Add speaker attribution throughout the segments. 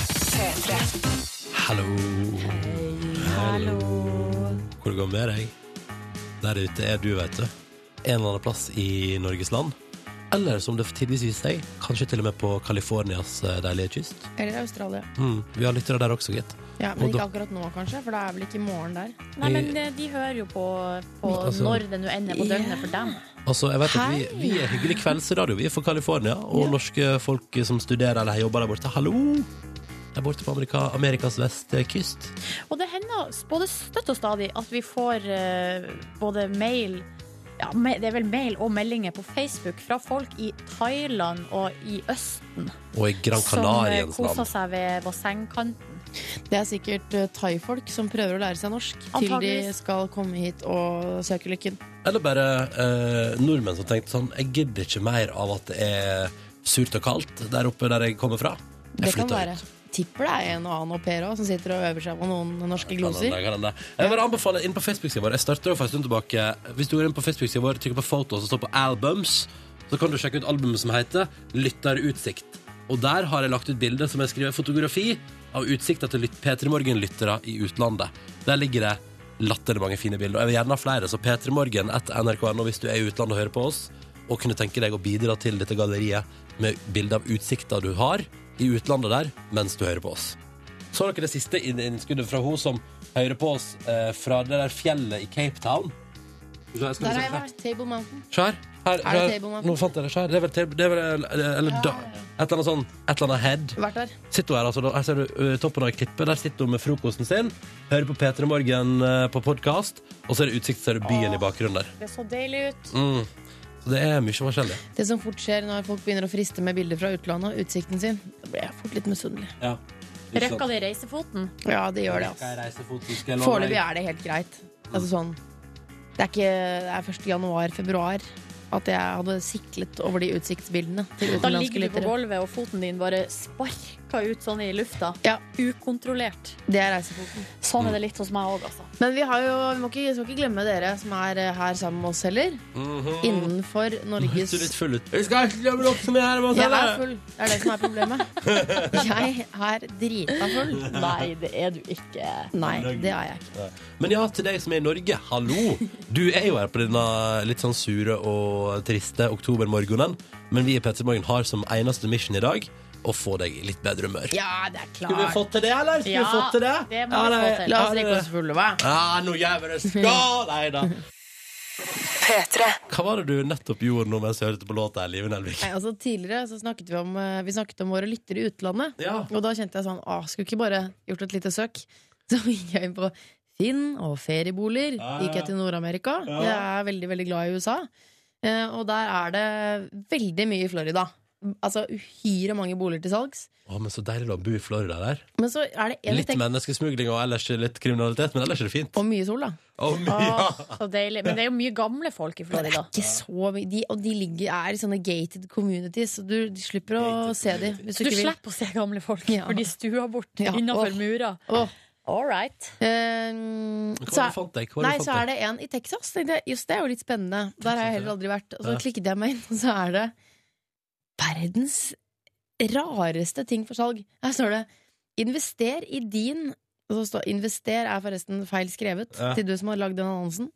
Speaker 1: P3.
Speaker 2: Hallo.
Speaker 3: Hallo.
Speaker 2: Hvor det går med deg? Der ute er du, vet du. En eller annen plass i Norges land. Eller som det tidvis viser seg, kanskje til og med på Californias eh, deilige kyst.
Speaker 3: Eller Australia.
Speaker 2: Mm, vi har lyttere der også, gitt.
Speaker 3: Ja,
Speaker 2: Og da-
Speaker 3: Men ikke akkurat nå, kanskje, for da er vel ikke morgen der.
Speaker 4: Nei, men eh, de hører jo på, på
Speaker 2: Altså-
Speaker 4: når det nå ender på døgnet for dem.
Speaker 2: Altså, jeg vet at vi, vi er hyggelig kveldsradio. Vi er fra California, og norske folk som studerer eller jobber der borte. Hallo! Der borte på Amerika, Amerikas vestkyst.
Speaker 4: Og det hender både støtt og stadig at vi får eh, både mail ja, me- det er vel mail og meldinger på Facebook fra folk i Thailand og i Østen
Speaker 2: Og i Gran
Speaker 4: som eh,
Speaker 2: Canariens
Speaker 4: koser
Speaker 2: land.
Speaker 4: seg ved bassengkanten.
Speaker 3: Det er sikkert eh, thaifolk som prøver å lære seg norsk til de
Speaker 4: Antageligvis.
Speaker 3: skal komme hit og søke lykken.
Speaker 2: Eller bare eh, nordmenn som tenkte sånn Jeg gidder ikke mer av at det er surt og kaldt der oppe der jeg kommer fra. Jeg
Speaker 3: Det kan
Speaker 2: flytter
Speaker 3: være.
Speaker 2: ut.
Speaker 3: Tipper det er en og annen au pair også som sitter og øver seg på noen norske
Speaker 2: Kan den
Speaker 3: gloser.
Speaker 2: det, kan den det. Jeg vil anbefale inn på Facebook-siden vår. Jeg startet jo for en stund tilbake Hvis du går inn på Facebook-siden vår, trykker på Photos og står på Albums, så kan du sjekke ut albumet som heter Lytterutsikt. Og der har jeg lagt ut bilde som jeg skriver fotografi av utsikta til lyt- P3 Morgen-lyttere i utlandet. Der ligger det latterlig mange fine bilder. Og jeg vil gjerne ha flere, så P3morgen etter nrk.no hvis du er i utlandet og hører på oss, og kunne tenke deg å bidra til dette galleriet med bilde av utsikta du har i utlandet der mens du hører på oss. Så dere det siste inn- innskuddet fra hun som hører på oss eh, fra det der fjellet i Cape Town? Skal jeg- skal
Speaker 3: Der
Speaker 2: vi
Speaker 3: har
Speaker 2: se
Speaker 3: jeg
Speaker 2: her?
Speaker 3: vært. Table Mountain.
Speaker 2: Skjær. Her,
Speaker 3: Er det
Speaker 2: her,
Speaker 3: table mountain?
Speaker 2: nå fant jeg det. Skjær. Det er vel, table- det er vel eh, eller, eller, da- Et eller annet sånn Et eller annet head.
Speaker 3: Vært der.
Speaker 2: Sitter hun her, altså. da- Her ser du ø, toppen av ei klippe. Der sitter hun med frokosten sin, hører på P3 Morgen ø, på podkast, og så er det utsikt, så er det byen i bakgrunnen der.
Speaker 4: Det så deilig ut.
Speaker 2: Mm. Så det er mye forskjellig.
Speaker 3: Det som fort skjer når folk begynner å friste med bilder fra utlandet og utsikten sin, da blir jeg fort litt misunnelig.
Speaker 2: Ja.
Speaker 4: Røkka de reisefoten?
Speaker 3: Ja, det gjør det, altså. Foreløpig er det helt greit. Altså sånn Det er ikke det er 1. januar-februar at jeg hadde siklet over de utsiktsbildene til
Speaker 4: Da
Speaker 3: utenlandske
Speaker 4: ligger du på
Speaker 3: lyttere.
Speaker 4: gulvet, og foten din bare sparker ut sånn i lufta.
Speaker 3: Ja.
Speaker 4: Ukontrollert.
Speaker 3: Det er reisefoten.
Speaker 4: Sånn
Speaker 2: Mm.
Speaker 4: er det litt hos meg òg, altså.
Speaker 3: Men vi, har jo, vi må ikke, skal ikke glemme dere som er eh, her sammen med oss heller. Innenfor
Speaker 2: Høres Mhm.
Speaker 3: Norges
Speaker 2: du litt full ut? Jeg skal ikke glemme dere som er her med oss,
Speaker 3: Jeg er
Speaker 2: eller?
Speaker 3: full. Det er det som er problemet. Jeg er drita full.
Speaker 4: Nei, det er du ikke.
Speaker 3: Nei, det er jeg ikke.
Speaker 2: Men ja, til deg som er i Norge, hallo! Du er jo her på denne litt sånn sure og triste oktobermorgenen, men vi i Petter Morgen har som eneste mission i dag å få deg i litt bedre humør.
Speaker 3: Ja, det er
Speaker 2: Skulle vi
Speaker 3: klart.
Speaker 2: fått til det, eller? Skulle
Speaker 4: Ja,
Speaker 2: vi fått til det?
Speaker 4: det må vi
Speaker 2: Ja,
Speaker 4: få til.
Speaker 3: La oss drikke oss fulle, hva?
Speaker 2: Ja, nå gjør vi det! Skål! Nei da.
Speaker 1: P3.
Speaker 2: Hva var det du nettopp gjorde nå mens jeg hørte på låta, Live Nelvik?
Speaker 3: Nei, altså Tidligere så snakket vi om eh, Vi snakket om våre lyttere i utlandet.
Speaker 2: Ja.
Speaker 3: Og da kjente jeg sånn Åh, skulle ikke bare gjort et lite søk? Så gikk jeg inn på Finn og ferieboliger.
Speaker 2: Ja, ja,
Speaker 3: Gikk jeg til Nord-Amerika.
Speaker 2: Ja.
Speaker 3: Jeg er veldig, veldig glad i USA. Eh, og der er det veldig mye i Florida. Altså uhyre mange boliger til salgs.
Speaker 2: Å, men så deilig å bo i Florida der.
Speaker 3: Men så er det en
Speaker 2: Litt menneskesmugling og ellers litt kriminalitet, men ellers er det fint.
Speaker 3: Og mye sol, da.
Speaker 2: Å, ja.
Speaker 4: Så deilig. Men det er jo mye gamle folk i Florida.
Speaker 3: Ikke så mye. De, og de ligger, er i sånne gated communities, så du, du slipper å se dem. Hvis
Speaker 4: Du
Speaker 3: ikke vil.
Speaker 4: slipper å se gamle folk,
Speaker 3: Ja.
Speaker 4: for de stuer bort
Speaker 3: Ja.
Speaker 4: innenfor
Speaker 3: Åh.
Speaker 4: murer.
Speaker 3: Åh.
Speaker 4: All right.
Speaker 3: Eh,
Speaker 2: Hva var
Speaker 3: så
Speaker 2: det
Speaker 3: er-
Speaker 2: du fant deg? Hva var
Speaker 3: Nei,
Speaker 2: det du
Speaker 3: så er
Speaker 2: fant deg? sånn,
Speaker 3: det en i Texas. tenkte jeg. Just det er jo litt spennende. Der har jeg heller aldri vært. Og så
Speaker 2: Ja.
Speaker 3: klikket jeg meg inn, og så er det verdens rareste ting for salg. Her står det 'Invester i din' og så står, Invester er forresten feil skrevet
Speaker 2: Ja.
Speaker 3: til du som har lagd den annonsen.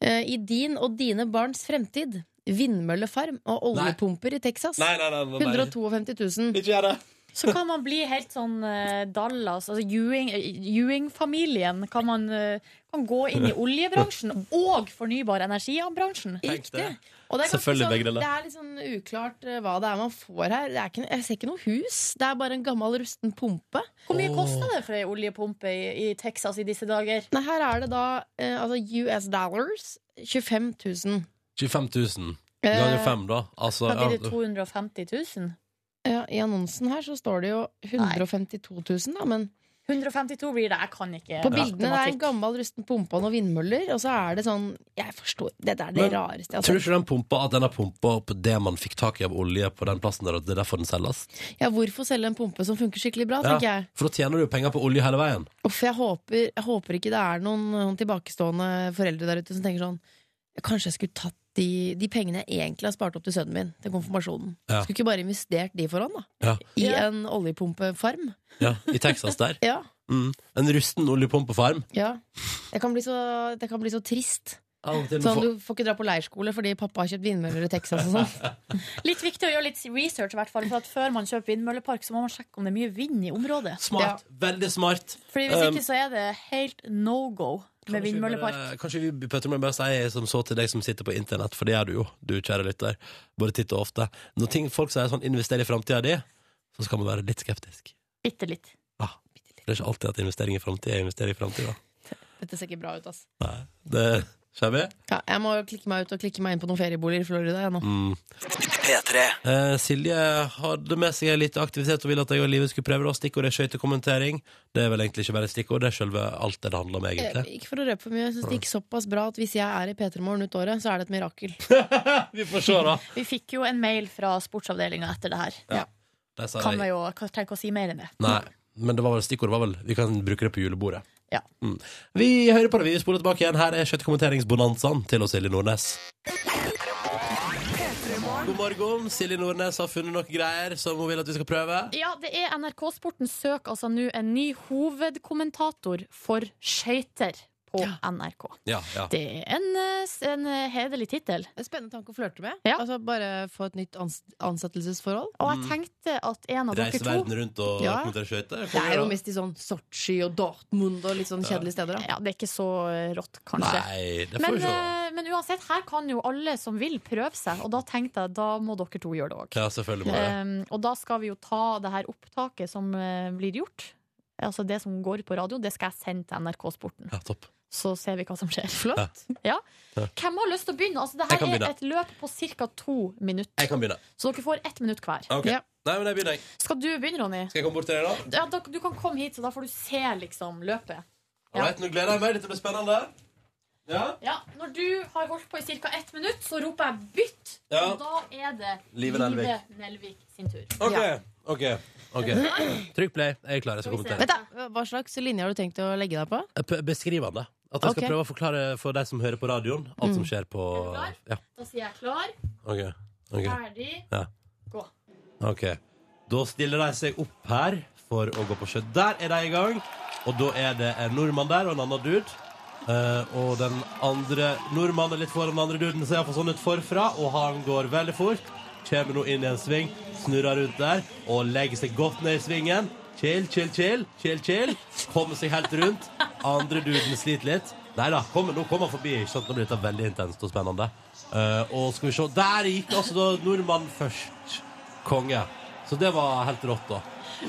Speaker 3: Eh, I din og dine barns fremtid. Vindmøllefarm og
Speaker 2: Nei.
Speaker 3: oljepumper i Texas.
Speaker 2: Nei, nei, nei, nei, nei.
Speaker 3: 152 000.
Speaker 2: Ikke gjør det.
Speaker 4: Så kan man bli helt sånn eh, Dallas, altså Ewing- eh, Ewing-familien. kan man eh, kan gå inn i oljebransjen og fornybar energi-bransjen.
Speaker 2: Tenk det.
Speaker 3: Riktig. Og det er, ganske
Speaker 2: Selvfølgelig begge
Speaker 3: sånn,
Speaker 2: deler.
Speaker 3: det er litt sånn uklart eh, hva det er man får her. Det er ikke, jeg ser ikke noe hus. Det er bare en gammel, rusten pumpe.
Speaker 4: Hvor mye
Speaker 2: Åh.
Speaker 4: koster det for ei oljepumpe i, i Texas i disse dager?
Speaker 3: Nei, her er det da eh, altså US dollars 25 000.
Speaker 2: 25 000
Speaker 3: Eh,
Speaker 2: ganger 5, da. Altså,
Speaker 4: Da blir det
Speaker 2: ja,
Speaker 4: 250 000.
Speaker 3: ja, I annonsen her så står det jo 152 000, da, men
Speaker 4: 152 blir det. Jeg kan ikke
Speaker 3: på bildene det er en
Speaker 4: matematikk.
Speaker 3: gammel, rusten pumpe og noen vindmøller, og så er det sånn Jeg forstår Det er det
Speaker 2: Men,
Speaker 3: rareste
Speaker 2: Tror du
Speaker 3: altså. jeg har sett.
Speaker 2: ikke den pumpa at den har pumpa opp det man fikk tak i av olje på den plassen der, at det er derfor den selges?
Speaker 3: Ja, hvorfor selge en pumpe som funker skikkelig bra,
Speaker 2: Ja,
Speaker 3: tenker jeg.
Speaker 2: for da tjener du jo penger på olje hele veien.
Speaker 3: Uff, jeg håper, jeg håper ikke det er noen, noen tilbakestående foreldre der ute som tenker sånn Kanskje jeg skulle tatt de, de pengene jeg egentlig har spart opp til sønnen min, til konfirmasjonen.
Speaker 2: Ja.
Speaker 3: Skulle ikke bare investert de for han, da?
Speaker 2: Ja.
Speaker 3: I
Speaker 5: Ja.
Speaker 3: en oljepumpefarm?
Speaker 2: Ja, I Texas der.
Speaker 3: Ja.
Speaker 2: Mm. En rusten oljepumpefarm.
Speaker 3: ja. Det, kan bli så, det kan bli så trist.
Speaker 2: Av og til må
Speaker 3: Sånn,
Speaker 2: få-
Speaker 3: du får ikke dra på leirskole fordi pappa har kjøpt vindmøller i Texas og sånn.
Speaker 5: Litt viktig å gjøre litt research, i hvert fall. For at før man kjøper vindmøllepark, så må man sjekke om det er mye vind i området.
Speaker 2: Smart. Veldig smart.
Speaker 5: Fordi hvis
Speaker 2: Um,
Speaker 5: ikke, så er det helt no go med
Speaker 2: Kanskje vi bare-
Speaker 5: vindmøllepark.
Speaker 2: Kanskje vi Petter, må jeg bare si som så til deg som sitter på internett, for det gjør du jo, du kjære lytter, både titt og ofte. Når ting, folk sier sånn 'invester i framtida di', så skal man være litt skeptisk.
Speaker 5: Bitte litt.
Speaker 2: Ah, det er ikke alltid at investering i framtida er investering i framtida.
Speaker 3: Dette ser ikke bra ut, ass.
Speaker 2: Det skjer vi.
Speaker 3: Ja, jeg må klikke meg ut og klikke meg inn på noen ferieboliger i Florida. Jeg, nå.
Speaker 2: Mm.
Speaker 6: P3.
Speaker 2: Eh, Silje hadde med seg litt aktivitet og ville at jeg og livet skulle prøve det. Stikkordet er skøytekommentering. Det er vel egentlig ikke bare et stikkord, det er selve alt det det handler om, egentlig.
Speaker 3: Eh, Ikke for å røpe for mye, jeg synes det gikk såpass bra at hvis jeg er i P3 Morgen ut året, så er det et mirakel.
Speaker 2: Vi får se, da.
Speaker 5: Vi fikk jo en mail fra sportsavdelinga etter det her.
Speaker 2: Ja. Der sa
Speaker 5: Kan
Speaker 2: jeg-
Speaker 5: vi jo trenger ikke å si mer enn det.
Speaker 2: Nei, men det var vel stikkordet var vel Vi kan bruke det på julebordet.
Speaker 5: Ja.
Speaker 2: Mm. Vi hører på det, vi spoler tilbake igjen. Her er skjøttkommenteringsbonanzaen til oss Silje Nordnes. God morgen. Silje Nordnes har funnet noen greier som hun vil at vi skal prøve.
Speaker 4: Ja, det er NRK Sporten søk altså nå en ny hovedkommentator for skøyter på NRK.
Speaker 2: Ja, ja.
Speaker 4: Det er en, eh, s- en eh, hederlig tittel.
Speaker 3: Det er Spennende tanke å flørte med.
Speaker 4: Ja.
Speaker 3: Altså Bare få et nytt ans ansettelsesforhold.
Speaker 4: Og jeg tenkte at en av
Speaker 2: Reise
Speaker 4: dere to
Speaker 2: Mm. verden rundt og
Speaker 3: Ja.
Speaker 2: kommentere skøyter.
Speaker 3: Det er jo mest i sånn Sotsji og Dortmund og litt sånn kjedelige steder. Da.
Speaker 4: ja, Det er ikke så eh, rått, kanskje.
Speaker 2: Nei, det får
Speaker 4: Men,
Speaker 2: vi se.
Speaker 4: eh, men uansett, her kan jo alle som vil, prøve seg. Og da tenkte jeg da må dere to gjøre det òg.
Speaker 2: Ja, selvfølgelig må det.
Speaker 4: og da skal vi jo ta det her opptaket som eh, blir gjort. Altså det som går ut på radio, det skal jeg sende til NRK Sporten.
Speaker 2: Ja, topp.
Speaker 4: Så ser vi hva som skjer.
Speaker 3: Flott.
Speaker 4: Ja. Hvem har lyst til å begynne? Altså, det
Speaker 2: Jeg
Speaker 4: her
Speaker 2: kan begynne.
Speaker 4: er et løp på ca. to minutter.
Speaker 2: Jeg kan begynne.
Speaker 4: Så dere får ett minutt hver.
Speaker 2: Ok.
Speaker 3: Ja.
Speaker 2: Nei, men jeg begynner. jeg.
Speaker 4: Skal du begynne, Ronny?
Speaker 2: Skal jeg komme bort til deg, da?
Speaker 4: Ja, da, du kan komme hit, så da får du se liksom løpet. Ja.
Speaker 2: Alright, nå gleder jeg meg. Dette blir spennende. Ja.
Speaker 4: Ja, Når du har holdt på i ca. ett minutt, så roper jeg 'bytt'.
Speaker 2: Ja.
Speaker 4: Og da er det
Speaker 2: Live Nelvik.
Speaker 4: Nelvik sin tur.
Speaker 2: OK.
Speaker 3: Ja.
Speaker 2: OK. ok Trykk play. Jeg er klar. Jeg skal kommentere.
Speaker 3: Vent da, Hva slags linje har du tenkt å legge deg på?
Speaker 2: P- Beskriv han det. At jeg skal
Speaker 3: Ok.
Speaker 2: prøve å forklare for deg som hører på radioen, alt som skjer på
Speaker 4: Er
Speaker 2: Ja,
Speaker 4: Da sier jeg klar,
Speaker 2: ok, ok,
Speaker 4: ferdig,
Speaker 2: Ja.
Speaker 4: gå.
Speaker 2: ok. Da stiller de seg opp her for å gå på sjø. Der er de i gang. Og da er det en nordmann der og en annen dude. Eh, og den andre nordmannen er litt foran den andre duden, ser iallfall sånn ut forfra. Og han går veldig fort. Kommer nå inn i en sving, snurrer rundt der og legger seg godt ned i svingen. Chill, chill, chill. chill, chill Kommer seg helt rundt. Andre duden sliter litt. Nei da, kom, nå kommer han forbi. Ikke sant? Nå blir dette veldig intenst og spennende. Eh, og skal vi se Der gikk altså da nordmannen først. Konge. Så det var helt rått, da.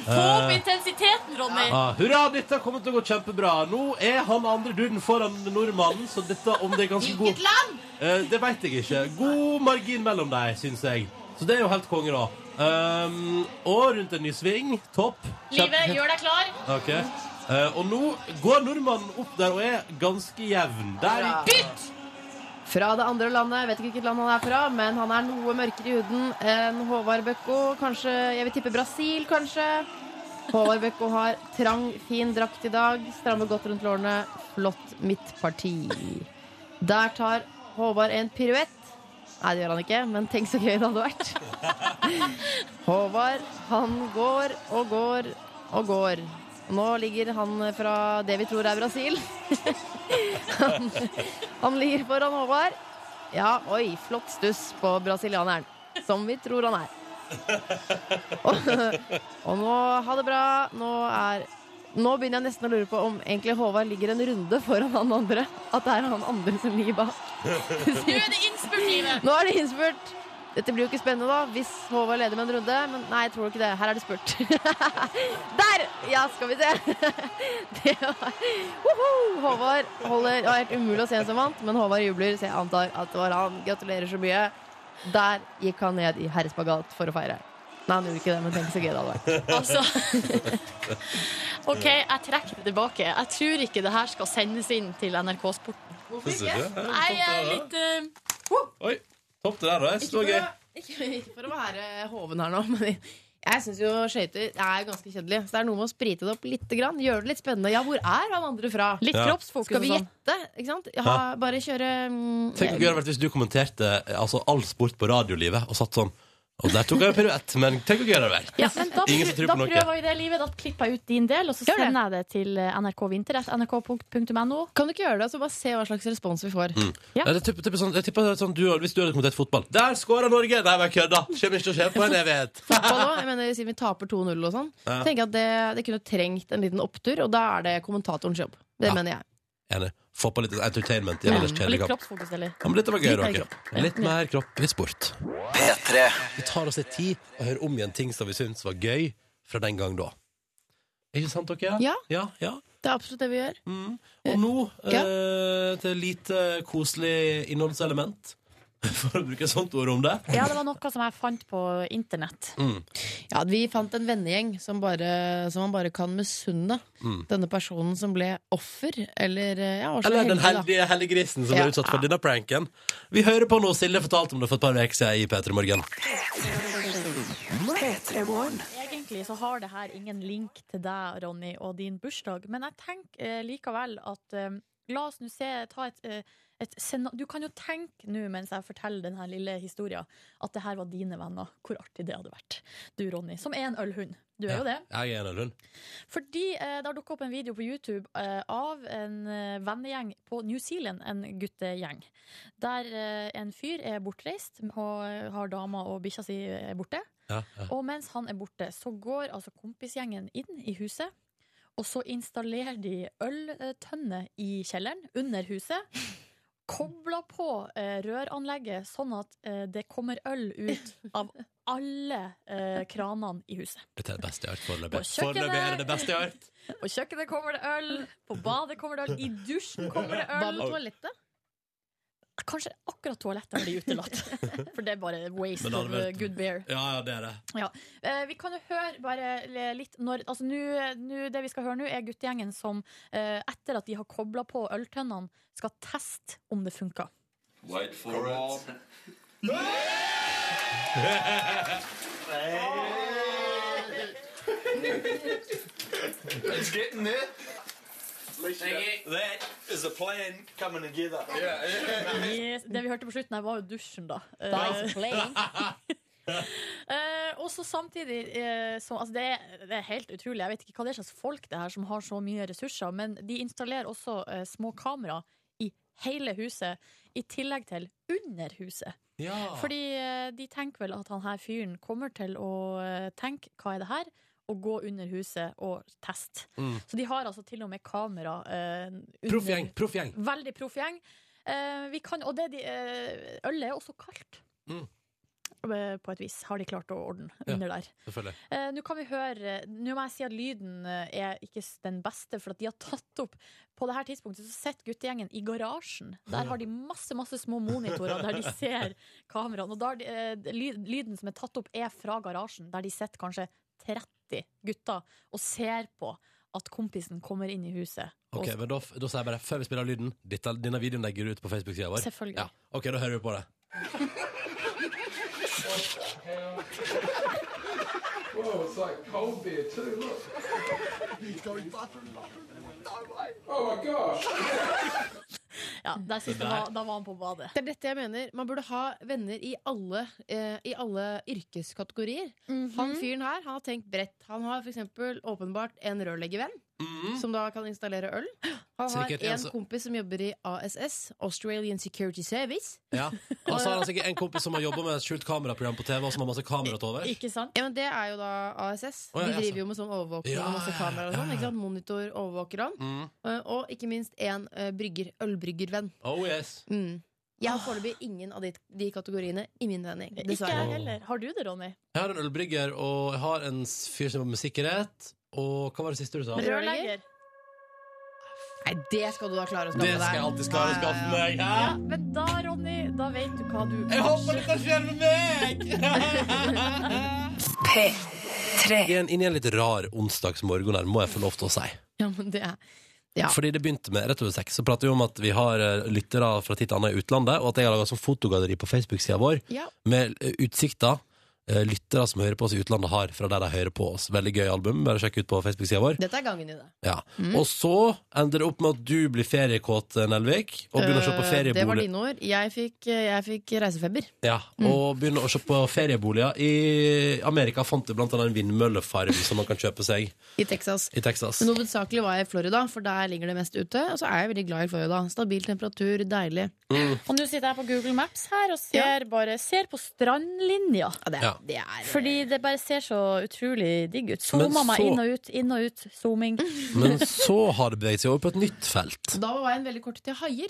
Speaker 4: Få opp intensiteten, Ronny!
Speaker 2: Eh. Ja, hurra, dette kommer til å gå kjempebra. Nå er han andre duden foran nordmannen, så dette om det er ganske god
Speaker 4: Hvilket land?
Speaker 2: Eh, Det veit jeg ikke. God margin mellom dem, syns jeg. Så det er jo helt konge, da. Ehm, og rundt en ny sving. Topp.
Speaker 4: Livet, gjør deg klar.
Speaker 2: Ok. Eh, og nå går nordmannen opp der og er ganske jevn. Der gikk
Speaker 4: Bytt!
Speaker 3: Fra det andre landet. Jeg vet ikke hvilket land han er fra, men han er noe mørkere i huden enn Håvard Bøkko. Kanskje Jeg vil tippe Brasil, kanskje. Håvard Bøkko har trang, fin drakt i dag. Strammer godt rundt lårene. Flott midtparti. Der tar Håvard en piruett. Nei, det gjør han ikke, men tenk så gøy det hadde vært. Håvard, han går og går og går. Nå ligger han fra det vi tror er Brasil. Han ligger foran Håvard. Ja, oi, flott stuss på brasilianeren. Som vi tror han er. Og, og nå, ha det bra. Nå er Nå begynner jeg nesten å lure på om egentlig Håvard ligger en runde foran han andre. At det er han andre som ligger bak.
Speaker 4: Nå er det innspurt, livet.
Speaker 3: Nå er det innspurt! Dette blir jo ikke spennende, da, hvis Håvard leder med en runde. Men nei, jeg tror ikke det. Her er det spurt. Der! Ja, skal vi se. Det var Woho! Håvard holder Det var helt umulig å se en som vant, men Håvard jubler, så jeg antar at det var han. Gratulerer så mye. Der gikk han ned i herrespagat for å feire. Nei, han gjorde ikke det, men tenk så gøy det hadde vært.
Speaker 4: Altså. OK, jeg trekker det tilbake. Jeg tror ikke det her skal sendes inn til NRK Sport.
Speaker 2: Syns du ikke? Ja,
Speaker 4: Jeg
Speaker 2: topp det der,
Speaker 4: er litt eh,
Speaker 2: da. Oi. Topp det der, da. Jeg synes det var gøy.
Speaker 3: Ikke for å være hoven her nå, men Jeg syns jo skøyter er ganske kjedelig. Så det er noe med å sprite det opp litt. Grann. Gjøre det litt spennende. Ja, hvor er han andre fra?
Speaker 4: Litt
Speaker 2: Ja.
Speaker 4: kroppsfokus
Speaker 3: Skal vi
Speaker 4: og sånn.
Speaker 3: gjette? Ikke sant? Ja, bare kjøre mm,
Speaker 2: Tenk hvor gøy det hadde vært hvis du kommenterte eh, altså, all sport på radiolivet og satt sånn Og der tok jeg en piruett, men tenk hvor gøy det hadde vært.
Speaker 4: Ja, men da,
Speaker 2: Ingen som tror
Speaker 4: da
Speaker 2: på noe.
Speaker 4: prøver vi det livet. Da klipper jeg ut din del, og så
Speaker 3: Gjør det.
Speaker 4: sender jeg det til eh, NRK Vinterrett. nrk.no.
Speaker 3: Kan du ikke gjøre det? Så bare se hva slags respons vi får.
Speaker 2: Mm.
Speaker 4: Ja.
Speaker 2: Nei, det er typ- typ sånn, jeg tipper sånn, du, Hvis du hadde kommentert fotball Der skårer Norge! Nei, men kødda! Kommer ikke til å skje på en evighet.
Speaker 3: Fotball også, jeg mener, Siden vi taper 2-0 og sånn.
Speaker 2: Ja.
Speaker 3: Tenker jeg at det, det kunne trengt en liten opptur, og da er det kommentatorens jobb. Det
Speaker 2: Ja.
Speaker 3: mener jeg.
Speaker 2: Enig. Få på litt entertainment i en ellers
Speaker 4: Og
Speaker 2: kjedelig
Speaker 4: litt
Speaker 2: kamp.
Speaker 4: kroppsfokus, eller?
Speaker 2: Ja, men dette var gøy,
Speaker 3: Litt mer
Speaker 2: dere. Litt mer kropp i sport. Vi tar oss litt tid og hører om igjen ting som vi syns var gøy fra den gang da. Ikke sant, dere?
Speaker 3: Ja.
Speaker 2: ja, ja.
Speaker 3: Det er absolutt det vi gjør.
Speaker 2: Mm. Og nå
Speaker 3: Ja.
Speaker 2: eh, til lite koselig innholdselement, for å bruke et sånt ord om det.
Speaker 4: Ja, det var noe som jeg fant på internett.
Speaker 2: Mm.
Speaker 3: Ja, Vi fant en vennegjeng som, bare, som man bare kan misunne
Speaker 2: Mm.
Speaker 3: denne personen som ble offer, eller eh, ja, var så
Speaker 2: Eller den
Speaker 3: heldig, da.
Speaker 2: heldige helliggrisen som
Speaker 3: Ja.
Speaker 2: ble utsatt for denne pranken. Vi hører på noe Silje fortalte om det for et par uker siden i P3 Morgen.
Speaker 7: P3-morgen.
Speaker 4: Egentlig så har det her ingen link til deg, Ronny, og din bursdag, men jeg tenker eh, likevel at eh, La oss nå se ta et, eh, et sena Du kan jo tenke nå mens jeg forteller denne lille historien, at det her var dine venner. Hvor artig det hadde vært. Du, Ronny, som er en ølhund. Du er jo det.
Speaker 2: Jeg er en av dem.
Speaker 4: Fordi eh, det har dukket opp en video på YouTube eh, av en eh, vennegjeng på New Zealand, en guttegjeng. Der eh, en fyr er bortreist, og eh, har dama og bikkja si er borte.
Speaker 2: Ja, ja.
Speaker 4: Og mens han er borte, så går altså kompisgjengen inn i huset. Og så installerer de øltønne i kjelleren, under huset. Kobler på eh, røranlegget, sånn at eh, det kommer øl ut av alle eh, kranene i huset.
Speaker 2: Dette er det beste jeg har hørt
Speaker 4: På
Speaker 2: foreløpig.
Speaker 4: kjøkkenet.
Speaker 2: Foreløpig er det det beste jeg har hørt.
Speaker 4: På kjøkkenet kommer det øl, på badet kommer det øl, i dusjen kommer det
Speaker 3: Hva
Speaker 4: øl.
Speaker 3: med toalettet?
Speaker 4: Kanskje akkurat toalettet blir utelatt. For det er bare waste
Speaker 2: Men det hadde
Speaker 4: of
Speaker 2: vært-
Speaker 4: uh, good beer.
Speaker 2: Ja, ja, det er det.
Speaker 4: Eh, vi kan jo høre bare le- litt når Altså nu, nu, Det vi skal høre nå, er guttegjengen som eh, etter at de har kobla på øltønnene, skal teste om det funker.
Speaker 8: Wait for it.
Speaker 9: It's getting there. That is a plan coming together.
Speaker 4: Yes. Det vi hørte på slutten her, var jo dusjen, da. Eh, Eh, og så samtidig eh, så, altså det, er, det er helt utrolig. Jeg vet ikke hva det er slags folk det er her som har så mye ressurser, men de installerer også eh, små kamera i hele huset, i tillegg til under huset.
Speaker 2: Ja.
Speaker 4: Fordi eh, de tenker vel at han her fyren kommer til å eh, tenke 'hva er det her?' og gå under huset og teste.
Speaker 2: Mm.
Speaker 4: Så de har altså til og med kamera eh, under-
Speaker 2: Proffgjeng. Proffgjeng.
Speaker 4: Veldig proff gjeng. Eh, vi kan, og det de, eh, ølet er også kaldt.
Speaker 2: Mm.
Speaker 4: Eh, På et vis har de klart å ordne
Speaker 2: Ja.
Speaker 4: under der.
Speaker 2: Selvfølgelig.
Speaker 4: Eh, Nå kan vi høre Nå må jeg si at lyden eh, er ikke s- den beste, for at de har tatt opp På det her tidspunktet så sitter guttegjengen i garasjen. Der har de masse masse små monitorer der de ser kameraene. Og da er de, eh, ly- lyden som er tatt opp, er fra garasjen, der de sitter kanskje 30 gutter og ser på at kompisen kommer inn i huset.
Speaker 2: Ok, men da, da sier jeg bare, før vi spiller av lyden dette, Denne videoen legger du ut på Facebook-sida
Speaker 4: Og,
Speaker 2: vår.
Speaker 4: selvfølgelig.
Speaker 2: Ja. Ok, da hører vi på det.
Speaker 10: Whoa, it's like cold beer too, look. Oh my gosh.
Speaker 4: Ja, der siste
Speaker 2: der.
Speaker 4: var, da var han på badet.
Speaker 3: Det er dette jeg mener. Man burde ha venner i alle, eh, i alle yrkeskategorier.
Speaker 4: Mhm.
Speaker 3: Han fyren her han har tenkt bredt. Han har for eksempel åpenbart en rørleggervenn,
Speaker 2: Mm.
Speaker 3: som da kan installere øl. Han har
Speaker 2: Sikkert en
Speaker 3: en
Speaker 2: som-
Speaker 3: kompis som jobber i ASS, Australian Security Service.
Speaker 2: Ja. Og så har han sikkert en kompis som har jobba med et skjult kameraprogram på TV, og som har masse kamera til overs.
Speaker 4: Ikke sant?
Speaker 3: Ja, men Det er jo da ASS.
Speaker 2: Å, ja,
Speaker 3: De
Speaker 2: ja,
Speaker 3: driver jo med sånn overvåkning
Speaker 2: Ja,
Speaker 3: og masse
Speaker 2: ja,
Speaker 3: kameraer og
Speaker 2: ja,
Speaker 3: sånn.
Speaker 2: ja.
Speaker 3: ikke sant? Monitor, overvåker han.
Speaker 2: Mm.
Speaker 3: Eh, Og ikke minst en eh, brygger, ølbryggervenn.
Speaker 2: Oh yes.
Speaker 3: Mm. Jeg har foreløpig ingen av de, de kategoriene i min vending.
Speaker 4: Ikke
Speaker 3: Dessverre.
Speaker 4: jeg heller. Har du det, Ronny?
Speaker 2: Jeg har en ølbrygger, og jeg har en s- fyr som jobber med sikkerhet. Og hva var det siste du sa?
Speaker 3: Men- Rørlegger? Nei, det skal du da klare å skaffe
Speaker 2: Det
Speaker 3: deg.
Speaker 2: skal jeg alltid klare å skaffe meg. Hæ?
Speaker 4: Ja, men da, Ronny, da vet du hva du
Speaker 2: Jeg håper dette skjer med meg!
Speaker 7: P3.
Speaker 2: Inn i en litt rar onsdagsmorgen her, må jeg få lov til å si.
Speaker 3: Ja, men det er Ja.
Speaker 2: Fordi det begynte med rett over seks. Så prater vi om at vi har eh, lyttere fra titt og annet i utlandet, og at jeg har laga sånn fotogalleri på Facebook-sida vår
Speaker 3: Ja.
Speaker 2: med eh, utsikter eh, lyttere som hører på oss i utlandet, har fra der de hører på oss. Veldig gøy album. Bare sjekk ut på Facebook-sida vår.
Speaker 3: Dette er gangen i det.
Speaker 2: Ja.
Speaker 3: Mm.
Speaker 2: Og så ender det opp med at du blir feriekåt, eh, Nelvik, og begynner å se på
Speaker 3: Eh, Det var Mm.
Speaker 2: ferieboliger.
Speaker 3: dine ord. Jeg fikk, eh, jeg fikk reisefeber.
Speaker 2: Ja, og begynner å se på ferieboliger. I Amerika fant du blant annet en vindmøllefarm som man kan kjøpe seg
Speaker 3: I Texas.
Speaker 2: i Texas.
Speaker 3: Men hovedsakelig var jeg i Florida, for der ligger det mest ute. Og så er jeg veldig glad i Florida. Stabil temperatur, deilig.
Speaker 4: Og nå sitter jeg på Google Maps her og ser, bare, ser på strandlinja.
Speaker 3: Ja, det,
Speaker 2: Ja.
Speaker 3: det er
Speaker 4: Fordi det bare ser så utrolig digg ut.
Speaker 2: Men
Speaker 4: Zooma meg
Speaker 2: så-
Speaker 4: inn og ut, inn og ut. Zooming.
Speaker 2: Men så har det beveget seg over på et nytt felt.
Speaker 3: Da var veien veldig kort til haier.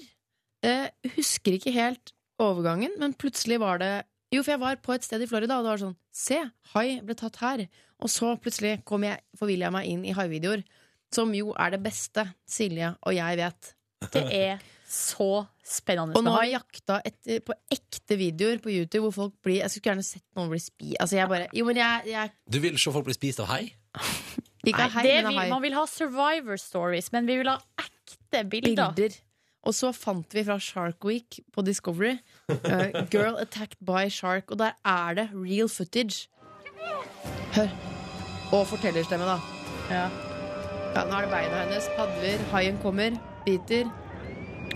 Speaker 3: Eh, husker ikke helt overgangen, men plutselig var det Jo, for jeg var på et sted i Florida, og det var sånn Se, hai ble tatt her. Og så plutselig kom jeg, forvilla jeg meg inn i haivideoer. Som jo er det beste Silje og jeg vet.
Speaker 4: Det er så spennende.
Speaker 3: Og nå har jeg jakta etter, på ekte videoer på YouTube hvor folk blir Jeg skulle gjerne sett noen bli spi... Altså, jeg bare Jo, men jeg, jeg
Speaker 2: Du vil se folk bli spist av hei?
Speaker 3: Ikke
Speaker 4: Nei,
Speaker 3: hei,
Speaker 4: det
Speaker 3: men
Speaker 4: vil,
Speaker 3: hai.
Speaker 4: man vil ha survivor stories, men vi vil ha ekte bilder.
Speaker 3: bilder. Og så fant vi fra Shark Week på Discovery eh, Girl attacked by shark. Og der er det real footage. Hør. Og fortellerstemme, da. Ja. nå er det beina hennes. Padler. Haien kommer. Biter.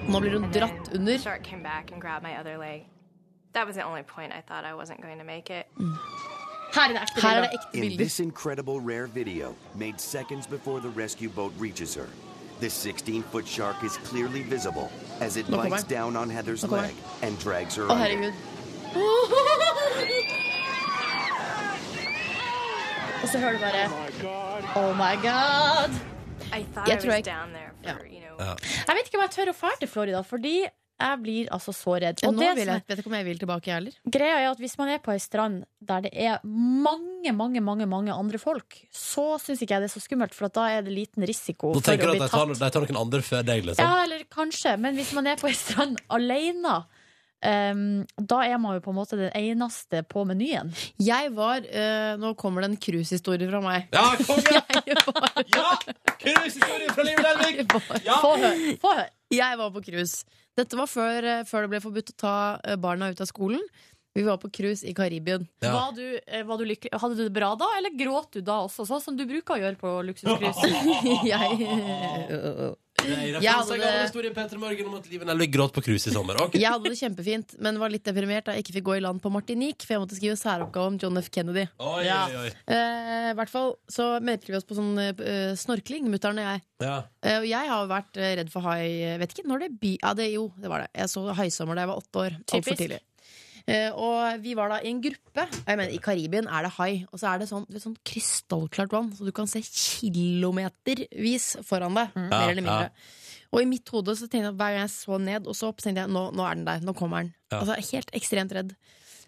Speaker 3: Nå blir hun dratt under.
Speaker 11: Shark came back and grabbed my other leg. That was the only point I thought I wasn't going to make it.
Speaker 3: Mm.
Speaker 4: Her er det ekte
Speaker 3: Her er
Speaker 4: bilder.
Speaker 3: det ekte
Speaker 12: In
Speaker 3: bilder.
Speaker 12: this incredible rare video, made seconds before the rescue boat reaches her, the 16 foot shark is clearly visible as it
Speaker 3: Look at
Speaker 12: bites
Speaker 3: mine.
Speaker 12: down on Heather's
Speaker 3: Look at
Speaker 12: leg and drags her
Speaker 3: Å,
Speaker 12: under.
Speaker 3: herregud.
Speaker 4: Og så hører du bare Oh my god!
Speaker 11: I thought
Speaker 3: Yeah,
Speaker 11: I
Speaker 3: that's
Speaker 11: was
Speaker 3: right.
Speaker 11: down there for, you know,
Speaker 4: Jeg vet ikke om jeg tør å dra til Florida, fordi jeg blir altså så redd.
Speaker 3: Og
Speaker 4: Og
Speaker 3: nå
Speaker 4: det
Speaker 3: vil
Speaker 4: som er
Speaker 3: jeg, vet ikke om jeg vil tilbake, jeg heller.
Speaker 4: Greia er at hvis man er på ei strand der det er mange, mange mange, mange andre folk, så syns ikke jeg det er så skummelt, for at da er det liten risiko
Speaker 2: Da
Speaker 4: for
Speaker 2: tenker
Speaker 4: å
Speaker 2: du at
Speaker 4: bli
Speaker 2: de tar,
Speaker 4: tatt.
Speaker 2: de tar noen andre før deg, liksom?
Speaker 4: Ja, eller kanskje, men hvis man er på ei strand alene, em, da er man jo på en måte den eneste på menyen.
Speaker 3: Jeg var eh, Nå kommer det en cruisehistorie fra meg.
Speaker 2: Ja, konge!
Speaker 3: Jeg var
Speaker 2: Ja! Cruisehistorie fra livet, Nelvik! Ja.
Speaker 4: Få høre! Få høre.
Speaker 3: Jeg var på cruise. Dette var før, eh, før det ble forbudt å ta eh, barna ut av skolen. Vi var på cruise i Karibien.
Speaker 2: Ja.
Speaker 13: Var du, eh, var du lykkelig? Hadde du det bra da, eller gråt du da også, sånn som du bruker å gjøre på luksuskrus?
Speaker 3: jeg,
Speaker 2: Jeg
Speaker 3: Jeg hadde det-
Speaker 2: historien Petra Morgen om at livet Nelvik gråt på cruise i sommer. Ok.
Speaker 3: jeg hadde det kjempefint, men var litt deprimert da jeg ikke fikk gå i land på Martinique, for jeg måtte skrive særoppgave om John F. Kennedy.
Speaker 2: Oi, oi, oi.
Speaker 3: Eh, I hvert fall så møter vi oss på sånn eh, snorkling, mutter'n og jeg.
Speaker 2: Ja.
Speaker 3: Eh, og jeg har vært eh, redd for hai eh, Vet ikke når det by... Ja, det, jo, det var det. Jeg så haisommer da jeg var åtte år. Altfor
Speaker 4: Typisk.
Speaker 3: tidlig. Eh, og vi var da i en gruppe. Jeg mener, I Karibien er det hai. Og så er det sånn, det er sånn krystallklart vann, så du kan se kilometervis foran deg.
Speaker 2: Ja,
Speaker 3: Mer eller mindre. Og i mitt hode så tenkte jeg hver gang jeg så ned og så opp, så tenkte jeg nå, nå er den der. Nå kommer den.
Speaker 2: Ja.
Speaker 3: Altså, jeg er helt ekstremt redd.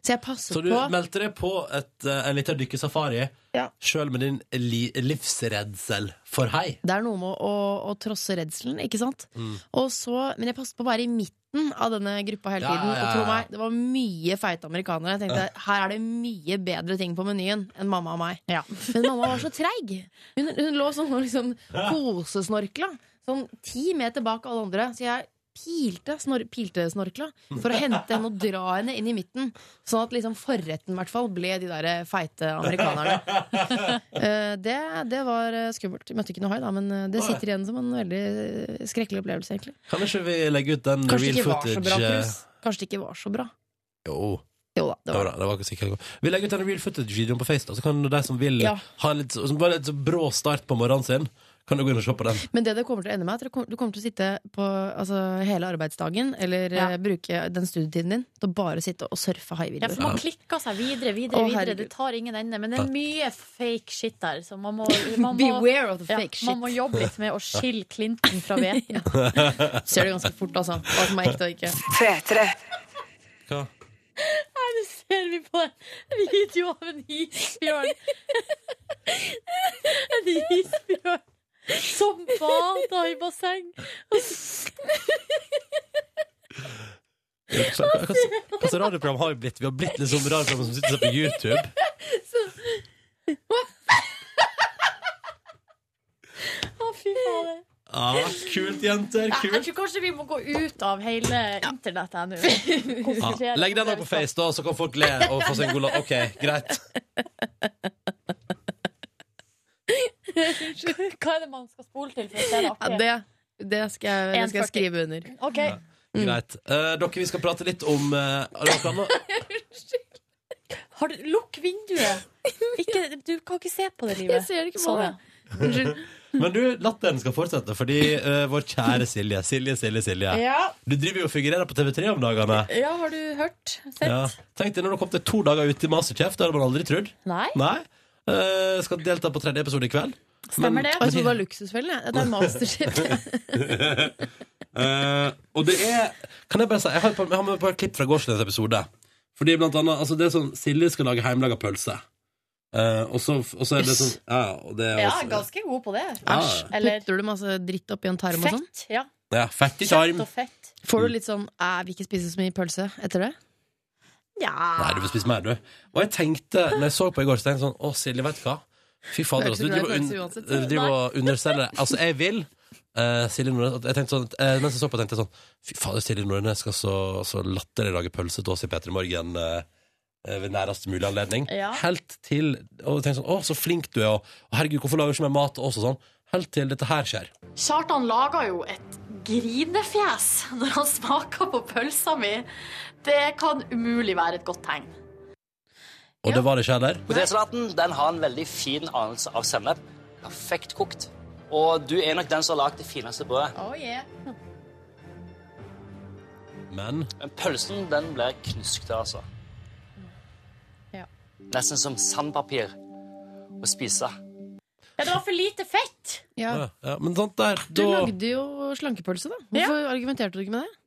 Speaker 3: Så jeg passet
Speaker 2: Så du
Speaker 3: på.
Speaker 2: meldte deg på et, eh, en liten dykkesafari
Speaker 3: Ja.
Speaker 2: sjøl med din li livsredsel for hei.
Speaker 3: Det er noe med å, å, å trosse redselen, ikke sant?
Speaker 2: Mm.
Speaker 3: Og så, men jeg passet på å være i midten av denne gruppa hele
Speaker 2: Ja,
Speaker 3: tiden.
Speaker 2: ja,
Speaker 3: Og tro
Speaker 2: ja.
Speaker 3: meg, det var mye feite amerikanere. Jeg tenkte, Her er det mye bedre ting på menyen enn mamma og meg. Men mamma var så treig. Hun, hun lå sånn og liksom kosesnorkla. Sånn ti meter bak alle andre. Så jeg pilte, snor, pilte snorkla for å hente henne og dra henne inn i midten. Sånn at liksom forretten i hvert fall ble de der feite amerikanerne. Eh, det, det var eh, skummelt. Jeg møtte ikke noe hai, da, men eh, det sitter igjen som en veldig eh, skrekkelig opplevelse, egentlig.
Speaker 2: Kan ikke vi legge ut den
Speaker 3: Kanskje det
Speaker 2: real
Speaker 3: ikke var så
Speaker 2: footage?
Speaker 3: bra,
Speaker 2: eh,
Speaker 3: Chris. Kanskje det ikke var så bra.
Speaker 2: Jo.
Speaker 3: Jo da, det
Speaker 2: Det var
Speaker 3: var
Speaker 2: bra, det var ikke sikkert. Vi legger ut en real footage-videoen på Facebook, så kan de som vil
Speaker 3: Ja.
Speaker 2: ha en litt, som bare litt så brå start på morgenen sin, kan du gå inn og se på den.
Speaker 3: Men det det kommer til å ende med, er at du kommer- du kommer til å sitte på altså, hele arbeidsdagen, eller eh, bruke den studietiden din til å bare sitte og surfe
Speaker 13: Ja, for
Speaker 3: haivideoer.
Speaker 13: man klikker seg videre, videre,
Speaker 3: Å,
Speaker 13: videre.
Speaker 3: herregud.
Speaker 13: Det tar ingen ende. Men det er mye fake shit der, så man må, man må
Speaker 3: Beware of the
Speaker 13: ja,
Speaker 3: fake
Speaker 13: Man må
Speaker 3: shit.
Speaker 13: jobbe litt med å skille Clinton fra hveten.
Speaker 3: Ser det ganske fort, altså. Hva som er ekte og ikke.
Speaker 14: P3.
Speaker 2: Hva?
Speaker 13: ser vi på en video av en isbjørn. En isbjørn som bada i basseng.
Speaker 2: Hva, hva, hva, hva slags radioprogram har vi blitt? Vi har blitt litt sånn radioprogram som sitter seg på YouTube.
Speaker 13: Å, fy fader.
Speaker 2: Ja, kult, jenter.
Speaker 15: Jeg, jeg
Speaker 2: Kult.
Speaker 15: tror kanskje vi må gå ut av hele internettet her nå.
Speaker 2: Ja,
Speaker 15: Konsentrere
Speaker 2: legg den
Speaker 15: oss
Speaker 2: opp på Face, da, så kan folk le og få seg en god låt. OK, greit.
Speaker 4: Hva er det man skal spole til for å se det
Speaker 3: Ja,
Speaker 4: artig?
Speaker 3: det, det, skal jeg, det skal jeg
Speaker 4: 1,40.
Speaker 3: skrive under.
Speaker 4: Ok, Mm.
Speaker 2: greit. Eh, dere, vi skal prate litt om eh, har dere planer?
Speaker 4: har du, Lukk vinduet! Ikke, du kan ikke se på det
Speaker 3: Jeg
Speaker 4: livet.
Speaker 3: ser ikke på
Speaker 4: Sånn,
Speaker 3: det. Unnskyld.
Speaker 2: Men du, latteren skal fortsette, fordi eh, vår kjære Silje Silje, Silje, Silje.
Speaker 4: Ja.
Speaker 2: Du driver jo og figurerer på TV3 om dagene.
Speaker 4: ja, har du hørt? Sett?
Speaker 2: Ja. Tenk deg når du kom til to dager ut i Masterchef. Det hadde man aldri trodd.
Speaker 4: Nei?
Speaker 2: Nei. Eh, skal delta på tredje episode i kveld.
Speaker 4: Stemmer det?
Speaker 3: Og jeg trodde det var luksusfellen. jeg. Dette er Masterchef.
Speaker 2: Eh, og det er Kan jeg bare si Jeg har, på, jeg har med på et klipp fra gårsdagens episode. Fordi blant annet altså Det er sånn Silje skal lage hjemmelaga pølse. Eh, og, så, og så er det sånn Ja, og det er
Speaker 4: Ja,
Speaker 2: også,
Speaker 4: ganske god på det.
Speaker 2: Æsj.
Speaker 4: Eller
Speaker 3: Putter du masse dritt oppi en tarm og sånn?
Speaker 4: fett. Ja.
Speaker 2: ja, Fett i tarm.
Speaker 4: Kjøtt og fett.
Speaker 2: Mm.
Speaker 3: Får du litt sånn 'jeg vil ikke spise så mye pølse' etter det?
Speaker 2: Nei, du vil spise mer, du. Og jeg tenkte, når jeg så på i går, så tenkte jeg sånn Å, Silje, vet du hva? Fy fader,
Speaker 3: Det
Speaker 2: altså,
Speaker 3: er
Speaker 2: du
Speaker 3: ikke
Speaker 2: driver,
Speaker 3: så glad i
Speaker 2: un
Speaker 3: pølse uansett, sånn.
Speaker 2: du driver og underselger det. Altså, jeg vil eh, Silje Nordnes at jeg tenkte sånn, eh, Mens jeg så på, tenkte jeg sånn Fy fader, Silje Nordnes skal så, så latterlig lage pølse til oss i P3 Morgen eh, eh, ved nærest mulig anledning.
Speaker 4: Ja.
Speaker 2: Helt til Og jeg tenkte sånn Å, så flink du er, og, og herregud, hvorfor lager du ikke mer mat til oss og sånn? Helt til dette her skjer.
Speaker 4: Kjartan laga jo et grinefjes når han smaka på pølsa mi. Det kan umulig være et godt tegn.
Speaker 2: Og det var det ikke heller.
Speaker 9: Potetsalaten den har en veldig fin anelse av sennep. Perfekt kokt. Og du er nok den som har lagd det fineste brødet.
Speaker 4: Oh, yeah.
Speaker 2: Men
Speaker 9: Men pølsen den blir knuskete, altså.
Speaker 4: Ja.
Speaker 9: Nesten som sandpapir å spise.
Speaker 4: Ja, det var for lite fett!
Speaker 3: Ja.
Speaker 2: ja, ja, Men sånt der,
Speaker 3: Du
Speaker 2: da
Speaker 3: lagde jo slankepølse, da. Hvorfor argumenterte du ikke med det?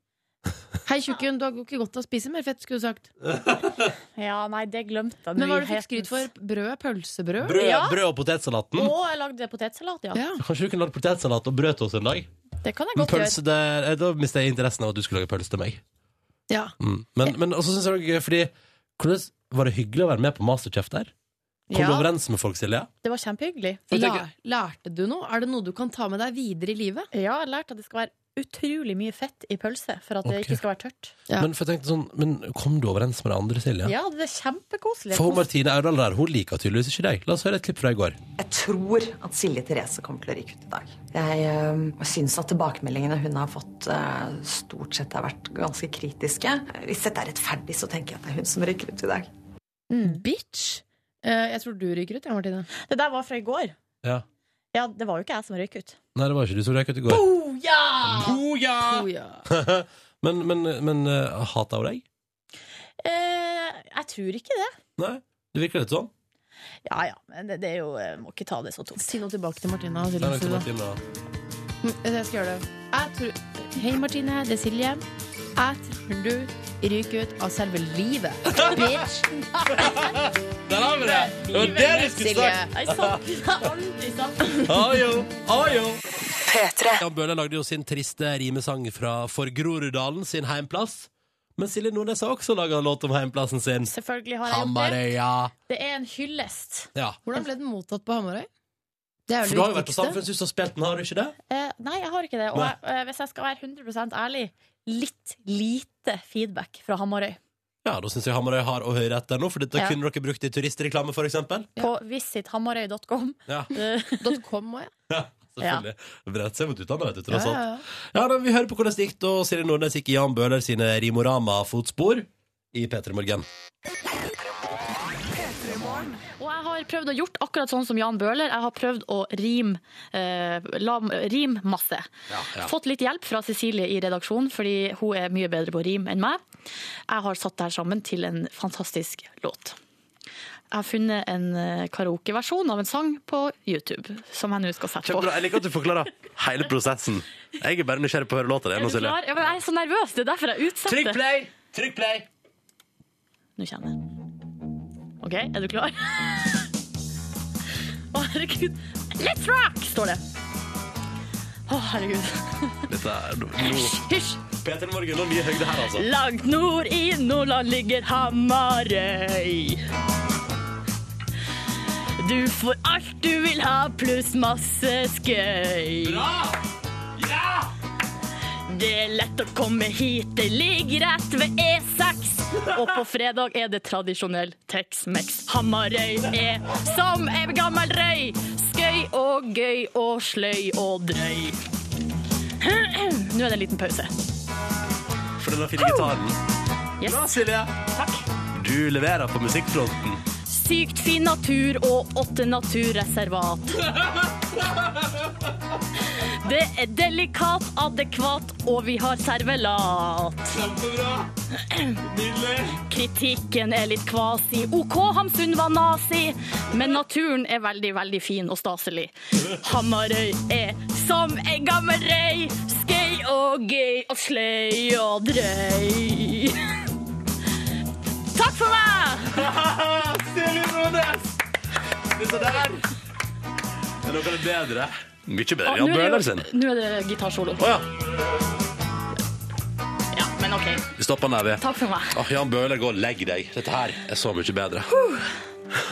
Speaker 3: Hei, tjukken, du har ikke godt av å spise mer fett, skulle du sagt.
Speaker 4: Ja, nei, det glemte jeg.
Speaker 3: Men hva var det du fikk skryt for? Brød? Pølsebrød?
Speaker 2: Brød,
Speaker 4: Ja.
Speaker 2: brød og potetsalaten.
Speaker 4: Og jeg lagde potetsalat, ja.
Speaker 3: Ja.
Speaker 2: Kanskje du kunne lagd potetsalat og brød til oss en dag?
Speaker 4: Det kan jeg
Speaker 2: Men
Speaker 4: godt gjøre.
Speaker 2: pølse, det, eh, da mister jeg interessen av at du skulle lage pølse til meg.
Speaker 3: Ja.
Speaker 2: Mm. Men, men også synes jeg det var gøy, fordi hvordan, Var det hyggelig å være med på Masterchef der? Kom du
Speaker 3: Ja.
Speaker 2: overens med folk, Silje?
Speaker 4: Det var kjempehyggelig.
Speaker 2: For jeg
Speaker 3: La,
Speaker 2: tenker-
Speaker 3: lærte du noe? Er det noe du kan ta med deg videre i livet?
Speaker 4: Ja, jeg har lært at det skal være utrolig mye fett i pølse for at det
Speaker 2: Ok.
Speaker 4: ikke skal være tørt.
Speaker 3: Ja.
Speaker 2: Men, for jeg tenkte sånn, men kom du overens med de andre, Silje?
Speaker 4: Ja, det er kjempekoselig.
Speaker 2: For hun Martine Aurdal der, hun liker tydeligvis ikke deg. La oss høre et klipp fra i går.
Speaker 16: Jeg tror at Silje Therese kommer til å ryke ut i dag. Jeg øh, syns at tilbakemeldingene hun har fått, øh, stort sett har vært ganske kritiske. Hvis dette er rettferdig, så tenker jeg at det er hun som ryker ut i dag.
Speaker 3: Mm. Bitch! Eh, jeg tror du ryker ut, ja, Martine.
Speaker 4: Det der var fra i går.
Speaker 2: Ja.
Speaker 4: Ja, det var jo ikke jeg som røyk ut.
Speaker 2: Nei, det var ikke du som røyk ut i går. Boja!
Speaker 3: Oh, ja.
Speaker 2: men men, men eh, hater hun deg?
Speaker 4: Eh, jeg tror ikke det.
Speaker 2: Nei? Det virker litt sånn.
Speaker 4: Ja ja, men det, det er jo eh, Må ikke ta det så tungt.
Speaker 3: Si noe tilbake til Martine. og
Speaker 2: Det
Speaker 3: Silje,
Speaker 2: er nok
Speaker 3: si
Speaker 2: som
Speaker 3: det.
Speaker 2: Martine, da.
Speaker 3: Mm, Jeg skal gjøre det. Jeg tror... Hei, Martine. Det er Silje. Jeg tror du ryker ut av selve livet. Bitch!
Speaker 2: Der har vi det! Det var det du skulle
Speaker 3: Silje.
Speaker 2: sagt!
Speaker 4: sånn. Jeg savner aldri sammen.
Speaker 2: Ajo, ajo.
Speaker 17: P3.
Speaker 2: Jan Bøhler lagde jo sin triste rimesang fra For Groruddalen, sin heimplass. Men Silje Nordnes har også laga låt om heimplassen sin.
Speaker 4: Selvfølgelig har jeg gjort det.
Speaker 2: Hamarøya.
Speaker 4: Det er en hyllest.
Speaker 2: Ja.
Speaker 3: Hvordan ble den mottatt på Hamarøy? Det er
Speaker 2: For du
Speaker 3: vel det
Speaker 2: har jo vært på
Speaker 3: viktigste.
Speaker 2: Samfunnshuset og spilt den, har du ikke det?
Speaker 4: Eh, nei, jeg har ikke det. Og
Speaker 2: Nei.
Speaker 4: jeg, eh, hvis jeg skal være 100 ærlig, litt lite feedback fra Hamarøy.
Speaker 2: Ja, da syns jeg Hamarøy har å høre etter nå, for dette
Speaker 4: Ja.
Speaker 2: kunne dere brukt i turistreklame, for eksempel.
Speaker 4: På visithamarøy.com.
Speaker 2: Ja,
Speaker 4: Eh,
Speaker 3: Dot .com også, ja.
Speaker 2: selvfølgelig. Bredt seg mot utlandet, vet du,
Speaker 3: Ja,
Speaker 2: tross alt.
Speaker 3: ja, ja.
Speaker 2: Ja, da, Vi hører på hvordan det gikk da Silje Nordnes gikk i Jan Bøhler sine Rimorama-fotspor i P3 Morgen.
Speaker 4: Og jeg har prøvd å gjort akkurat sånn som Jan Bøhler. Jeg har prøvd å rime, eh, la, rim masse. Fått litt hjelp fra Cecilie i redaksjonen, fordi hun er mye bedre på rim enn meg. Jeg har satt det her sammen til en fantastisk låt. Jeg har funnet en eh, karaokeversjon av en sang på YouTube, som jeg nå skal sette på.
Speaker 2: Kjempebra. Jeg liker at du forklarer hele prosessen. Jeg er bare nysgjerrig på å høre låta di.
Speaker 4: Er
Speaker 2: nå,
Speaker 4: du
Speaker 2: Silje.
Speaker 4: klar? Ja, men jeg er så nervøs, det er derfor jeg
Speaker 2: Trykk
Speaker 4: utsetter.
Speaker 2: play! Trykk play!
Speaker 4: Nå kjenner jeg. OK, er du klar? Å, herregud. Let's rock, står det. Å, herregud.
Speaker 2: Dette er no, no.
Speaker 4: Hysj.
Speaker 2: Peter Morgen og nye høgde her, altså.
Speaker 4: Langt nord i Nordland ligger Hamarøy. Du får alt du vil ha, pluss masse skøy.
Speaker 2: Bra!
Speaker 4: Det er lett å komme hit, det ligger rett ved E6. Og på fredag er det tradisjonell Tex-Mex. Hamarøy er som ei gammel røy. Skøy og gøy og sløy og drøy. Nå er det en liten pause.
Speaker 18: For den fine gitaren. Bra, Silje. Du leverer på musikkfronten.
Speaker 4: Sykt fin natur og åtte naturreservat. Det er delikat, adekvat, og vi har servelat. Kritikken er litt kvasi. OK, Hamsun var nazi, men naturen er veldig, veldig fin og staselig. Hamarøy er som ei gammel røy, skøy og gøy og sløy og drøy. Takk for meg!
Speaker 18: Silje Nordnes! Det der er noe av det bedre. Mye bedre.
Speaker 4: Å,
Speaker 18: Jan
Speaker 4: nå er det jo-
Speaker 18: Bøhler sin.
Speaker 4: Nå er det gitarsolo.
Speaker 18: Å ja.
Speaker 4: Ja, men OK.
Speaker 18: Vi stopper den her, vi.
Speaker 4: Takk for meg.
Speaker 18: Åh, Jan Bøhler, gå og legg deg. Dette her er så mye bedre.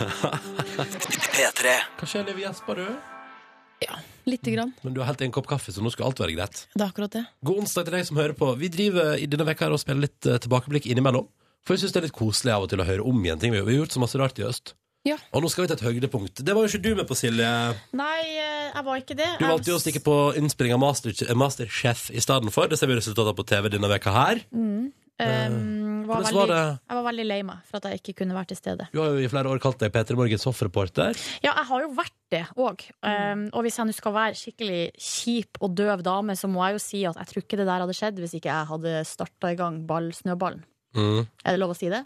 Speaker 2: P3. Hva skjer, Liv Jesper, du?
Speaker 19: Lite grann.
Speaker 2: Men du har helt en kopp kaffe, så nå skal alt være greit.
Speaker 19: Det er akkurat det.
Speaker 2: God onsdag til deg som hører på. Vi driver i denne veka her og spiller litt eh, tilbakeblikk innimellom. For jeg syns det er litt koselig av og til å høre om igjen ting. Vi har gjort så masse rart i øst.
Speaker 19: Ja.
Speaker 2: Og nå skal vi til et høydepunkt. Det var jo ikke du med på, Silje.
Speaker 20: Nei, eh, jeg var ikke det.
Speaker 2: Du valgte jo å stikke på innspilling av Master, eh, Masterchef i stedet for. Det ser vi resultatet av på TV denne veka her. Eh,
Speaker 20: Mm. Um, var
Speaker 2: Hvordan
Speaker 20: veldig,
Speaker 2: var det?
Speaker 20: Jeg var veldig lei meg for at jeg ikke kunne vært til stede.
Speaker 2: Du har jo i flere år kalt deg P3 Morgens hoffreporter.
Speaker 20: Ja, jeg har jo vært det òg. Um, og hvis jeg nå skal være skikkelig kjip og døv dame, så må jeg jo si at jeg tror ikke det der hadde skjedd hvis ikke jeg hadde starta i gang ball, snøballen.
Speaker 2: Mm.
Speaker 20: Er det lov å si det?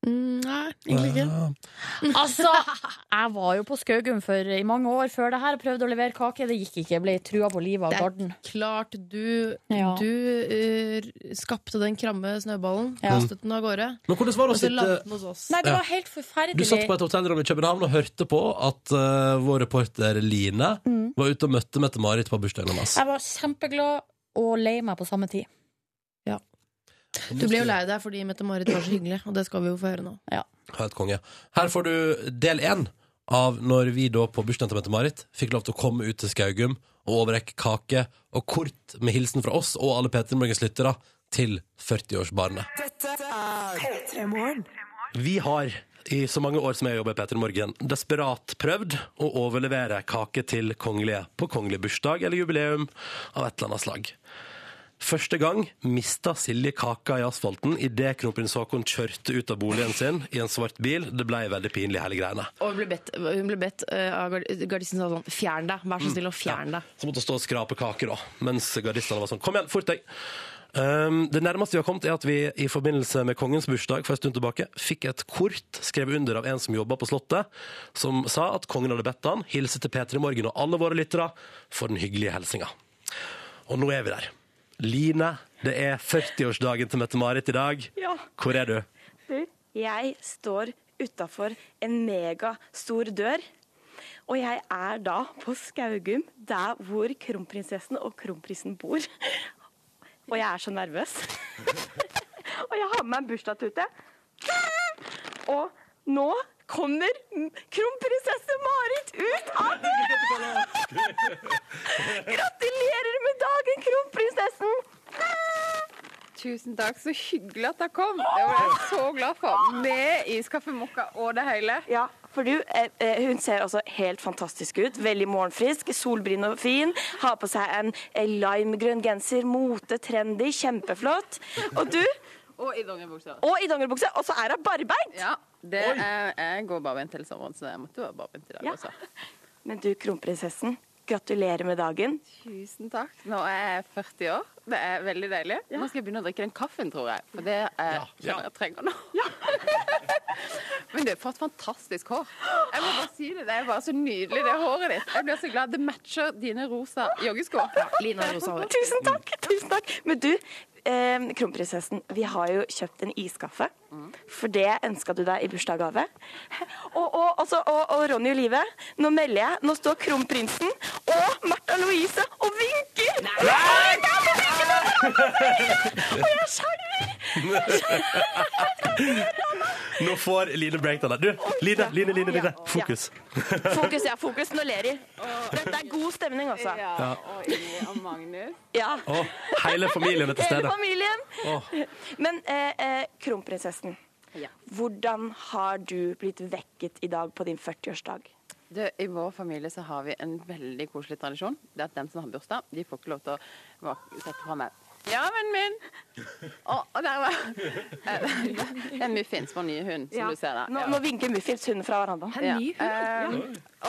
Speaker 19: Mm, nei,
Speaker 2: egentlig ikke.
Speaker 20: Altså, jeg var jo på Skaugum for i mange år før det her og prøvde å levere kake. Det gikk ikke. Jeg ble trua på livet av
Speaker 19: Det er
Speaker 20: garden.
Speaker 19: klart du,
Speaker 20: Ja.
Speaker 19: du eh, skapte den kramme snøballen,
Speaker 2: Ja.
Speaker 19: kastet den av gårde.
Speaker 2: Men hvordan var det å
Speaker 19: og så
Speaker 20: Altså,
Speaker 2: sitte-
Speaker 19: landet den hos oss.
Speaker 20: Nei, det
Speaker 2: Ja.
Speaker 20: var helt forferdelig.
Speaker 2: Du satt på et hotellrom i København og hørte på at eh, vår reporter Line
Speaker 20: Mm.
Speaker 2: var ute og møtte Mette-Marit på bursdagen hennes.
Speaker 20: Jeg var kjempeglad og lei meg på samme tid.
Speaker 19: Du ble jo lei deg fordi Mette-Marit var så hyggelig, og det skal vi jo få høre nå.
Speaker 2: Helt konge. Her får du del én av når vi da på bursdagen til Mette-Marit fikk lov til å komme ut til Skaugum og overrekke kake og kort med hilsen fra oss og alle Peter Morgens lyttere til 40-årsbarnet.
Speaker 9: Dette er P3 Morgen.
Speaker 18: Vi har i så mange år som jeg jobber i Peter Morgen, desperat prøvd å overlevere kake til kongelige på kongelig bursdag eller jubileum av et eller annet slag. Første gang mista Silje kaka i asfalten idet kronprins Haakon kjørte ut av boligen sin i en svart bil. Det ble veldig pinlig, hele greiene.
Speaker 3: Og hun ble bedt, hun ble bedt eh, av gard- gardisten sa sånn Fjern deg, vær
Speaker 21: Mm.
Speaker 3: så snill og fjern deg.
Speaker 18: Så måtte hun stå og skrape kaker da, mens gardistene var sånn Kom igjen, fort deg! Um, det nærmeste vi har kommet er at vi i forbindelse med kongens bursdag for en stund tilbake fikk et kort skrevet under av en som jobba på Slottet, som sa at kongen hadde bedt han hilse til P3 Morgen og alle våre lyttere for den hyggelige hilsinga. Og nå er vi der. Line, det er 40-årsdagen til Mette-Marit i dag.
Speaker 21: Ja.
Speaker 18: Hvor er du?
Speaker 21: Du, jeg står utafor en megastor dør. Og jeg er da på Skaugum, der hvor kronprinsessen og kronprinsen bor. Og jeg er så nervøs. og jeg har med meg en bursdagstute. Og nå kommer m- kronprinsesse Marit ut av døra! Gratulerer med dagen, kronprinsessen!
Speaker 16: Tusen takk, så hyggelig at dere kom. Det var jeg så glad for. Med i kaffemokka og det hele.
Speaker 21: Ja, for du, eh, eh, hun ser altså helt fantastisk ut. Veldig morgenfrisk, solbrinn og fin. Har på seg en eh, limegrønn genser, mote, trendy, kjempeflott. Og du,
Speaker 16: Og i dongeribuksa.
Speaker 21: og i dongeribukse, og så er hun barbeint!
Speaker 16: Ja, det er, jeg går barbeint hele sommeren, så jeg måtte være barbeint i dag
Speaker 21: Ja.
Speaker 16: også.
Speaker 21: Men du, kronprinsessen, gratulerer med dagen.
Speaker 16: Tusen takk. Nå er jeg 40 år. Det er veldig deilig. Nå skal jeg begynne å drikke den kaffen, tror jeg. For det eh, kjenner jeg trenger nå. Men du, for et fantastisk hår. Jeg må bare si det. Det er bare så nydelig, det håret ditt. Jeg blir så glad. Det matcher dine rosa joggesko. Lina rosa hår.
Speaker 21: Tusen takk! tusen takk. Men du, eh, kronprinsessen, vi har jo kjøpt en iskaffe. For det ønska du deg i bursdagsgave. Og, og, og, så- og, og Ronny Olive, nå melder jeg. Nå står kronprinsen og Märtha Louise og vinker! Nei! Jeg må vinke til hverandre! Og jeg skjelver!
Speaker 2: Nå får Line breakdown her. Du, Line, Line, Line, Line. Fokus.
Speaker 4: Fokus, ja. Fokus. Nå ler de. Dette er god stemning, altså.
Speaker 2: Ja.
Speaker 16: Og Ingrid og Magnus.
Speaker 4: Ja.
Speaker 2: Å, hele familien er til
Speaker 4: Hele
Speaker 2: stede.
Speaker 4: familien.
Speaker 2: Åh.
Speaker 4: Men eh, eh, kronprinsessen, hvordan har du blitt vekket i dag på din 40-årsdag?
Speaker 16: Du, I vår familie så har vi en veldig koselig tradisjon. Det er at dem som har bursdag, de får ikke lov til å vak- sette fra meg Ja, vennen min! Og, og der var Eh, Det er Muffins, vår nye hund, som
Speaker 4: Ja.
Speaker 16: du ser der.
Speaker 4: Nå,
Speaker 16: Ja.
Speaker 4: nå vinker Muffins hunden fra hverandre.
Speaker 16: Ja. Eh,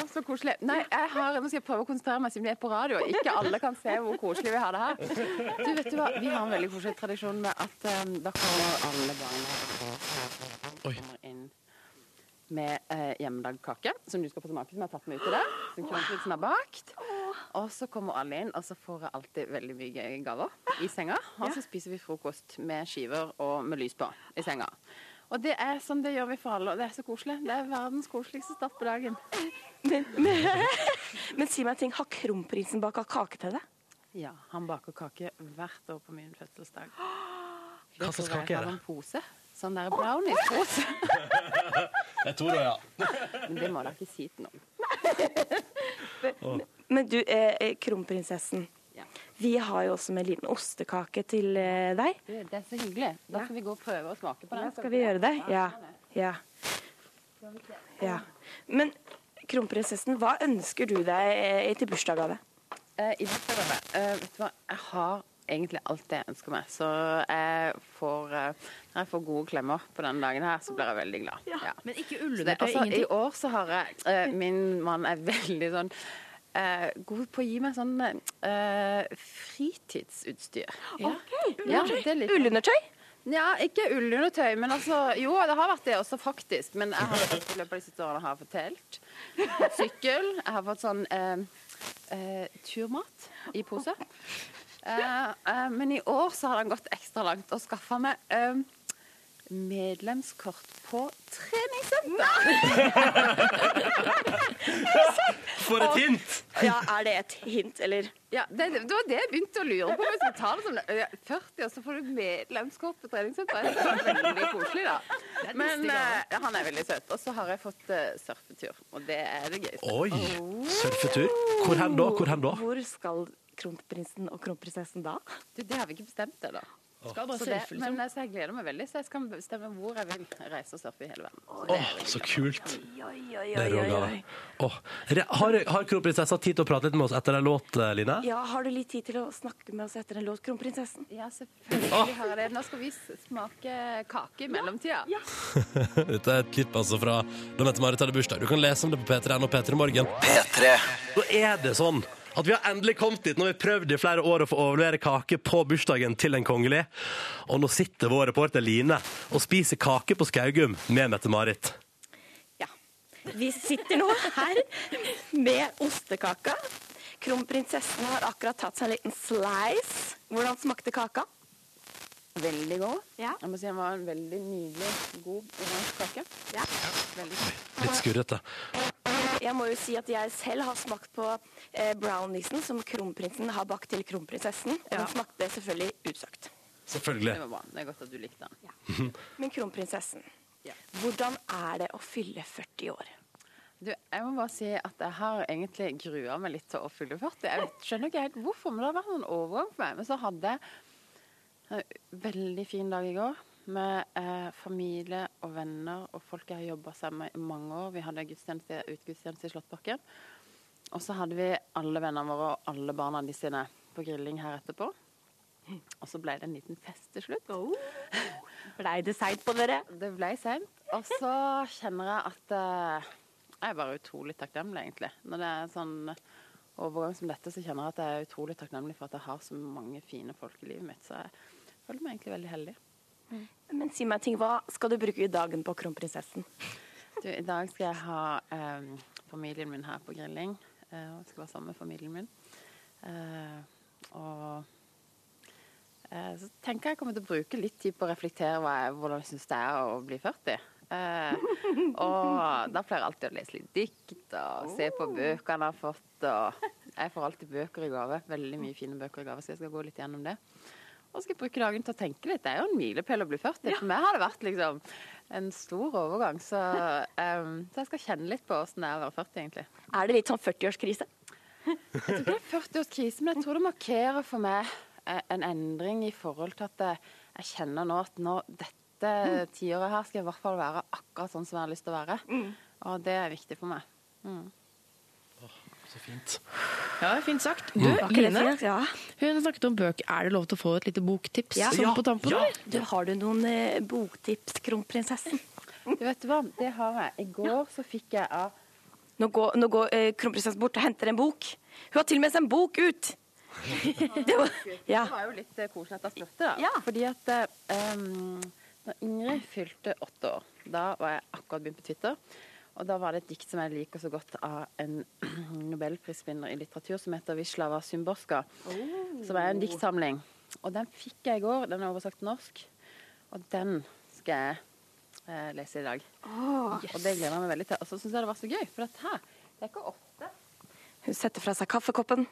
Speaker 16: Å, så koselig. Nei, jeg har, nå skal jeg prøve å konsentrere meg siden vi er på radio. og Ikke alle kan se hvor koselig vi har det her. Du, vet du hva? Vi har en veldig koselig tradisjon med at um, da kommer alle barna kommer inn med eh, hjemmelagd kake, som du skal få smake, som jeg har tatt med ut til deg. Som Kronprinsen har bakt. Og så kommer alle inn, og så får jeg alltid veldig mye gøye gaver i senga. Og så spiser vi frokost med skiver og med lys på i senga. Og det er sånn det gjør vi for alle, og det er så koselig. Det er verdens koseligste start på dagen.
Speaker 4: Men, men, men si meg en ting, har kronprinsen baka kake til deg?
Speaker 16: Ja, han baker kake hvert år på min fødselsdag.
Speaker 2: Hva slags
Speaker 16: tror jeg
Speaker 2: kake er
Speaker 16: har
Speaker 2: det?
Speaker 16: en pose. Sånn der brownies-pose.
Speaker 2: Jeg tror det, ja.
Speaker 16: Men det må da ikke si til noen.
Speaker 4: Men du, eh, eh, kronprinsessen.
Speaker 16: Ja.
Speaker 4: Vi har jo også med en liten ostekake til eh, deg.
Speaker 16: Du, Det er så hyggelig. Da skal vi gå og prøve å smake på den.
Speaker 4: Ja, skal vi gjøre det? Ja. ja. ja. Men kronprinsessen, hva ønsker du deg eh, til bursdagsgave?
Speaker 16: Eh, i dette brevet, eh, vet du hva, jeg har egentlig alt det jeg ønsker meg. Så jeg får, eh, når jeg får gode klemmer på denne dagen her, så blir jeg veldig glad. Ja.
Speaker 22: Men ikke
Speaker 16: Så det-
Speaker 22: ullundertøy,
Speaker 16: altså, I
Speaker 22: ingenting.
Speaker 16: år så har jeg eh, Min mann er veldig sånn eh, god på å gi meg sånn eh, fritidsutstyr. Ja,
Speaker 4: Ullundertøy?
Speaker 16: det er litt-
Speaker 4: Ullundertøy?
Speaker 16: Ja, ikke ullundertøy, men altså Jo, det har vært det også, faktisk. Men jeg har i løpet av de siste årene har jeg fått telt. fått Sykkel. Jeg har fått sånn eh, eh, turmat i pose. Eh, eh, men i år så har han gått ekstra langt og skaffa meg eh, medlemskort på treningssenter.
Speaker 2: For et hint!
Speaker 4: Ja, er det et hint, eller?
Speaker 16: Ja, det, det var det jeg begynte å lure på. Hvis vi tar det som det- ja, 40, og så får du medlemskort på treningssenteret. Det er veldig koselig, da.
Speaker 22: er
Speaker 16: Men
Speaker 22: lystig gave.
Speaker 16: eh, han er veldig søt. Og så har jeg fått eh, surfetur, og det er det gøyeste.
Speaker 2: Oi! Surfetur. Hvor hen da? Hvor hen da?
Speaker 4: Hvor skal kronprinsen og kronprinsessen da?
Speaker 16: Du, det har vi ikke bestemt det, da.
Speaker 4: Skal bare
Speaker 16: så, det,
Speaker 4: surfe, liksom.
Speaker 16: men, eh, så jeg gleder meg veldig, så jeg skal bestemme hvor jeg vil reise og surfe i hele verden.
Speaker 2: Åh, så kult. Det er
Speaker 4: oi,
Speaker 2: rå gave. Åh, re- Har, har kronprinsessa tid til å prate litt med oss etter en låt, eh, Line?
Speaker 4: Ja, har du litt tid til å snakke med oss etter en låt, kronprinsessen?
Speaker 16: Ja, selvfølgelig har jeg det. Nå skal vi s- smake kake i mellomtida.
Speaker 2: Dette er et klipp altså fra da Mette-Marit hadde bursdag. Du kan lese om det på P3N og P3 Morgen. Da er det sånn at vi har endelig kommet dit. Nå har vi prøvd i flere år å få overlevere kake på bursdagen til en kongelig. Og nå sitter vår reporter Line og spiser kake på Skaugum med Mette-Marit.
Speaker 4: Vi sitter nå her med ostekaka. Kronprinsessen har akkurat tatt seg en liten slice. Hvordan smakte kaka?
Speaker 16: Veldig god. Jeg må si han var en veldig nydelig, god oransje kake.
Speaker 4: Ja.
Speaker 16: Veldig god.
Speaker 2: Litt skurrete.
Speaker 4: Jeg må jo si at jeg selv har smakt på eh, browniesen som kronprinsen har bakt til kronprinsessen. Og den smakte selvfølgelig utsøkt.
Speaker 2: Selvfølgelig.
Speaker 16: Det var bra. Det er godt at du likte den.
Speaker 4: Men kronprinsessen, hvordan er det å fylle 40 år?
Speaker 16: Du, jeg må bare si at jeg har egentlig grua meg litt til å fylle 40. Jeg vet, skjønner ikke helt hvorfor, men det har vært en overgang for meg. Men så hadde jeg en veldig fin dag i går med eh, familie og venner og folk jeg har jobba sammen med i mange år. Vi hadde gudstjeneste, utgudstjeneste i Slåttbakken. Og så hadde vi alle vennene våre og alle barna de sine på grilling her etterpå. Og så ble det en liten fest til slutt.
Speaker 4: Blei det seint på dere?
Speaker 16: Det blei seint. Og så kjenner jeg at eh, Jeg er bare utrolig takknemlig, egentlig. Når det er en sånn overgang som dette, så kjenner jeg at jeg er utrolig takknemlig for at jeg har så mange fine folk i livet mitt. Så jeg føler meg egentlig veldig heldig.
Speaker 4: Men si meg en ting, hva skal du bruke i dagen på kronprinsessen?
Speaker 16: Du, I dag skal jeg ha eh, familien min her på grilling. eh, og skal være sammen med familien min. Eh, og eh, så tenker jeg jeg kommer til å bruke litt tid på å reflektere hva jeg, hvordan jeg syns det er å bli 40. Eh, og da pleier jeg alltid å lese litt dikt og se på bøkene jeg har fått. Og jeg får alltid bøker i gave. Veldig mye fine bøker i gave, så jeg skal gå litt gjennom det. Og skal jeg bruke dagen til å tenke litt. Det er jo en milepæl å bli 40. For meg har det vært liksom en stor overgang, så, ehm, så jeg skal kjenne litt på åssen det er å være 40, egentlig.
Speaker 11: Er det litt sånn 40-årskrise?
Speaker 16: Jeg tror ikke det er 40-årskrise, men jeg tror det markerer for meg eh, en endring i forhold til at eh, jeg kjenner nå at nå, dette tiåret her skal jeg i hvert fall være akkurat sånn som jeg har lyst til å være. Og det er viktig for meg. Mm.
Speaker 2: Så fint.
Speaker 3: Ja, fint sagt. Du,
Speaker 16: Mm. Var ikke det
Speaker 3: Line,
Speaker 16: fint?
Speaker 3: hun snakket om bøker. Er det lov til å få et lite boktips
Speaker 11: Ja.
Speaker 3: sånn
Speaker 11: Ja.
Speaker 3: på tampen?
Speaker 11: Ja.
Speaker 3: eller?
Speaker 11: Du, har du noen eh, boktips, kronprinsessen?
Speaker 16: Du vet hva, det har jeg. I går så fikk jeg av
Speaker 11: Nå går, nå går eh, kronprinsessen bort og henter en bok. Hun har til og med sendt en bok ut! Det var, ja.
Speaker 16: Det var jo litt eh, koselig at jeg spurte, da. Fordi at eh, um, når Ingrid fylte åtte år, da var jeg akkurat begynt på Twitter. Og da var det et dikt som jeg liker så godt av en nobelprisvinner i litteratur som heter Vislava Zymborska. Som er en diktsamling. Og den fikk jeg i går. Den er oversagt til norsk. Og den skal jeg eh, lese i dag. Og det gleder jeg meg veldig til. Og så syns jeg det var så gøy, for dette her, det er ikke ofte
Speaker 11: Hun setter fra seg kaffekoppen.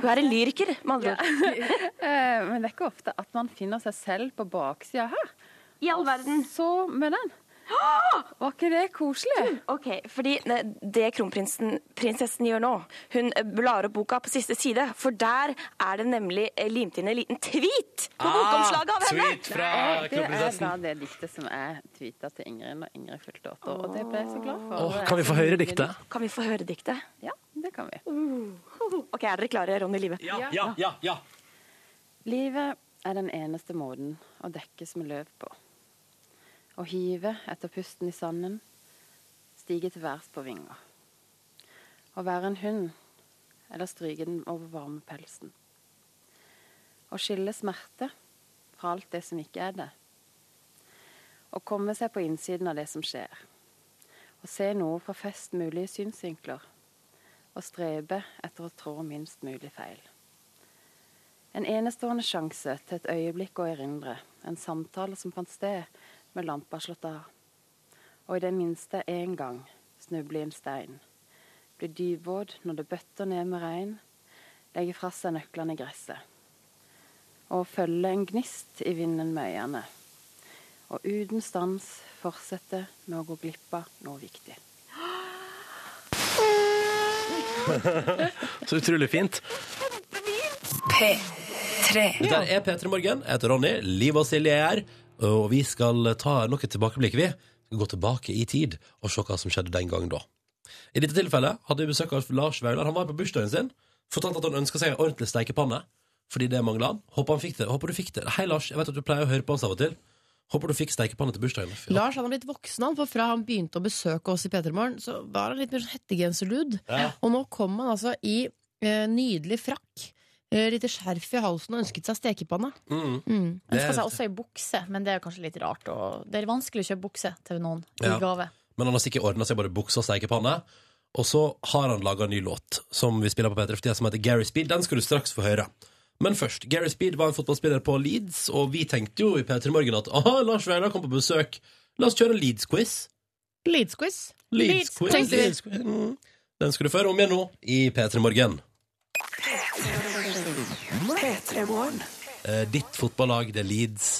Speaker 11: Hun er en lyriker, med andre ord.
Speaker 16: Eh, Men det er ikke ofte at man finner seg selv på baksida her.
Speaker 11: I all verden.
Speaker 16: Så med den. Var ikke det koselig?
Speaker 11: Ok, fordi ne, Det kronprinsessen gjør nå, hun eh, blar opp boka på siste side. For der er det nemlig eh, limt inn en liten tweet på bokomslaget av henne!
Speaker 16: Nei, Det er da det diktet som jeg tweeta til Ingrid når Ingrid fylte åtte år. Og det ble jeg så glad for.
Speaker 2: Åh, kan vi få høre diktet?
Speaker 11: Kan vi få høre diktet?
Speaker 16: Ja, det kan vi.
Speaker 11: Ok, Er dere klare, Ronny Live?
Speaker 2: Ja, ja, ja.
Speaker 16: Livet er den eneste måten å dekkes med løv på. Å hive etter pusten i sanden, stige til værs på vinger. Å være en hund, eller stryke den over varme pelsen. Å skille smerte fra alt det som ikke er det. Å komme seg på innsiden av det som skjer. Å se noe fra flest mulige synsvinkler. Å strebe etter å trå minst mulig feil. En enestående sjanse til et øyeblikk å erindre. En samtale som fant sted med lampa slått av. Og i det minste én gang snuble i en stein. Bli dypvåt når det bøtter ned med regn. Legge fra seg nøklene i gresset. Og følge en gnist i vinden med øynene. Og uten stans fortsette med å gå glipp av noe viktig.
Speaker 2: Så utrolig fint.
Speaker 23: P3.
Speaker 2: Dette her er P3 Morgen. Jeg heter Ronny. Liv og Silje er her. Og vi skal ta noe tilbakeblikk, vi. Vi skal gå tilbake i tid og se hva som skjedde den gangen da. I dette tilfellet hadde vi besøk av Lars Vaular. Han var her på bursdagen sin. Fortalte at han ønska seg en ordentlig steikepanne fordi det mangla han. Håper han fikk det. Håper du fikk det. Hei, Lars. Jeg vet at du pleier å høre på oss av og til. Håper du fikk steikepanne til bursdagen. Fy,
Speaker 3: Lars han har blitt voksen, han, for fra han begynte å besøke oss i P3morgen, så var han litt mer sånn hettegenserdude.
Speaker 2: Ja.
Speaker 3: Og nå kom han altså i eh, nydelig frakk, eh, lite skjerf i halsen og ønsket seg stekepanne.
Speaker 2: Mm.
Speaker 3: Mm.
Speaker 2: Det-
Speaker 4: Ønska seg også ei bukse, men det er kanskje litt rart. å- det er vanskelig å kjøpe bukse til noen
Speaker 2: Ja.
Speaker 4: i gave.
Speaker 2: Men han har sikkert ordna seg både bukse og steikepanne. Og så har han laga en ny låt som vi spiller på P3 for tida, som heter Gary Speed. Den skal du straks få høre. Men først, Gary Speed var en fotballspiller på Leeds, og vi tenkte jo i P3 Morgen at aha, Lars Veilar kom på besøk, la oss kjøre en Leeds-quiz.
Speaker 3: Leeds-quiz.
Speaker 2: Leeds-quiz.
Speaker 3: tenkte vi.
Speaker 2: Leeds-quiz. Mm. Den skal du få høre om igjen nå i P3 Morgen.
Speaker 23: P3 Morgen.
Speaker 2: Eh, ditt fotballag, det er Leeds,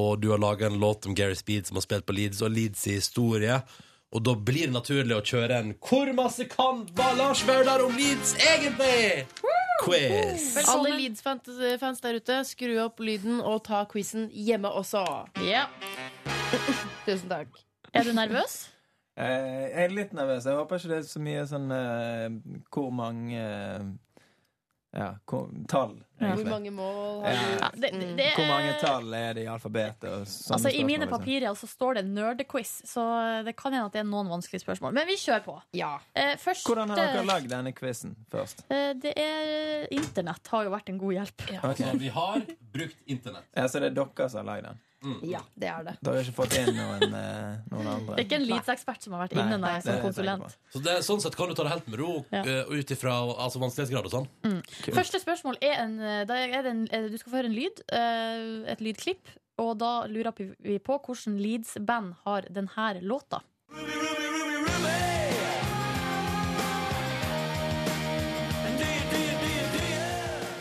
Speaker 2: og du har laga en låt om Gary Speed som har spilt på Leeds, og Leeds' historie. Og da blir det naturlig å kjøre en Hvor masse kan hva Lars Vaular om Leeds egentlig? Quiz.
Speaker 3: Alle Leeds-fans der ute, skru opp lyden og ta quizen hjemme også. Tusen takk.
Speaker 4: Er du nervøs?
Speaker 10: Eh, jeg er litt nervøs. Jeg håper ikke det er så mye sånn eh, Hvor mange eh, Ja, hvor, tall,
Speaker 3: Hvor
Speaker 10: egentlig.
Speaker 3: mange mål har
Speaker 10: Ja.
Speaker 4: det- det- det-
Speaker 10: Hvor mange tall er det i alfabetet? Og sånne
Speaker 4: Eh. Altså, I
Speaker 10: spørsmål,
Speaker 4: mine
Speaker 10: liksom.
Speaker 4: papirer altså, står det nerdequiz, så eh, det kan hende at det er noen vanskelige spørsmål. Men vi kjører på. Eh, første,
Speaker 10: Hvordan har dere lagd denne quizen først?
Speaker 4: Eh, det er Internett har jo vært en god hjelp.
Speaker 10: Ok.
Speaker 2: Så vi har brukt internett.
Speaker 10: Ja, så det er dere som har lagd den?
Speaker 4: Ja, det er det.
Speaker 10: Dere har ikke fått inn noen, eh, noen andre?
Speaker 4: Det er ikke en Leeds-ekspert som har vært inne, nei, som
Speaker 10: det er jeg sikker på.
Speaker 4: konsulent.
Speaker 2: Så det, sånn sett kan du ta det helt med ro,
Speaker 4: Ja.
Speaker 2: eh, ut ifra altså, vanskelighetsgrad og sånn. Kult.
Speaker 4: Første spørsmål er en, eh, da er det en eh, Du skal få høre en lyd, eh, et lydklipp, og da lurer vi på hvordan Leeds-band har denne låta.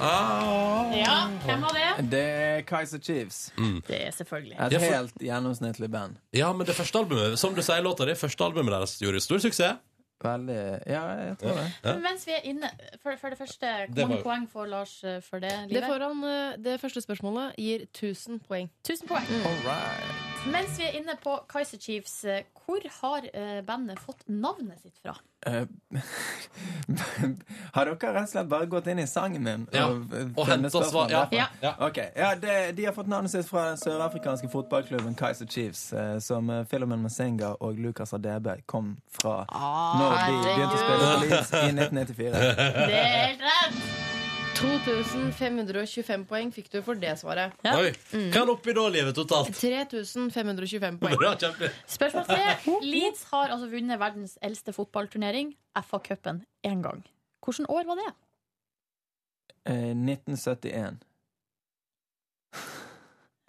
Speaker 2: Ah,
Speaker 4: Ja, hvem var det?
Speaker 10: Det er Kaiser Chiefs.
Speaker 4: Det er selvfølgelig.
Speaker 10: Et
Speaker 2: Ja, for-
Speaker 10: helt gjennomsnittlig band.
Speaker 2: Ja, men det første albumet Som du sier, låta di, første albumet deres gjorde stor suksess.
Speaker 10: Veldig Ja, jeg tror det.
Speaker 2: Ja.
Speaker 4: Men Mens vi er inne, for, for det første,
Speaker 2: Det
Speaker 4: hvor
Speaker 2: var
Speaker 4: mange
Speaker 2: jo-
Speaker 4: poeng får Lars eh, for det
Speaker 3: Det,
Speaker 4: livet?
Speaker 3: foran, eh, det første spørsmålet gir 1000 poeng.
Speaker 4: 1000 poeng.
Speaker 10: All right.
Speaker 4: Mens vi er inne på Kaiser Chiefs, eh, hvor har eh, bandet fått navnet sitt fra?
Speaker 10: Eh, har dere rett og slett bare gått inn i sangen min?
Speaker 2: Ja,
Speaker 10: eh,
Speaker 2: og
Speaker 10: funnet
Speaker 2: hentet svar,
Speaker 10: spørsmål
Speaker 2: ja,
Speaker 10: derfra?
Speaker 2: ja,
Speaker 10: Ok, ja det, De har fått navnet sitt fra den sørafrikanske fotballklubben Kaiser Chiefs, eh, som eh, Philomen Masenga og Lucas Adebe kom fra
Speaker 4: Ah,
Speaker 10: når de begynte å spille for Leeds i 1994.
Speaker 3: Det er helt rett! 2525 poeng fikk du for det svaret.
Speaker 2: Oi.
Speaker 3: Mm.
Speaker 2: Hva er det oppi da, livet totalt?
Speaker 3: 3525 poeng.
Speaker 2: Bra, kjempe.
Speaker 4: Spørsmål tre. Leeds har altså vunnet verdens eldste fotballturnering, FA-cupen, én gang. Hvilket år var det?
Speaker 10: Eh, 1971.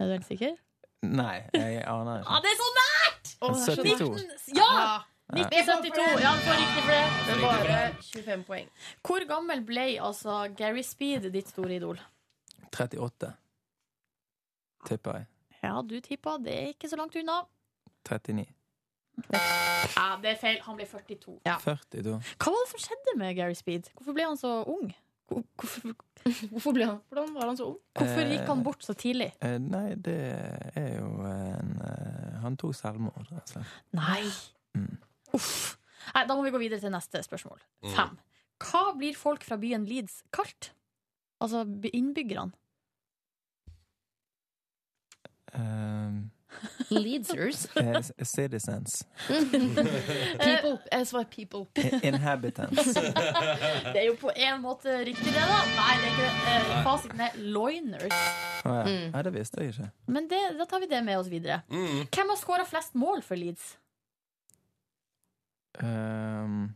Speaker 4: Er du helt sikker?
Speaker 10: Nei, jeg aner
Speaker 4: Ja,
Speaker 10: ikke.
Speaker 4: Ah, det er så nært!
Speaker 10: Åh, det er så
Speaker 4: 19,
Speaker 10: nært.
Speaker 4: ja!
Speaker 10: Ja.
Speaker 4: 1972. Ja, du får riktig for det.
Speaker 3: Det er bare 25 poeng.
Speaker 4: Hvor gammel ble altså Gary Speed, ditt store idol?
Speaker 10: 38, tipper jeg.
Speaker 4: Ja, du tippa. Det er ikke så langt unna.
Speaker 10: 39.
Speaker 4: Ja, Det er feil. Han ble 42.
Speaker 10: 42.
Speaker 4: Hva var det som skjedde med Gary Speed? Hvorfor ble han så ung? Hvor- Hvorfor,
Speaker 3: Hvorfor ble han, hvordan var han så ung?
Speaker 4: hvorfor gikk han bort så tidlig?
Speaker 10: Eh, nei, det er jo en eh, Han tok selvmord, rett og slett.
Speaker 4: Nei. Uff. Nei, da må vi gå videre til neste spørsmål.
Speaker 10: Mm.
Speaker 4: Fem. Hva blir folk fra byen Leeds kalt? Altså by- innbyggerne.
Speaker 10: Um,
Speaker 3: Leadsers.
Speaker 10: eh, s- citizens.
Speaker 4: Eh,
Speaker 3: people. Jeg svarer people.
Speaker 10: I- Inhabitants.
Speaker 4: Det er jo på en måte riktig, det, da. Nei, det er ikke det. Eh, Fasiten er loiners.
Speaker 10: Å, ja.
Speaker 4: Mm.
Speaker 10: ja, det visste jeg ikke.
Speaker 4: Men det, da tar vi det med oss videre.
Speaker 2: Mm.
Speaker 4: Hvem har skåra flest mål for Leeds?
Speaker 10: Um,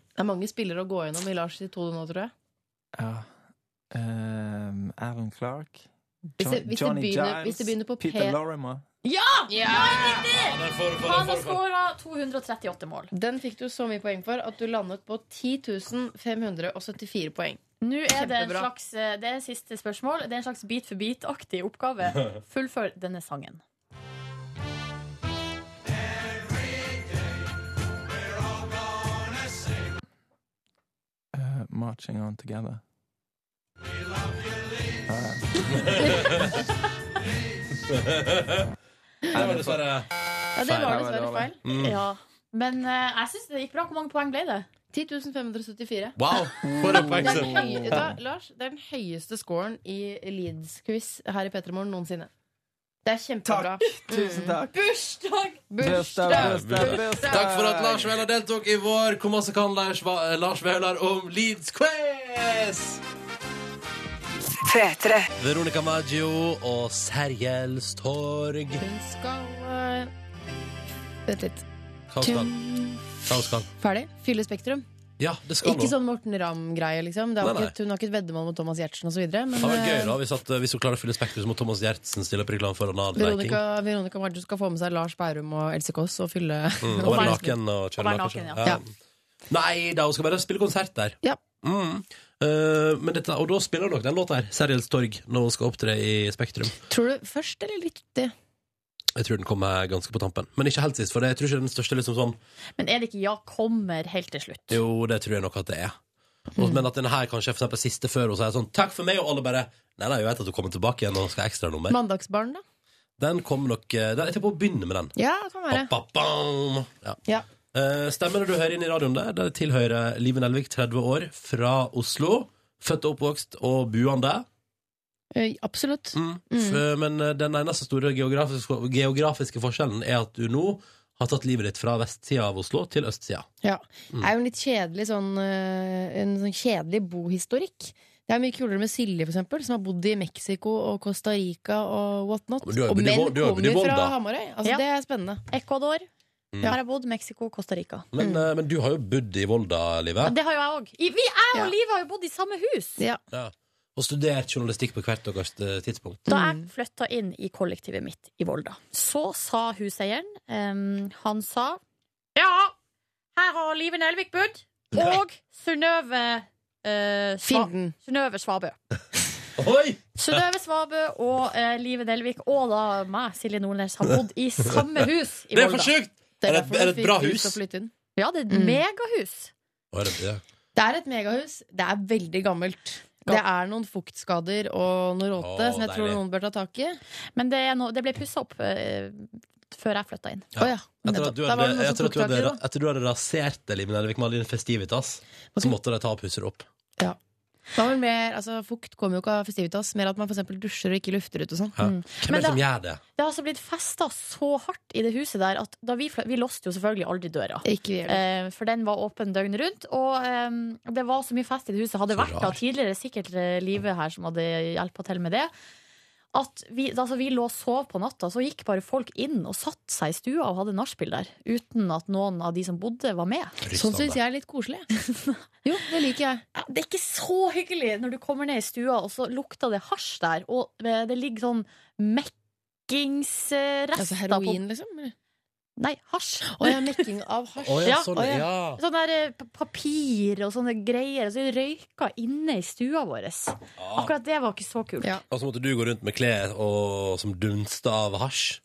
Speaker 3: Det er mange spillere å gå gjennom i Lars sitt hode nå, tror jeg.
Speaker 10: ja. Um, Alan Clark.
Speaker 3: Hvis det-
Speaker 10: Jo-
Speaker 3: hvis det begynner- hvis det begynner på P-
Speaker 10: Peter Lorimer.
Speaker 4: Ja! ja
Speaker 2: der får du- får du-
Speaker 4: Han har
Speaker 3: får du- får
Speaker 4: skåra 238 mål.
Speaker 3: Den fikk du så mye poeng for at du landet på 10.574 poeng.
Speaker 4: Nå er det, en
Speaker 3: Kjempebra.
Speaker 4: slags, eh, det er siste spørsmål. Det er en slags bit for bit-aktig oppgave. Fullfør denne sangen.
Speaker 10: Uh, marching on together.
Speaker 3: Mm.
Speaker 10: Ja, ja.
Speaker 2: Det var dessverre
Speaker 3: Ja, det var dessverre feil.
Speaker 2: Mm.
Speaker 4: Ja. Men eh, jeg syns det gikk bra. Hvor mange poeng ble det?
Speaker 3: 10.574.
Speaker 2: Wow, for en
Speaker 3: Det er
Speaker 2: poengsum.
Speaker 3: den høye, vet du hva, Lars, det er den høyeste scoren i Leeds-quiz her i Petremorgen noensinne. Det er kjempebra.
Speaker 10: Tusen takk.
Speaker 3: Bursdag!
Speaker 2: Bursdag, Takk for at Lars Vaular deltok i vår Hvor masse kan Lars, Va- Lars Vaular om Leeds Quiz?
Speaker 16: 3-3.
Speaker 2: Veronica Maggio og Sergels Torg.
Speaker 3: Skal, eh, Vent litt.
Speaker 2: Hva skal? Hva skal?
Speaker 3: Ferdig? Fylle Spektrum?
Speaker 2: Ja, det skal
Speaker 3: Ikke
Speaker 2: hun.
Speaker 3: sånn Morten Ramm-greie, liksom. Det har
Speaker 2: Nei, nei.
Speaker 3: ikke, hun har ikke et veddemål mot Thomas Giertsen osv. Men
Speaker 2: Det hadde vært
Speaker 3: eh,
Speaker 2: gøy da hvis, at, hvis hun klarer å fylle spektrum, så må Thomas Gjertsen stille opp i reklame for Ronald Leiking.
Speaker 3: Veronica, Veronica Maggio skal få med seg Lars Bærum og Else Kåss og fylle
Speaker 2: Mm, og
Speaker 3: og
Speaker 2: være
Speaker 3: Bernt-
Speaker 2: naken og
Speaker 3: Og
Speaker 2: kjøre
Speaker 3: være
Speaker 2: naken.
Speaker 3: naken,
Speaker 2: ja.
Speaker 3: ja.
Speaker 2: Nei da, hun skal bare spille konsert der.
Speaker 3: Ja.
Speaker 2: Mm. Eh, men dette, og da spiller hun nok den låta her, Sergels Torg, når hun skal opptre i Spektrum.
Speaker 3: Tror du først eller litt uti?
Speaker 2: Jeg tror den kommer ganske på tampen. Men ikke helt sist, for det, jeg tror ikke den største liksom sånn
Speaker 4: Men er det ikke 'ja, kommer' helt til slutt?
Speaker 2: Jo, det tror jeg nok at det er. Og, men at den her kanskje er for eksempel siste før hun sier sånn 'takk for meg', og alle bare Nei, nei, jeg vet at hun kommer tilbake igjen og skal ha ekstranummer.
Speaker 3: Mandagsbarn, da?
Speaker 2: Den kom nok eh, den, Jeg tenker på å begynne med den.
Speaker 3: Ja, det kan være.
Speaker 2: Ba, bam! Ja.
Speaker 3: Ja.
Speaker 2: Eh, Stemmene du hører inn i radioen der, der tilhører Live Nelvik, 30 år, fra Oslo. Født og oppvokst og buende. Mm.
Speaker 3: Eh, Absolutt.
Speaker 4: Mm.
Speaker 2: F- Men eh, den eneste store geografiske, geografiske forskjellen er at du nå har tatt livet ditt fra vestsida av Oslo til østsida.
Speaker 3: Ja.
Speaker 2: Mm.
Speaker 3: Det er jo en litt kjedelig sånn, eh, en sånn kjedelig bohistorikk. Det er mye kulere med Silje, for eksempel, som har bodd i Mexico og Costa Rica og whatnot.
Speaker 2: Men du har jo
Speaker 3: og
Speaker 2: bodd i
Speaker 3: menn
Speaker 2: Vol- du har jo bodd i
Speaker 3: kommer fra
Speaker 2: Volda.
Speaker 3: Hamarøy. Altså,
Speaker 4: Ja.
Speaker 3: Det er spennende.
Speaker 4: Ecuador.
Speaker 2: Mm.
Speaker 4: Her har jeg bodd. Mexico, Costa Rica.
Speaker 3: Mm.
Speaker 2: Men, eh, men du har jo bodd i Volda,
Speaker 4: Mm. Ja,
Speaker 2: Live.
Speaker 4: Det har jo jeg òg. Vi jeg og Liv har jo bodd i samme hus.
Speaker 2: Ja. Og studert journalistikk på hvert deres eh, tidspunkt.
Speaker 4: Da jeg flytta inn i kollektivet mitt i Volda, så sa huseieren em, Han sa Ja, her har Live Nelvik bodd, og Synnøve eh, Sva- Synnøve Svabø.
Speaker 2: Oi!
Speaker 4: Synnøve Svabø og eh, Live Delvik og da meg, Silje Nordnes, har bodd i samme hus i
Speaker 2: Det er
Speaker 4: Volda.
Speaker 2: for sjukt! Er det-
Speaker 4: derfor
Speaker 2: er det
Speaker 4: vi
Speaker 2: et bra
Speaker 4: fikk
Speaker 2: hus?
Speaker 4: å flytte inn. Ja, det er et
Speaker 3: Mm.
Speaker 4: megahus.
Speaker 2: Å, er det det?
Speaker 3: Det er et megahus. Det er veldig gammelt. Det er noen fuktskader og noe råte
Speaker 4: Å,
Speaker 3: som jeg tror
Speaker 4: deilig.
Speaker 3: noen bør ta tak i.
Speaker 4: Men det, er no, det ble pussa opp eh, før jeg flytta inn.
Speaker 2: Ja. Etter at du
Speaker 4: Da var
Speaker 2: hadde,
Speaker 4: det noen som
Speaker 2: etter at du
Speaker 4: tok
Speaker 2: hadde,
Speaker 4: tak i det,
Speaker 2: etter du hadde rasert det, Liv Nelvik, med all din festivitas, så måtte de ta og pusse det opp.
Speaker 3: Det var vel mer, altså, fukt kommer jo ikke av festivitas, mer at man for eksempel dusjer og ikke lufter ut og sånn.
Speaker 2: Ja. Hvem
Speaker 4: Men
Speaker 2: er det som
Speaker 4: da-
Speaker 2: gjør det?
Speaker 4: Det har altså blitt festa så hardt i det huset der at da vi, flyt- vi låste jo selvfølgelig aldri døra.
Speaker 3: Ikke vi heller.
Speaker 4: eh, for den var åpen døgnet rundt. Og eh, det var så mye fest i det huset. Hadde
Speaker 3: Så
Speaker 4: vært da
Speaker 3: rart.
Speaker 4: tidligere sikkert eh, Live her som hadde hjelpa til med det. At vi, altså vi lå og sov på natta, så gikk bare folk inn og satte seg i stua og hadde nachspiel der. Uten at noen av de som bodde, var med.
Speaker 3: Sånn syns jeg er litt koselig. jo, det liker jeg.
Speaker 4: Ja, Det er ikke så hyggelig når du kommer ned i stua, og så lukter det hasj der. Og eh, det ligger sånn mekkingsrester
Speaker 3: Altså heroin, liksom? eller?
Speaker 4: Nei, hasj.
Speaker 3: Å ja, mekking av hasj.
Speaker 4: Å ja, sånn, ja. Sånn der eh, pa- papir og sånne greier. Og så røyka inne i stua vår. Akkurat det var ikke så kult.
Speaker 2: Og så måtte du gå rundt med klær og, som dunsta av hasj.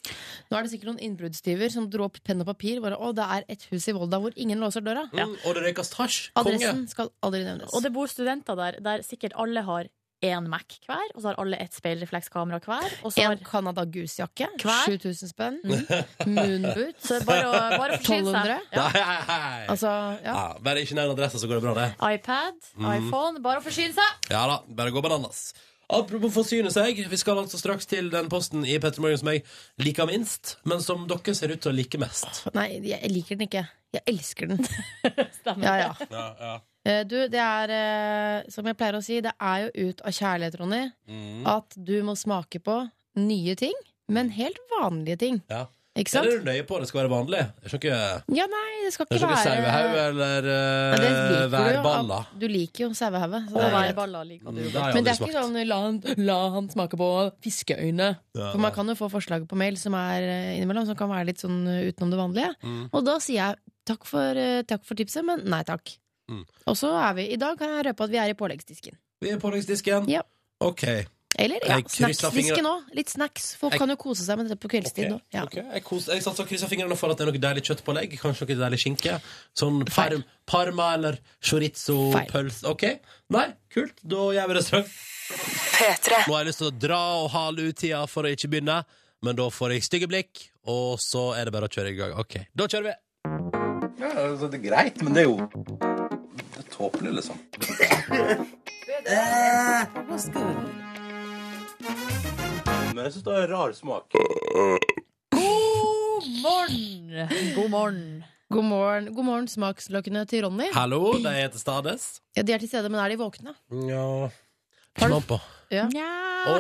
Speaker 3: Nå er det sikkert noen innbruddstyver som dro opp penn og papir. Bare, å, det er et hus i Volda hvor ingen låser døra.
Speaker 2: Mm, og det røykes hasj.
Speaker 3: Adressen skal aldri nevnes.
Speaker 4: Og det bor studenter der der sikkert alle har én Mac hver, og så har alle ett speilreflekskamera hver. Og så har
Speaker 3: en Canada Goose-jakke.
Speaker 4: Hver?
Speaker 3: 7000 spenn. Mm. Moonboots.
Speaker 4: Så det er bare å- bare å forsyne seg.
Speaker 3: 1200.
Speaker 2: Nei, hei, hei.
Speaker 3: Altså, ja.
Speaker 2: Ja, bare ikke nevn adressa, så går det bra, det.
Speaker 4: iPad,
Speaker 2: Mm.
Speaker 4: iPhone. Bare å forsyne seg!
Speaker 2: Ja da, bare gå bananas. Apropos forsyne seg, vi skal altså straks til den posten i Petter Morgen som jeg liker minst, men som dere ser ut til å like mest.
Speaker 3: Nei, jeg liker den ikke. Jeg elsker den. ja, ja.
Speaker 2: Ja, ja.
Speaker 3: Eh, Du, det er eh, som jeg pleier å si, det er jo ut av kjærlighet, Ronny,
Speaker 2: Mm.
Speaker 3: at du må smake på nye ting, men helt vanlige ting.
Speaker 2: Ja.
Speaker 3: Ikke sant?
Speaker 2: Eller er du nøye på at det skal være vanlig? Det skal ikke,
Speaker 3: Ja, nei, det skal
Speaker 2: det
Speaker 3: ikke
Speaker 2: skal ikke sauehau
Speaker 3: være
Speaker 2: eller
Speaker 3: Ja,
Speaker 2: uh,
Speaker 3: det liker du jo,
Speaker 2: værballa.
Speaker 3: at- Du liker jo sauehauet. så
Speaker 2: Og
Speaker 3: det er greit.
Speaker 4: værballer liker
Speaker 2: du Mm, godt. det har jeg
Speaker 3: Men det er
Speaker 2: aldri
Speaker 3: ikke sånn la han, la han smake på fiskeøyne.
Speaker 2: Ja,
Speaker 3: For man
Speaker 2: nei.
Speaker 3: kan jo få forslag på mail som er eh, innimellom, som kan være litt sånn eh, utenom det vanlige.
Speaker 2: Mm.
Speaker 3: Og da sier jeg takk for, eh, takk for tipset, men nei takk.
Speaker 2: Mm.
Speaker 3: Og så er vi, i dag kan jeg røpe at vi er i påleggsdisken.
Speaker 2: Vi er på påleggsdisken.
Speaker 3: Ja.
Speaker 2: OK.
Speaker 3: Eller ja,
Speaker 2: Jeg krysser
Speaker 3: snacksdisken
Speaker 2: fingrene.
Speaker 3: òg. Litt snacks. Folk
Speaker 2: Jeg-
Speaker 3: kan jo kose seg med det på kveldstid nå. Ja.
Speaker 2: Eh, Ok, Jeg, kos, jeg satt og krysset fingrene for at det er noe deilig kjøttpålegg. Kanskje noe deilig skinke. Sånn parm, parma eller
Speaker 3: Feil.
Speaker 2: chorizo-pølse. OK? Nei, kult. Da gjør vi det straks. Nå har jeg lyst til å dra og hale ut tida for å ikke begynne, men da får jeg stygge blikk, og så er det bare å kjøre i gang. OK, da kjører vi.
Speaker 24: Ja, altså, det er greit, men det er jo Det er tåpelig, liksom. Men jeg syns det har rar smak.
Speaker 4: God morgen! God morgen.
Speaker 3: God morgen, God morgen smakslokkene til Ronny.
Speaker 2: Hallo, de heter Stades.
Speaker 3: Ja, de er til stede, men er de våkne?
Speaker 2: Nja Smak på.
Speaker 3: Ja.
Speaker 2: Å,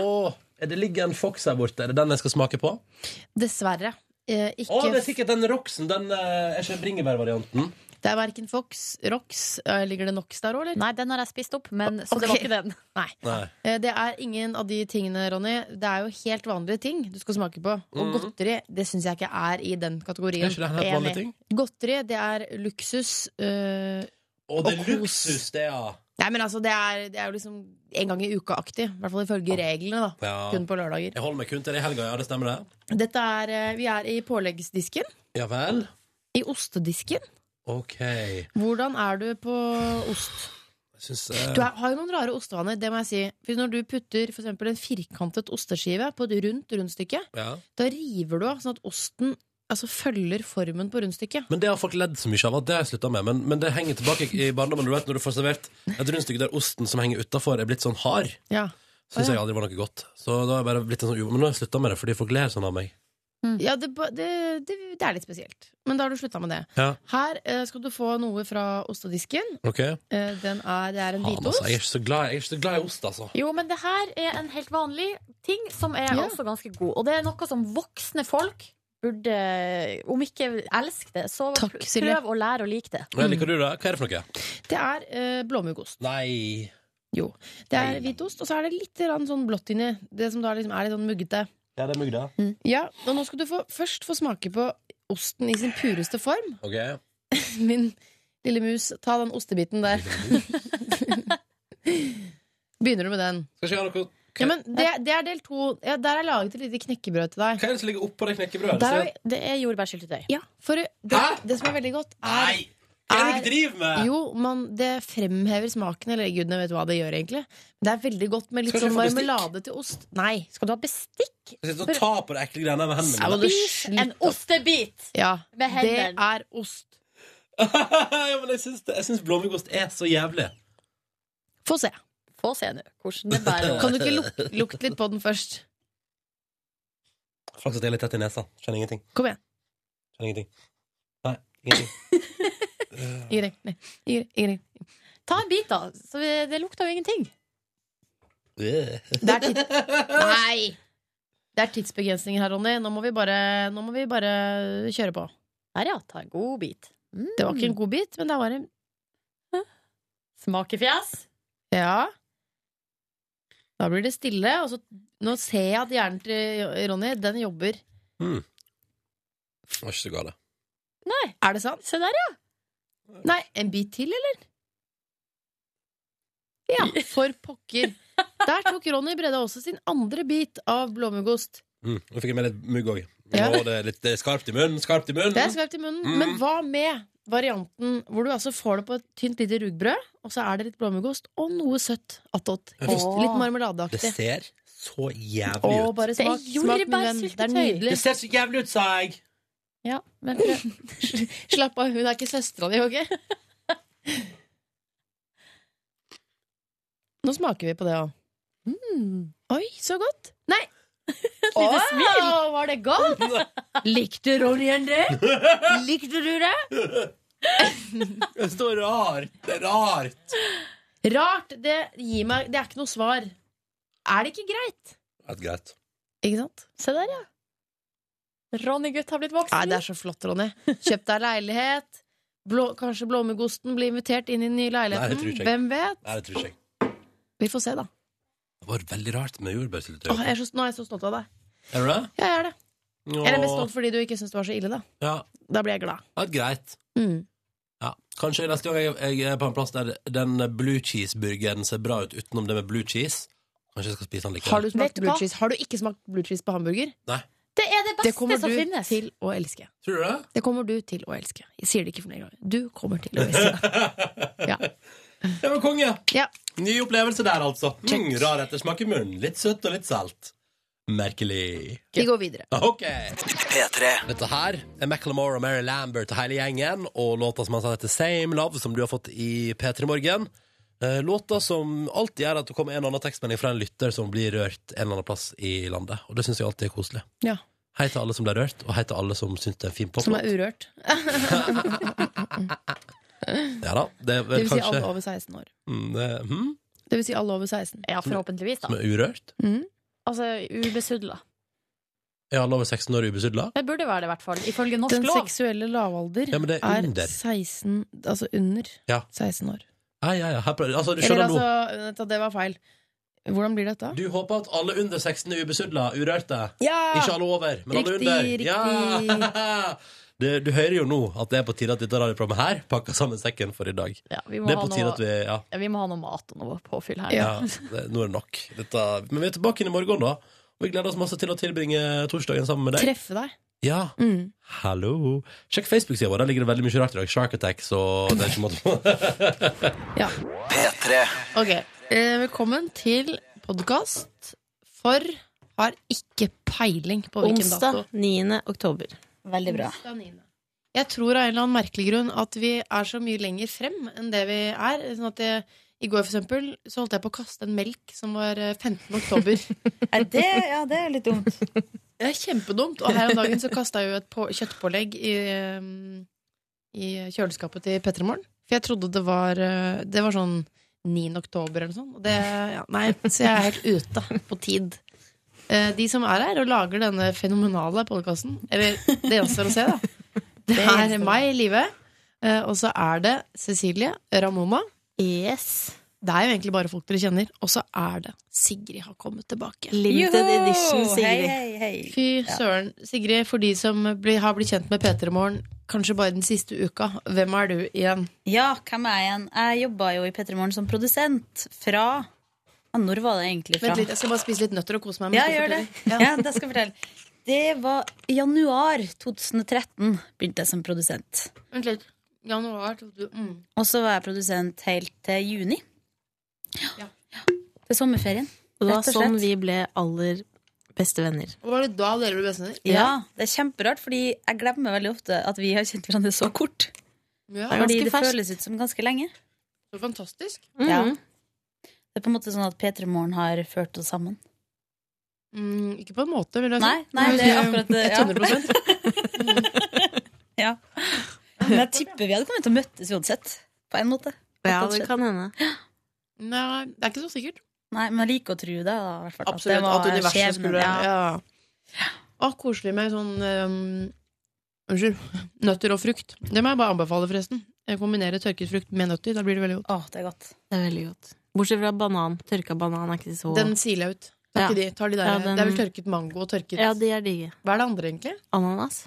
Speaker 2: er det ligger en fox her borte. Er det den jeg skal smake på? Å,
Speaker 3: Dessverre. Eh, ikke
Speaker 2: det er sikkert den roxen. Den eh, er ikke bringebærvarianten.
Speaker 3: Det er verken Fox, Rox eh, Ligger det Nox der òg, eller?
Speaker 4: Nei, den har jeg spist opp, men så det var ikke den.
Speaker 3: Nei.
Speaker 2: Nei.
Speaker 3: Eh, Det er ingen av de tingene, Ronny. Det er jo helt vanlige ting du skal smake på. Og
Speaker 2: Mhm.
Speaker 3: godteri det syns jeg ikke er i den kategorien.
Speaker 2: Er ikke det helt
Speaker 3: Enig.
Speaker 2: vanlige ting?
Speaker 3: Godteri, det er luksus. eh,
Speaker 2: Å, det er
Speaker 3: Og kos.
Speaker 2: luksus, det, ja.
Speaker 3: nei, men altså, det er, det er jo liksom en gang i uka-aktig. I hvert fall ifølge reglene, da.
Speaker 2: Ja.
Speaker 3: Kun på lørdager.
Speaker 2: Jeg holder meg kun til det i helga, ja. Det stemmer, det.
Speaker 3: Dette er, eh, vi er i påleggsdisken.
Speaker 2: Ja vel?
Speaker 3: I ostedisken.
Speaker 2: OK. Jeg
Speaker 3: Hvordan er du på ost?
Speaker 2: syns
Speaker 3: Du er, har jo noen rare ostevaner, det må jeg si. For når du putter for eksempel en firkantet osteskive på et rundt rundstykke,
Speaker 2: ja.
Speaker 3: da river du av sånn at osten altså, følger formen på rundstykket.
Speaker 2: Men det har folk ledd så mye av at det har jeg slutta med. Men, men det henger tilbake i barndommen du vet, når du får servert et rundstykke der osten som henger utafor, er blitt sånn hard.
Speaker 3: Ja.
Speaker 2: Syns
Speaker 3: Å, ja.
Speaker 2: jeg aldri var noe godt. Så da har jeg bare blitt en sånn u... Men nå har jeg slutta med det fordi folk ler sånn av meg.
Speaker 3: Ja, det, ba- det, det, det er litt spesielt. Men da har du slutta med det.
Speaker 2: Ja,
Speaker 3: Her eh, skal du få noe fra ostedisken.
Speaker 2: OK?
Speaker 3: Eh, den er, det er en
Speaker 2: Faen, altså.
Speaker 3: hvitost.
Speaker 2: Jeg er ikke så glad, jeg er ikke så glad i ost, altså.
Speaker 4: Jo, men det her er en helt vanlig ting som er også ganske god. Og det er noe som voksne folk burde, om ikke elske det, så pr-
Speaker 3: Silje.
Speaker 4: prøv å lære å like det.
Speaker 2: Men Liker du det? Hva er det for noe?
Speaker 3: Det er eh, blåmuggost.
Speaker 2: Nei
Speaker 3: Jo. Det er hvitost, og så er det litt grann sånn blått inni. Det som da liksom er litt sånn muggete.
Speaker 2: Ja, det er mugg, da.
Speaker 3: Ja, og nå skal du få, først få smake på osten i sin pureste form.
Speaker 2: OK.
Speaker 3: Min lille mus, ta den ostebiten der. Begynner du med den?
Speaker 2: Skal ikke ha noe
Speaker 3: Ja, men det, det er del to. Ja, der har jeg laget et lite knekkebrød til deg.
Speaker 2: Hva er det som ligger oppå det knekkebrødet?
Speaker 3: Der har vi-
Speaker 4: Det er jordbærsyltetøy.
Speaker 3: Ja, for det, det som er veldig godt, er
Speaker 2: Nei! Hva er det dere driver med?
Speaker 3: Jo, man, det fremhever smaken, eller gudene vet hva det gjør, egentlig. Men det er veldig godt med litt
Speaker 2: Skal du
Speaker 3: sånn
Speaker 2: få bestikk?
Speaker 3: marmelade til ost. Nei, skal du ha bestikk?
Speaker 2: Jeg sitter og tar på de ekle greiene med hendene mine.
Speaker 3: Spis en
Speaker 4: ostebit!
Speaker 3: Ja,
Speaker 4: Med hendene.
Speaker 3: det er ost.
Speaker 2: ja, men jeg syns, det- jeg syns blåmuggost er så jævlig.
Speaker 3: Få se.
Speaker 4: Få se nå hvordan det bærer.
Speaker 3: Kan du ikke luk lukte litt på den først?
Speaker 2: Flaks at jeg er litt tett i nesa. Kjenner ingenting.
Speaker 3: Kom igjen.
Speaker 2: Kjenner ingenting. Nei, ingenting.
Speaker 3: Ingrid. Nei, Ingrid. Ingrid.
Speaker 4: Ta en bit, da. Så vi- det lukter jo ingenting.
Speaker 3: Det er tids- Nei! Det er tidsbegrensninger her, Ronny. Nå må vi bare, nå må vi bare kjøre på.
Speaker 4: Der, ja. Ta en god bit. Mm.
Speaker 3: Det var ikke en god bit, men det var en
Speaker 4: Smakefjes.
Speaker 3: Ja. Da blir det stille, og så Nå ser jeg at hjernen til Ronny, den jobber.
Speaker 2: Mm. Det var ikke så galt.
Speaker 3: Nei. Er det sant?
Speaker 4: Se der, ja.
Speaker 3: Nei, en bit til, eller? Ja, for pokker. Der tok Ronny Breda også sin andre bit av blåmuggost.
Speaker 2: Mm. Nå fikk jeg med litt mugg òg.
Speaker 3: Ja.
Speaker 2: Nå er Det, er litt- det er skarpt i munnen, skarpt i munnen.
Speaker 3: Det er skarpt i munnen,
Speaker 2: Mm.
Speaker 3: men hva med varianten hvor du altså får det på et tynt lite rugbrød, og så er det litt blåmuggost og noe søtt attåt.
Speaker 2: Jeg synes-
Speaker 3: Litt
Speaker 2: Det
Speaker 3: marmeladeaktig.
Speaker 2: ser så jævlig
Speaker 3: Å,
Speaker 2: ut.
Speaker 3: bare smak, smak med den. Det er nydelig.
Speaker 2: Det ser så jævlig ut, sa jeg!
Speaker 3: Ja, men Slapp av, hun er ikke søstera di, ok? Nå smaker vi på det òg.
Speaker 4: Mm.
Speaker 3: Oi, så godt! Nei!
Speaker 4: Åh,
Speaker 3: var det godt? Likte Rorjen det? Likte du det?
Speaker 2: Det er så rart. Det er rart.
Speaker 3: Rart. Det gir meg Det er ikke noe svar. Er det ikke greit?
Speaker 2: Det er greit.
Speaker 3: Ikke sant? Se der, ja.
Speaker 4: Ronny gutt har blitt voksen.
Speaker 3: Nei, det er så flott, Ronny. Kjøp deg leilighet. Blå, kanskje blåmuggosten blir invitert inn i den nye
Speaker 2: Nei, det
Speaker 3: leiligheten.
Speaker 2: tror ikke jeg.
Speaker 3: Hvem vet?
Speaker 2: Nei, det tror ikke jeg.
Speaker 3: Vi får se, da.
Speaker 2: Det var veldig rart med jordbærsyltetøy.
Speaker 3: Åh, jeg er så, nå er jeg så stolt av deg.
Speaker 2: Er du det?
Speaker 3: Ja, jeg er det.
Speaker 2: Åh.
Speaker 3: Eller mest stolt fordi du ikke syns det var så ille, da.
Speaker 2: Ja,
Speaker 3: Da blir jeg glad.
Speaker 2: det er greit.
Speaker 3: Mm.
Speaker 2: Ja. Kanskje neste gang jeg, jeg er på en plass der den blue cheese-burgeren ser bra ut utenom det med blue cheese. Kanskje jeg skal spise den likevel.
Speaker 3: Har du smakt
Speaker 4: du
Speaker 3: blue
Speaker 4: hva?
Speaker 3: cheese? Har du ikke smakt blue cheese på hamburger?
Speaker 2: Nei.
Speaker 4: Det er det
Speaker 3: Det
Speaker 4: beste
Speaker 3: kommer
Speaker 4: som
Speaker 3: du
Speaker 4: finnes.
Speaker 3: til å elske.
Speaker 2: Tror du det?
Speaker 3: Det kommer du til å elske. Jeg sier det ikke for flere ganger. Du kommer til å elske det. Ja.
Speaker 2: Ja, men konge!
Speaker 3: Ja.
Speaker 2: Ny opplevelse der, altså. Mm, rar ettersmak i munnen. Litt søtt og litt salt. Merkelig.
Speaker 3: Vi går videre.
Speaker 2: Ok. Dette her er Macklemore og Mary Lambert og hele gjengen, og låta som han sa heter Same Love, som du har fått i P3 Morgen. Eh, Låta som alltid gjør at det kommer en eller annen tekstmelding fra en lytter som blir rørt en eller annen plass i landet, og det syns jeg alltid er koselig.
Speaker 3: Ja.
Speaker 2: Hei til alle som ble rørt, og hei til alle som syns det er en fin
Speaker 3: Som er
Speaker 2: poplåt.
Speaker 3: urørt.
Speaker 2: Ja da, det er
Speaker 3: Det
Speaker 2: vel
Speaker 3: vil si alle
Speaker 2: kanskje
Speaker 3: over 16 år.
Speaker 2: Mm, det- hm?
Speaker 3: Det vil si alle over 16.
Speaker 4: Ja, forhåpentligvis,
Speaker 2: Som
Speaker 4: da.
Speaker 2: er urørt?
Speaker 3: Mm.
Speaker 4: Altså ubesudla.
Speaker 2: Er alle over 16 år ubesudla?
Speaker 4: Det burde være det, i hvert fall. Ifølge norsk
Speaker 3: Den
Speaker 4: lov.
Speaker 3: seksuelle lavalder
Speaker 2: Ja, men det er under.
Speaker 3: 16 Altså under
Speaker 2: Ja.
Speaker 3: 16 år.
Speaker 2: Ja, ja, ja. Her prøver, altså, du
Speaker 3: Eller
Speaker 2: skjønner
Speaker 3: altså
Speaker 2: nå.
Speaker 3: vent da, Det var feil. Hvordan blir dette?
Speaker 2: Du håper at alle under 16 er ubesudla, urørte?
Speaker 3: Ja!
Speaker 2: Ikke alle over, men alle
Speaker 3: Riktig,
Speaker 2: under.
Speaker 3: riktig.
Speaker 2: Ja! Du, du hører jo nå at det er på tide at dette radioprogrammet her pakker sammen sekken for i dag.
Speaker 4: vi må
Speaker 2: det er
Speaker 4: ha
Speaker 2: på tide
Speaker 4: noe-
Speaker 2: at vi Ja.
Speaker 4: Ja, vi må ha noe mat og noe påfyll her.
Speaker 2: ja det, nå er det nok. Dette, men vi er tilbake inn i morgen, da. Og vi gleder oss masse til å tilbringe torsdagen sammen med deg.
Speaker 3: Treffe deg.
Speaker 2: Ja.
Speaker 3: Mm.
Speaker 2: Hallo. Sjekk Facebook-sida vår. Der ligger det veldig mye rart i dag. Shark Attacks og det er ikke måte på.
Speaker 3: Ja.
Speaker 2: P3.
Speaker 3: Ok, eh, velkommen til podcast For har ikke peiling på hvilken
Speaker 25: Onsdag
Speaker 3: dato
Speaker 25: 9. oktober. Veldig bra.
Speaker 3: Onsdag 9.. Jeg tror av en eller annen merkelig grunn At vi er så mye lenger frem enn det vi er Sånn at jeg, i går for eksempel Så holdt jeg på å kaste en melk som var eh, 15. oktober
Speaker 25: Nei, det, ja, det er litt dumt.
Speaker 3: Det er kjempedumt Og her om dagen så kastet jeg jo et på, kjøttpålegg i, eh, I kjøleskapet til Petremorgen For jeg trodde det var eh, Det var sånn 9. oktober eller noe sånt Og det, ja, nei, så jeg er helt ute på tid Eh, De som er her og lager denne fenomenale podcasten Eller det gjenstår å se da Det er meg, Live eh, Og så er det Cecilie Ramona Det er jo egentlig bare folk dere kjenner Og så er det Sigrid har kommet tilbake
Speaker 25: Limited
Speaker 3: Joho!
Speaker 25: edition, Sigrid.
Speaker 3: Fy søren, Sigrid, for de som blir, har blitt kjent med P3 Morgen kanskje bare den siste uka. Hvem er du igjen?
Speaker 4: Ja, hvem er jeg igjen? Jeg jobba jo i P3 Morgen som produsent fra ja, Når var det egentlig fra?
Speaker 3: Vent litt, jeg skal bare spise litt nøtter og kose meg.
Speaker 4: Ja, gjør det. Ja, det skal jeg fortelle. Det var i januar 2013 begynte jeg som produsent.
Speaker 3: Vent litt. Januar tok du- mm.
Speaker 4: Og så var jeg produsent helt til juni. Til sommerferien.
Speaker 16: Det var
Speaker 4: rett og
Speaker 16: sånn
Speaker 4: slett.
Speaker 16: vi ble aller beste venner.
Speaker 3: Og Var det da dere ble bestevenner?
Speaker 4: Ja, det er kjemperart, fordi jeg glemmer veldig ofte at vi har kjent hverandre så kort.
Speaker 3: Ja.
Speaker 4: fordi det føles ut som ganske lenge.
Speaker 3: Så fantastisk.
Speaker 4: Mm.
Speaker 16: Mm.
Speaker 4: Ja. Det er på en måte sånn at P3 Morgen har ført oss sammen.
Speaker 3: Mm, ikke på en måte, vil jeg si.
Speaker 4: Nei, nei, det er akkurat det, ja.
Speaker 3: 100
Speaker 4: Ja. Men jeg tipper vi hadde kommet til å møttes uansett. På en måte.
Speaker 16: Ja,
Speaker 4: Rett og
Speaker 16: det
Speaker 4: slett.
Speaker 16: kan hende.
Speaker 3: Nei, det er ikke så sikkert.
Speaker 4: Nei, men jeg liker å tro det. Da, i hvert fall, at
Speaker 3: Absolutt.
Speaker 4: det var
Speaker 3: At universet
Speaker 4: skjebnen,
Speaker 3: skulle
Speaker 4: ja.
Speaker 3: ja. Å, koselig med sånn ehm, Unnskyld. Nøtter og frukt. Det må jeg bare anbefale, forresten. Eh, Kombinere tørket frukt med nøtter. Da blir det veldig godt.
Speaker 4: det er godt.
Speaker 16: Det er veldig godt. Bortsett fra banan. Tørka banan er ikke så
Speaker 3: Den siler jeg ut. Tar
Speaker 16: Ja.
Speaker 3: ikke de. Tar de der.
Speaker 16: Ja, den-
Speaker 3: Det er vel tørket mango og tørket
Speaker 16: Ja, de er digge.
Speaker 3: Hva er det andre, egentlig?
Speaker 16: Ananas.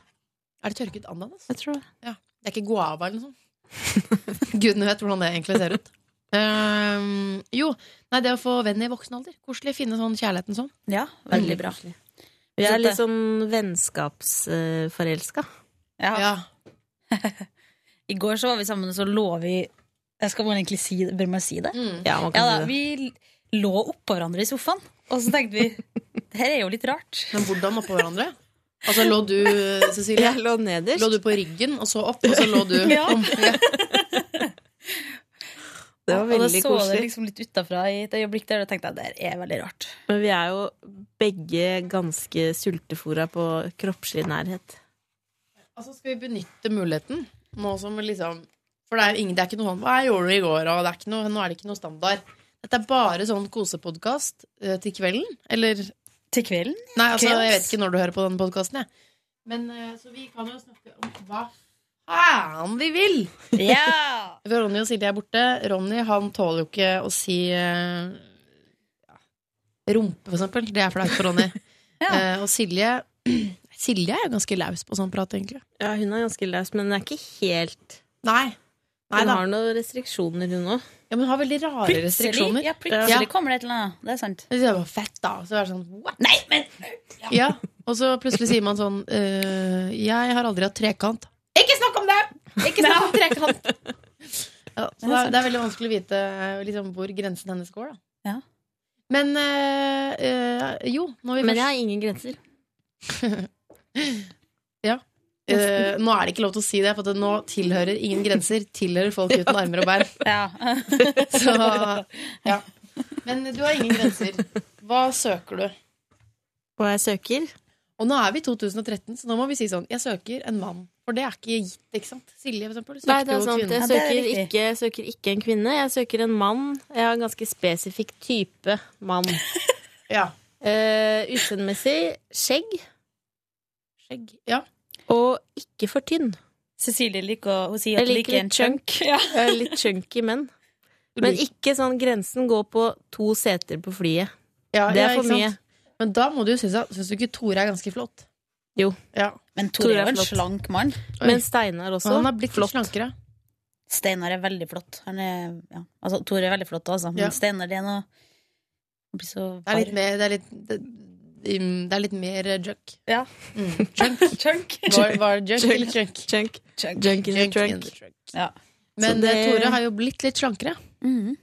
Speaker 3: Er det tørket ananas?
Speaker 16: Jeg tror det.
Speaker 3: Ja. Det er ikke guava eller noe sånt? Gudene vet hvordan det egentlig ser ut. Ehm, jo, nei, det å få venn i voksen alder. Koselig. Finne sånn kjærligheten sånn.
Speaker 4: Ja, veldig bra.
Speaker 16: Mm. Vi
Speaker 3: Så
Speaker 16: er
Speaker 3: det-
Speaker 16: litt
Speaker 11: liksom
Speaker 16: sånn vennskapsforelska.
Speaker 4: Ja. I går så var vi sammen, og så lå vi jeg Skal man egentlig si det? Bør man si det?
Speaker 16: Ja, man Mm. kan
Speaker 4: da,
Speaker 16: si
Speaker 4: Vi lå oppå hverandre i sofaen, og så tenkte vi Det her er jo litt rart.
Speaker 3: Men hvordan oppå hverandre? Altså lå du, Cecilie?
Speaker 16: Jeg lå nederst.
Speaker 3: Lå du på ryggen, og så opp, og så lå du
Speaker 4: Ja.
Speaker 3: om? Ja.
Speaker 16: Det var
Speaker 4: og da
Speaker 16: veldig
Speaker 4: så
Speaker 16: koselig.
Speaker 4: det liksom litt utafra i et øyeblikk der, og da tenkte jeg det her er veldig rart.
Speaker 16: Men vi er jo begge ganske sultefora på kroppslig nærhet.
Speaker 3: Altså, skal vi benytte muligheten? Nå som liksom For det er, ingen, det er ikke noe sånn 'Hva gjorde du i går?' og det er ikke noe, nå er det ikke noe standard. Dette er bare sånn kosepodkast eh, til kvelden, eller
Speaker 4: Til kvelden?
Speaker 3: Nei, altså,
Speaker 4: Kvelds?
Speaker 3: jeg vet ikke når du hører på denne podkasten, jeg. Men eh, så vi kan jo snakke om hva faen vi vil!
Speaker 4: Ja!
Speaker 3: For Ronny og Silje er borte. Ronny han tåler jo ikke å si eh, ja, rumpe, for eksempel. Det er flaut for Ronny. Eh, og Silje Silje er jo ganske laus på sånn prat, egentlig.
Speaker 16: Ja, hun er ganske løs, men hun er ikke helt
Speaker 3: Nei. Nei
Speaker 16: Hun
Speaker 3: da.
Speaker 16: har noen restriksjoner, hun òg.
Speaker 3: Ja, men hun har veldig rare restriksjoner.
Speaker 4: Ja, plutselig kommer det et eller annet. Det er sant.
Speaker 3: Det er bare fett, da. Så er det sånn What? Ja. Og så plutselig sier man sånn eh, Jeg har aldri hatt trekant. Ikke snakk om det! Ikke snakk om trekant! Ja, så det er, det er veldig vanskelig å vite eh, liksom, hvor grensen hennes går, da. Men eh, eh, jo, når vi
Speaker 16: Men jeg
Speaker 3: først
Speaker 16: har ingen grenser.
Speaker 3: ja. Eh, nå er det ikke lov til å si det, for at nå tilhører ingen grenser Tilhører folk uten armer og bein. Så ja. Men du har ingen grenser. Hva søker du?
Speaker 16: Hva jeg søker?
Speaker 3: Og nå er vi i 2013, så nå må vi si sånn Jeg søker en mann. For det er ikke gitt, ikke sant? Silje, for eksempel.
Speaker 16: Nei,
Speaker 3: søkte
Speaker 16: det er
Speaker 3: jo
Speaker 16: sant.
Speaker 3: kvinne.
Speaker 16: Jeg søker ikke, søker ikke en kvinne. Jeg søker en mann. Jeg har en ganske spesifikk type mann.
Speaker 3: ja.
Speaker 16: Eh, Utseendemessig skjegg.
Speaker 3: Skjegg, ja.
Speaker 16: Og ikke for tynn.
Speaker 4: Cecilie liker Hun sier
Speaker 16: Jeg
Speaker 4: at hun
Speaker 16: liker
Speaker 4: liker en
Speaker 16: litt chunk.
Speaker 4: chunk.
Speaker 16: Jeg er litt chunky menn. Men ikke sånn grensen går på to seter på flyet.
Speaker 3: Ja,
Speaker 16: det er
Speaker 3: ja,
Speaker 16: for
Speaker 3: ikke
Speaker 16: mye.
Speaker 3: sant? Men da må du jo synes, at- synes du ikke Tore er ganske flott?
Speaker 16: Jo.
Speaker 3: Ja.
Speaker 4: Men Tore er jo en slank mann.
Speaker 3: Oi. Men
Speaker 16: Steinar
Speaker 3: også. Han har blitt litt slankere.
Speaker 4: Steinar er veldig flott. Han er, ja. altså, Tore er veldig flott, altså, men
Speaker 3: Ja.
Speaker 4: Steinar det er noe Han blir så
Speaker 3: Det er litt mer Det er litt, det, mm, det er litt mer eh, junk.
Speaker 4: Ja.
Speaker 3: Mm. Junk. Var, var det junk, eller junk?
Speaker 16: Junk. Junk in the trunk.
Speaker 4: Ja.
Speaker 3: Men
Speaker 16: Så det-
Speaker 3: eh, Tore har jo blitt litt slankere.
Speaker 4: Mhm.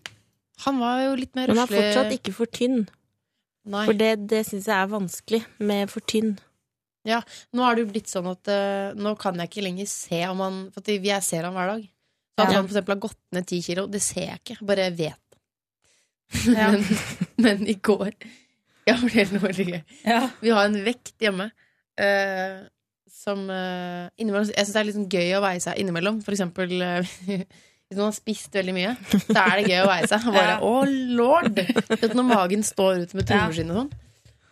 Speaker 3: Han var jo litt mer
Speaker 16: Men han er
Speaker 3: røslig.
Speaker 16: fortsatt ikke for tynn.
Speaker 3: Nei.
Speaker 16: For det, det syns jeg er vanskelig med for tynn.
Speaker 3: Ja, nå er det jo blitt sånn at eh, nå kan jeg ikke lenger se om han For at jeg ser han hver dag. Så at
Speaker 16: Ja.
Speaker 3: han for eksempel har gått ned ti kilo, det ser jeg ikke. Jeg bare vet det. men, men i går Ja, for det er noe veldig gøy. Vi har en vekt hjemme eh, som eh, innimellom Jeg syns det er litt sånn gøy å veie seg innimellom. For eksempel eh, hvis noen har spist veldig mye, så er det gøy å veie seg. Og bare,
Speaker 16: Ja.
Speaker 3: Å, lord! Du vet, Når magen står ut med trommeskinn og sånn.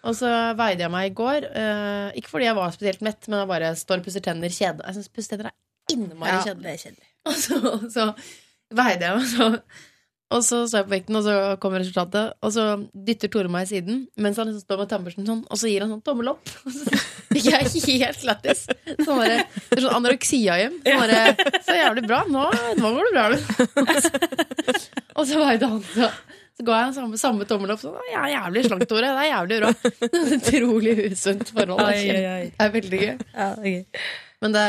Speaker 3: Og så veide jeg meg i går. eh, ikke fordi jeg var spesielt mett, men jeg bare står og pusser tenner kjedelig. Jeg syns pusser tenner er innmari
Speaker 4: Ja,
Speaker 3: kjedelig.
Speaker 4: det er kjedelig.
Speaker 3: Og så, og så veide jeg meg, så, og så står jeg på vekten, og så kommer resultatet. Og så dytter Tore meg i siden mens han liksom står med tannbørsten sånn, og så gir han sånn tommel opp. Og så Jeg er helt lættis. Sånn bare- det er sånn anoreksia-hjem. Sånn bare, så jævlig bra. Nå, nå går det bra, du. Og så var det han så, så ga jeg samme, samme tommel opp. Sånn, «Å, jeg er jævlig slank, Tore. Det er jævlig bra. Det er et Utrolig usunt forhold. Det er,
Speaker 25: Oi, oi, oi.
Speaker 3: kjempe- det er veldig gøy. Men det,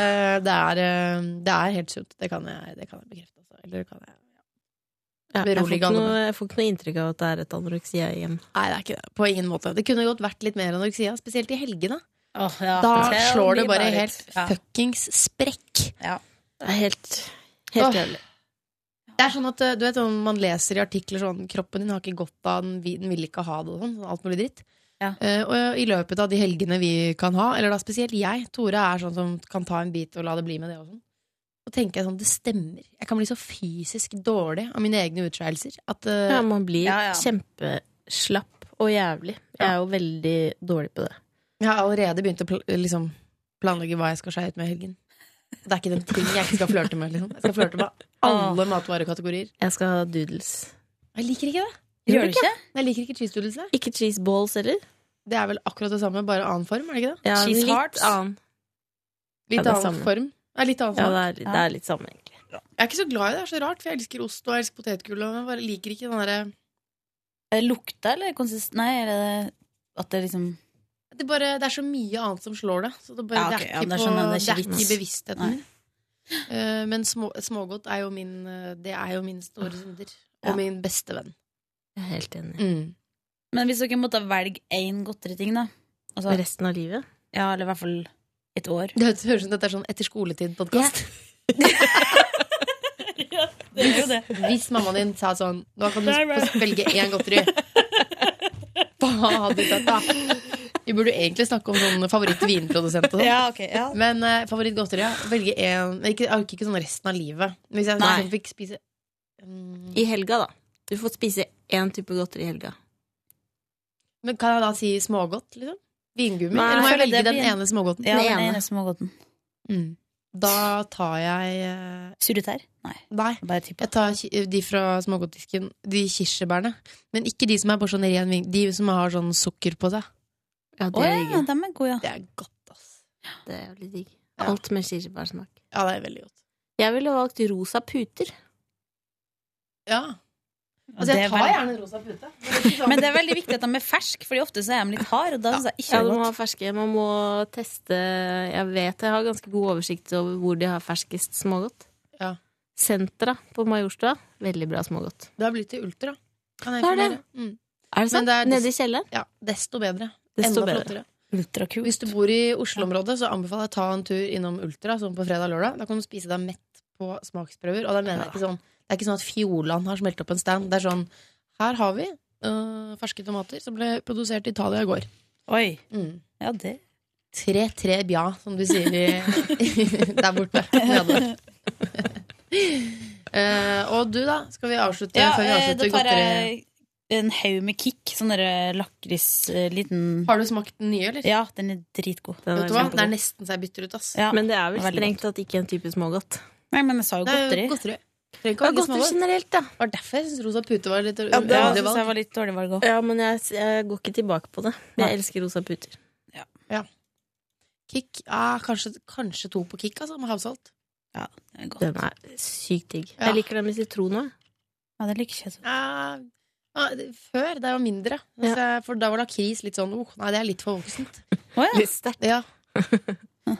Speaker 3: det, er, eh, det er helt sunt. Det kan jeg, det kan jeg bekrefte. Altså. Eller kan jeg
Speaker 11: Ja, jeg, får ikke
Speaker 3: Beroligende.
Speaker 11: noe, jeg får ikke noe inntrykk av at det er et anoreksia-hjem.
Speaker 3: Nei, det er ikke det. På ingen måte. Det kunne godt vært litt mer anoreksia, spesielt i helgene.
Speaker 25: ja.
Speaker 3: Da
Speaker 25: Tell
Speaker 3: slår det
Speaker 25: me
Speaker 3: bare
Speaker 25: about it.
Speaker 3: helt
Speaker 25: Ja.
Speaker 3: fuckings sprekk.
Speaker 11: Det er helt,
Speaker 3: Åh.
Speaker 11: helt jævlig.
Speaker 3: Det er sånn at eh, du vet om man leser i artikler sånn Kroppen din har ikke godt av den, vi- den vil ikke ha det og sånn. sånn Alt mulig dritt. Eh, og i løpet av de helgene vi kan ha, eller da spesielt jeg, Tore er sånn som kan ta en bit og la det bli med det og sånn, så tenker jeg sånn, det stemmer. Jeg kan bli så fysisk dårlig av mine egne utskeielser at eh,
Speaker 11: Ja, man blir
Speaker 3: ja, ja.
Speaker 11: kjempeslapp og jævlig. Jeg er jo veldig dårlig på det.
Speaker 3: Jeg har allerede begynt å pl liksom planlegge hva jeg skal skeie ut med i helgen. Det er ikke den ting jeg ikke skal flørte med. Liksom. Jeg skal flørte med alle matvarekategorier.
Speaker 11: Jeg skal ha doodles.
Speaker 3: Jeg liker ikke det.
Speaker 11: Gjør du ikke?
Speaker 3: Jeg liker ikke cheese doodles. jeg.
Speaker 11: Ikke cheese balls heller?
Speaker 3: Det er vel akkurat det samme, bare annen form, er det ikke det?
Speaker 11: Ja, Cheese litt hearts? annen.
Speaker 3: Litt
Speaker 11: Ja, det er
Speaker 3: annen
Speaker 11: samme.
Speaker 3: form. Ja, litt annen
Speaker 11: Ja,
Speaker 3: form.
Speaker 11: det er, det er litt samme, egentlig.
Speaker 3: Jeg er ikke så glad i det. Det er så rart, for jeg elsker ost og jeg elsker potetgull. Og jeg bare liker ikke den derre
Speaker 25: Er det Eh, lukta, eller konsist... Nei, er det at det liksom
Speaker 3: det, bare- det er så mye annet som slår det. Så det, bare,
Speaker 25: Ja, ok, ja,
Speaker 3: det er ikke,
Speaker 25: det er
Speaker 3: på,
Speaker 25: sånn,
Speaker 3: det
Speaker 25: det er
Speaker 3: er
Speaker 25: ikke
Speaker 3: ikke i
Speaker 25: vits.
Speaker 3: bevisstheten min. Eh, men små, smågodt er jo min eh, Det er jo min store synder. Og min beste venn.
Speaker 11: Jeg er helt enig.
Speaker 25: Men hvis dere måtte velge én godteriting, da altså,
Speaker 11: Resten av livet?
Speaker 25: Ja, eller i hvert fall et år.
Speaker 3: Det høres høres ut som dette er sånn etter skoletid-podkast. Hvis, hvis mammaen din sa sånn Nå kan du få velge én godteri. Hva hadde du tatt, da? Vi burde jo egentlig snakke om sånn favoritt-vinprodusent og sånn.
Speaker 25: Ja, ok, ja.
Speaker 3: Men eh, favorittgodteri, ja. Velge én ikke, jeg orker ikke sånn resten av livet. Men Hvis jeg
Speaker 11: Nei.
Speaker 3: sånn, fikk spise mm,
Speaker 11: I helga, da. Du får spise én type godteri i helga.
Speaker 3: Men kan jeg da si smågodt, liksom? Vingummi?
Speaker 11: Nei,
Speaker 3: Eller må jeg
Speaker 11: føler
Speaker 3: velge
Speaker 11: det
Speaker 3: den
Speaker 11: blir-
Speaker 3: ene smågodten?
Speaker 25: Ja, den ene smågodten.
Speaker 3: Mm. Da tar jeg uh...
Speaker 25: Surretær? Nei.
Speaker 3: Nei. Jeg tar ki- de fra smågodtdisken. De kirsebærene. Men ikke de som er bare sånn ren ving... De som har sånn sukker på seg.
Speaker 11: Ja,
Speaker 25: Å ja, dem er gode, ja.
Speaker 3: Det er godt.
Speaker 11: Det er jævlig digg. Alt med kirsebærsmak.
Speaker 3: Ja, det er veldig godt.
Speaker 11: Jeg ville valgt rosa puter.
Speaker 3: Ja. Altså, jeg tar gjerne en rosa pute.
Speaker 25: Men det er veldig viktig at de er ferske, Fordi ofte så er de litt harde. Og da synes jeg ikke
Speaker 11: Ja,
Speaker 25: det
Speaker 11: de
Speaker 25: er
Speaker 11: har
Speaker 25: godt.
Speaker 11: ferske. Man må teste Jeg vet jeg har ganske god oversikt over hvor de har ferskest smågodt.
Speaker 3: Ja.
Speaker 11: Sentra på Majorstua. Veldig bra smågodt.
Speaker 3: Det har blitt til ultra. Kan jeg
Speaker 11: Det er det.
Speaker 3: informere? Mm.
Speaker 11: Er det
Speaker 3: Men
Speaker 11: sant?
Speaker 3: det er des-
Speaker 11: Nede i kjelleren?
Speaker 3: Ja, desto bedre.
Speaker 11: Desto
Speaker 3: Enda
Speaker 11: bedre.
Speaker 3: flottere.
Speaker 25: Ultrakult.
Speaker 3: Hvis du bor i Oslo-området, så anbefaler jeg å ta en tur innom Ultra sånn på fredag og lørdag. Da kan du spise deg mett på smaksprøver. Og da mener jeg ikke sånn, det er ikke sånn at Fjordland har smelt opp en stand. Det er sånn Her har vi øh, ferske tomater som ble produsert i Italia i går.
Speaker 25: Oi.
Speaker 3: Mm.
Speaker 25: Ja, det
Speaker 3: Tre-tre bja, som de sier i, der borte. Nede. Eh, og du, da? Skal vi avslutte
Speaker 25: Ja,
Speaker 3: før vi
Speaker 25: eh, da
Speaker 3: avslutter
Speaker 25: tar
Speaker 3: godteri?
Speaker 25: jeg en haug med kick. Sånn derre lakris eh, liten
Speaker 3: Har du smakt den nye, eller?
Speaker 25: Ja, den er dritgod.
Speaker 3: Vet du hva? Den er nesten så jeg bytter ut, ass.
Speaker 25: Ja,
Speaker 11: Men det er vel
Speaker 25: veldig
Speaker 11: strengt tatt ikke en type smågodt.
Speaker 25: Nei, men jeg sa jo
Speaker 3: Det er
Speaker 25: godteri.
Speaker 3: jo godteri. Trenger ikke å
Speaker 11: Ja,
Speaker 3: velge
Speaker 11: godteri
Speaker 3: smågodt.
Speaker 11: generelt, da.
Speaker 3: var derfor jeg syntes rosa pute var litt
Speaker 11: Ja, det
Speaker 25: Ja,
Speaker 3: uheldig
Speaker 25: det synes
Speaker 3: valg.
Speaker 25: jeg var litt dårlig valg òg.
Speaker 11: Ja, men jeg, jeg går ikke tilbake på det. Jeg
Speaker 25: Nei.
Speaker 11: elsker rosa puter.
Speaker 3: Ja. Kick ah, kanskje, kanskje to på kick, altså, med havsalt.
Speaker 25: Ja,
Speaker 11: Den er sykt digg.
Speaker 3: Ja.
Speaker 11: Jeg liker den med sitron òg.
Speaker 25: Ja, det liker ikke jeg så
Speaker 3: Ah, ah, det- før, det var mindre. Altså, For da var lakris litt sånn oh, Nei, det er litt for voksent.
Speaker 11: Litt sterkt.
Speaker 3: Ja.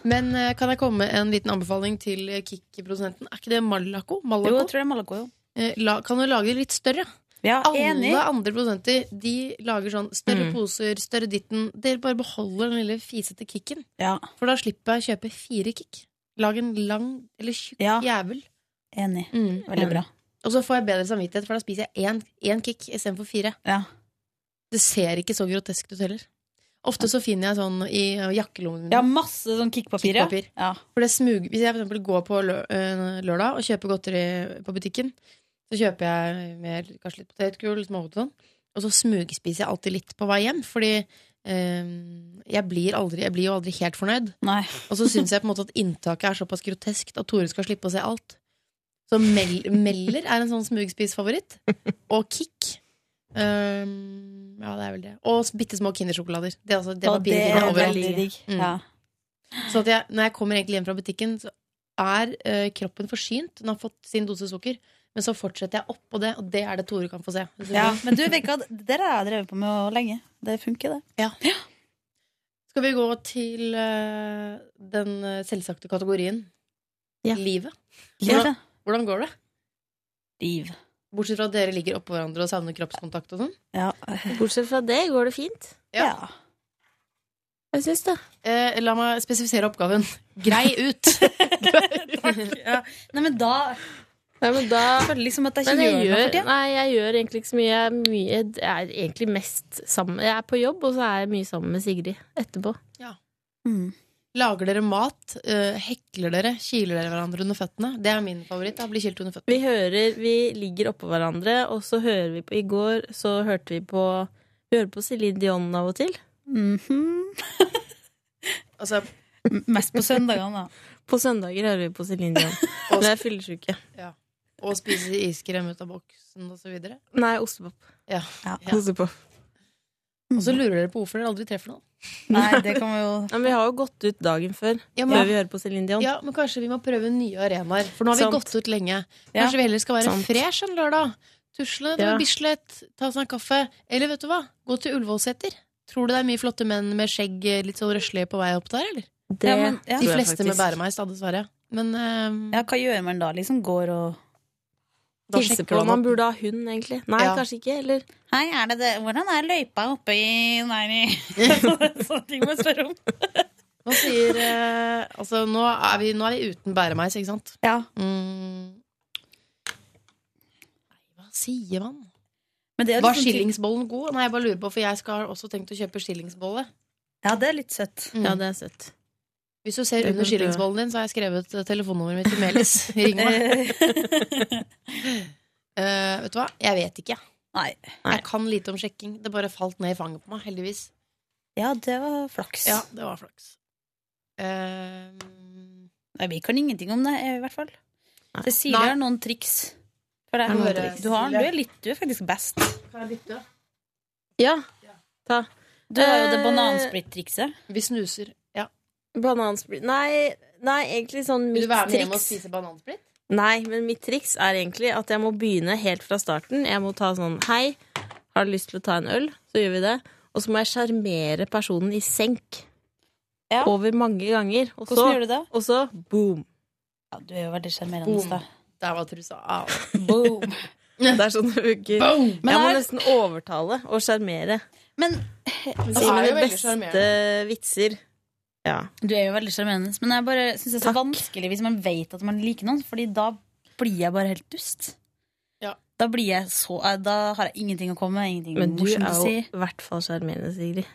Speaker 3: Men eh, kan jeg komme med en liten anbefaling til eh, Kick-produsenten? Er ikke det Malaco? Malaco?
Speaker 25: Jo, jeg tror det er Malaco, jo.
Speaker 3: Eh, La, kan du lage det litt større?
Speaker 25: Ja,
Speaker 3: Alle
Speaker 25: enig.
Speaker 3: andre produsenter De lager sånn større
Speaker 25: Mm.
Speaker 3: poser, større ditten. Dere bare beholder den lille fisete kicken.
Speaker 25: Ja.
Speaker 3: For da slipper jeg å kjøpe fire kick. Lag en lang eller tjukk jævel.
Speaker 25: Enig.
Speaker 3: Mm.
Speaker 25: Veldig bra.
Speaker 3: Og så får jeg bedre samvittighet, for da spiser jeg én, én kick istedenfor fire. Det ser ikke så grotesk ut heller. Ofte så finner jeg sånn i eh, jakkelommen min.
Speaker 25: Ja, masse sånn kickpapir. ja.
Speaker 3: Kickpapir.
Speaker 25: Ja.
Speaker 3: For det smug, Hvis jeg for eksempel går på lø øh, lørdag og kjøper godteri på butikken, så kjøper jeg mer, kanskje litt potetgull, smågodt og sånn, og så smugspiser jeg alltid litt på vei hjem, fordi øhm, jeg, blir aldri, jeg blir jo aldri helt fornøyd.
Speaker 25: Nei.
Speaker 3: Og så syns jeg på en måte at inntaket er såpass groteskt at Tore skal slippe å se alt. Så mel Meller er en sånn smugspisfavoritt. Og Ehm, Kick. Øhm, ja, det er vel det. Og bitte små Kindersjokolader. Det, er altså, det var
Speaker 25: Og det
Speaker 3: billigere
Speaker 25: er
Speaker 3: overalt.
Speaker 25: veldig digg.
Speaker 3: Mm.
Speaker 25: Ja.
Speaker 3: Så at jeg, når jeg kommer egentlig hjem fra butikken, så er eh, kroppen forsynt. Den har fått sin dose sukker. Men så fortsetter jeg oppå det, og det er det Tore kan få se.
Speaker 4: Ja, men du, Vika, det der har jeg drevet på med lenge. Det funker, det.
Speaker 3: Skal vi gå til eh, den eh, selvsagte kategorien? Livet. Hvordan, hvordan går det?
Speaker 4: Liv.
Speaker 3: Bortsett fra at dere ligger oppå hverandre og savner kroppskontakt og sånn.
Speaker 11: Bortsett fra det går det fint.
Speaker 3: Ja.
Speaker 11: Jeg syns det.
Speaker 3: Eh, la meg spesifisere oppgaven. Grei ut!
Speaker 4: Ja. Nei, men da
Speaker 11: Nei, men da
Speaker 4: Jeg føler liksom at jeg
Speaker 11: Men
Speaker 4: ikke
Speaker 11: jeg
Speaker 4: gjør noe for
Speaker 11: gjør,
Speaker 4: tida.
Speaker 11: nei, jeg gjør egentlig ikke så mye. Jeg er, mye. jeg er egentlig mest sammen Jeg er på jobb, og så er jeg mye sammen med Sigrid etterpå.
Speaker 4: Mm.
Speaker 3: Lager dere mat? eh, hekler dere? Kiler dere hverandre under føttene? Det er min favoritt. Da blir kilt under føttene.
Speaker 11: Vi hører Vi ligger oppå hverandre, og så hører vi på I går så hørte vi på Vi hører på Céline Dion av og til.
Speaker 4: Mm-hmm.
Speaker 3: altså
Speaker 4: Mm. Mest på søndagene, da.
Speaker 11: På søndager hører vi på Céline Dion. Når jeg er fyllesyke.
Speaker 3: Ja. Og spiser iskrem ut av boksen og så videre.
Speaker 11: Nei, ostepop.
Speaker 3: Ja.
Speaker 11: Ja. Ostepop.
Speaker 3: Og så lurer dere på hvorfor dere aldri treffer noen.
Speaker 4: Nei, det kan vi jo
Speaker 11: Men vi har jo gått ut dagen før,
Speaker 3: Ja, men-
Speaker 11: før vi hører på Céline Dion.
Speaker 3: Ja, men kanskje vi må prøve nye arenaer, for nå har vi
Speaker 11: Sant.
Speaker 3: gått ut lenge.
Speaker 11: Ja,
Speaker 3: Kanskje vi heller skal være
Speaker 11: sant.
Speaker 3: fresh en lørdag? Tusle til
Speaker 11: Ja.
Speaker 3: Bislett, ta oss en kaffe. Eller vet du hva, gå til Ullevålseter. Tror du det er mye flotte menn med skjegg eh, litt sånn røslige på vei opp der, eller?
Speaker 11: Det Ja, men- ja. tror
Speaker 3: De
Speaker 11: jeg
Speaker 3: fleste med
Speaker 11: faktisk.
Speaker 3: bæremeis, da, dessverre. Men ehm,
Speaker 4: Ja, hva gjør man da? Liksom går og
Speaker 11: Da Hilser på Man burde ha hund, egentlig. Nei, kanskje ikke. Eller
Speaker 4: Hei, er det det? Hvordan er løypa oppe i Nei, i- sånne ting må jeg spørre om.
Speaker 3: Nå sier eh, Altså, nå er, vi, nå er vi uten bæremeis, ikke sant?
Speaker 4: Ja.
Speaker 3: Mm. Nei, hva sier man?
Speaker 4: Men det er
Speaker 3: Var
Speaker 4: liksom-
Speaker 3: skillingsbollen god? Nei, jeg bare lurer på, for jeg skal har også tenkt å kjøpe skillingsbolle.
Speaker 4: Ja, det er litt søtt.
Speaker 11: Ja, det er søtt.
Speaker 3: Hvis du ser
Speaker 11: Mm. Det
Speaker 3: under
Speaker 11: kan du
Speaker 3: skillingsbollen din, så har jeg skrevet eh, telefonnummeret mitt til Melis. Ring meg. Eh, vet du hva? Jeg vet ikke.
Speaker 4: Nei.
Speaker 3: Jeg kan lite om sjekking. Det bare falt ned i fanget på meg, heldigvis.
Speaker 4: Ja, det var flaks.
Speaker 3: Ja, det var flaks. Eh,
Speaker 4: Nei, vi kan ingenting om det, i hvert fall. Cecilie
Speaker 3: Nei.
Speaker 4: har noen triks. For deg.
Speaker 3: Har noen
Speaker 4: Bare-
Speaker 3: triks,
Speaker 4: Du, har, du,
Speaker 3: Cecilie.
Speaker 4: er litt, du er faktisk best.
Speaker 3: kan jeg bytte?
Speaker 11: Ja. Ta.
Speaker 4: Du har jo det
Speaker 11: Eh,
Speaker 4: banansplitt-trikset.
Speaker 3: Vi snuser. Ja.
Speaker 11: Banansplitt Nei, nei, egentlig sånn
Speaker 3: Vil
Speaker 11: mitt
Speaker 3: du være med hjem og
Speaker 11: triks
Speaker 3: spise banansplitt?
Speaker 11: Nei, men mitt triks er egentlig at jeg må begynne helt fra starten. Jeg må ta sånn Hei, har du lyst til å ta en øl? Så gjør vi det. Og så må jeg sjarmere personen i senk. Over mange ganger. Og
Speaker 4: Hvordan
Speaker 11: så,
Speaker 4: gjør du det?
Speaker 11: Og så boom.
Speaker 4: Ja, du er jo veldig sjarmerende,
Speaker 11: Boom.
Speaker 4: da.
Speaker 3: Der var trusa av.
Speaker 4: Boom.
Speaker 11: Det er sånn det funker.
Speaker 3: Boom.
Speaker 11: Jeg
Speaker 4: Men
Speaker 11: må
Speaker 4: er-
Speaker 11: nesten overtale og sjarmere.
Speaker 4: Men
Speaker 11: Si
Speaker 4: er jo
Speaker 11: mine
Speaker 4: veldig
Speaker 11: beste
Speaker 4: sjarmerende.
Speaker 11: vitser. Ja.
Speaker 4: Du er jo veldig sjarmerende, men jeg bare syns det er så vanskelig hvis man vet at man liker noen, Fordi da blir jeg bare helt dust.
Speaker 3: Ja.
Speaker 4: Da blir jeg så eh, Da har jeg ingenting å komme med, ingenting
Speaker 11: Men du er
Speaker 4: morsomt å si.
Speaker 11: jo i hvert fall sjarmerende, Sigrid.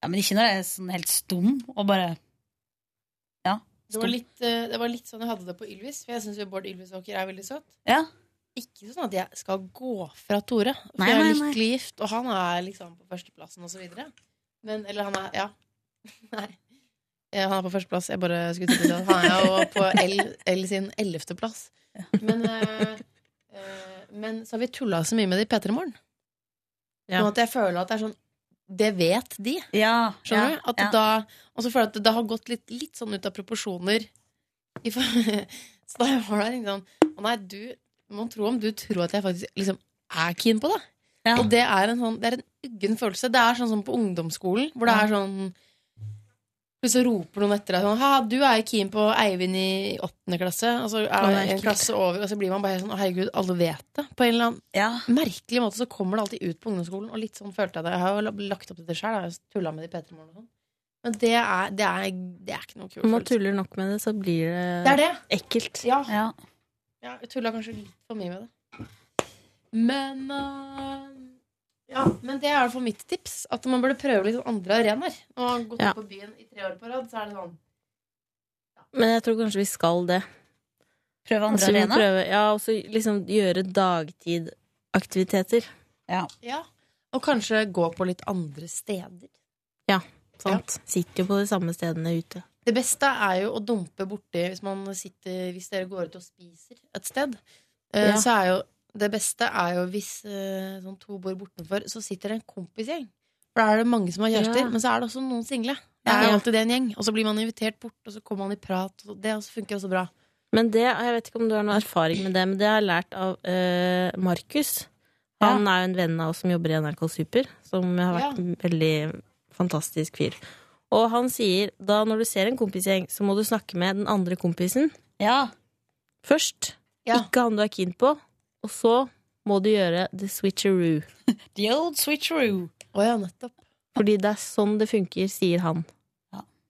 Speaker 4: Ja, men ikke når jeg er sånn helt stum og bare Ja.
Speaker 3: Det var, litt, eh, det var litt sånn jeg hadde det på Ylvis, for jeg syns Bård Ylvisåker er veldig søt.
Speaker 4: Ja.
Speaker 3: Ikke sånn at jeg skal gå fra Tore, for
Speaker 4: Nei,
Speaker 3: jeg er
Speaker 4: nei, nei.
Speaker 3: lykkelig gift, og han er liksom på førsteplassen, og så videre. Men, eller han er Ja. Nei. Eh, Han er på førsteplass. Jeg bare skulle til å si det. Han er jo på L, L sin ellevteplass. Men, eh, eh, men så har vi tulla så mye med det i P3 Morgen.
Speaker 4: Ja.
Speaker 3: Sånn at jeg føler at det er sånn Det vet de.
Speaker 4: Ja,
Speaker 3: Skjønner
Speaker 4: ja,
Speaker 3: du? At
Speaker 4: ja.
Speaker 3: da, og så føler jeg at det har gått litt, litt sånn ut av proporsjoner. I for- så da var det liksom Å nei, du Man tror om du tror at jeg faktisk liksom er keen på det. Og det er en sånn Det er en uggen følelse. Det er sånn som på ungdomsskolen, hvor det er sånn Plutselig så roper noen etter deg sånn «Ha, du er jo keen på Eivind i åttende klasse. Og så
Speaker 4: Å,
Speaker 3: er
Speaker 4: det er
Speaker 3: en
Speaker 4: ekkelt.
Speaker 3: klasse over, og så blir man bare sånn Å, herregud, alle vet det. På en eller annen merkelig måte så kommer det alltid ut på ungdomsskolen. Og litt sånn følte jeg det. Jeg har jo la- lagt opp til det sjøl. Jeg har jo tulla med det i P3 Morgen og sånn. Men det er, det, er, det er ikke noe kult.
Speaker 11: Om man tuller nok med det, så blir det,
Speaker 3: Det er det.
Speaker 11: ekkelt.
Speaker 3: Ja. Ja, jeg tulla kanskje litt for mye med det. Men eh, Ja, men det er i hvert fall mitt tips. At man burde prøve litt sånn andre arenaer. Når man har gått
Speaker 11: Ja.
Speaker 3: ut på byen i tre år på rad, så er det sånn
Speaker 11: Men jeg tror kanskje vi skal det.
Speaker 4: Prøve andre
Speaker 11: Altså, vi må
Speaker 4: arena?
Speaker 11: Prøve, ja, og så liksom gjøre dagtidaktiviteter.
Speaker 4: Ja.
Speaker 3: Ja. Og kanskje gå på litt andre steder.
Speaker 11: Ja, sant. Sitter jo på de samme stedene ute.
Speaker 3: Det beste er jo å dumpe borti hvis, man sitter, hvis dere går ut og spiser et sted. eh,
Speaker 11: Ja.
Speaker 3: Så er jo det beste er jo hvis eh, sånn to bor bortenfor, så sitter det en kompisgjeng. For For da er det mange som har kjærester,
Speaker 4: Ja.
Speaker 3: men så er det også noen single. Det
Speaker 11: Ja.
Speaker 3: er jo alltid det en gjeng. Og så blir man invitert bort, og så kommer man i prat. Og det også funker også bra.
Speaker 11: Men det, jeg vet ikke om du har noe erfaring med det, men det har jeg lært av eh, Markus. Han er jo en venn av oss som jobber i NRK Super, som har vært en veldig fantastisk fyr. Og han sier da når du ser en kompisgjeng, så må du snakke med den andre kompisen først. Ikke han du er keen på. Og så må du gjøre the switcheroo.
Speaker 25: The old switcheroo.
Speaker 3: Å ja, nettopp.
Speaker 11: Fordi det er sånn det funker, sier han.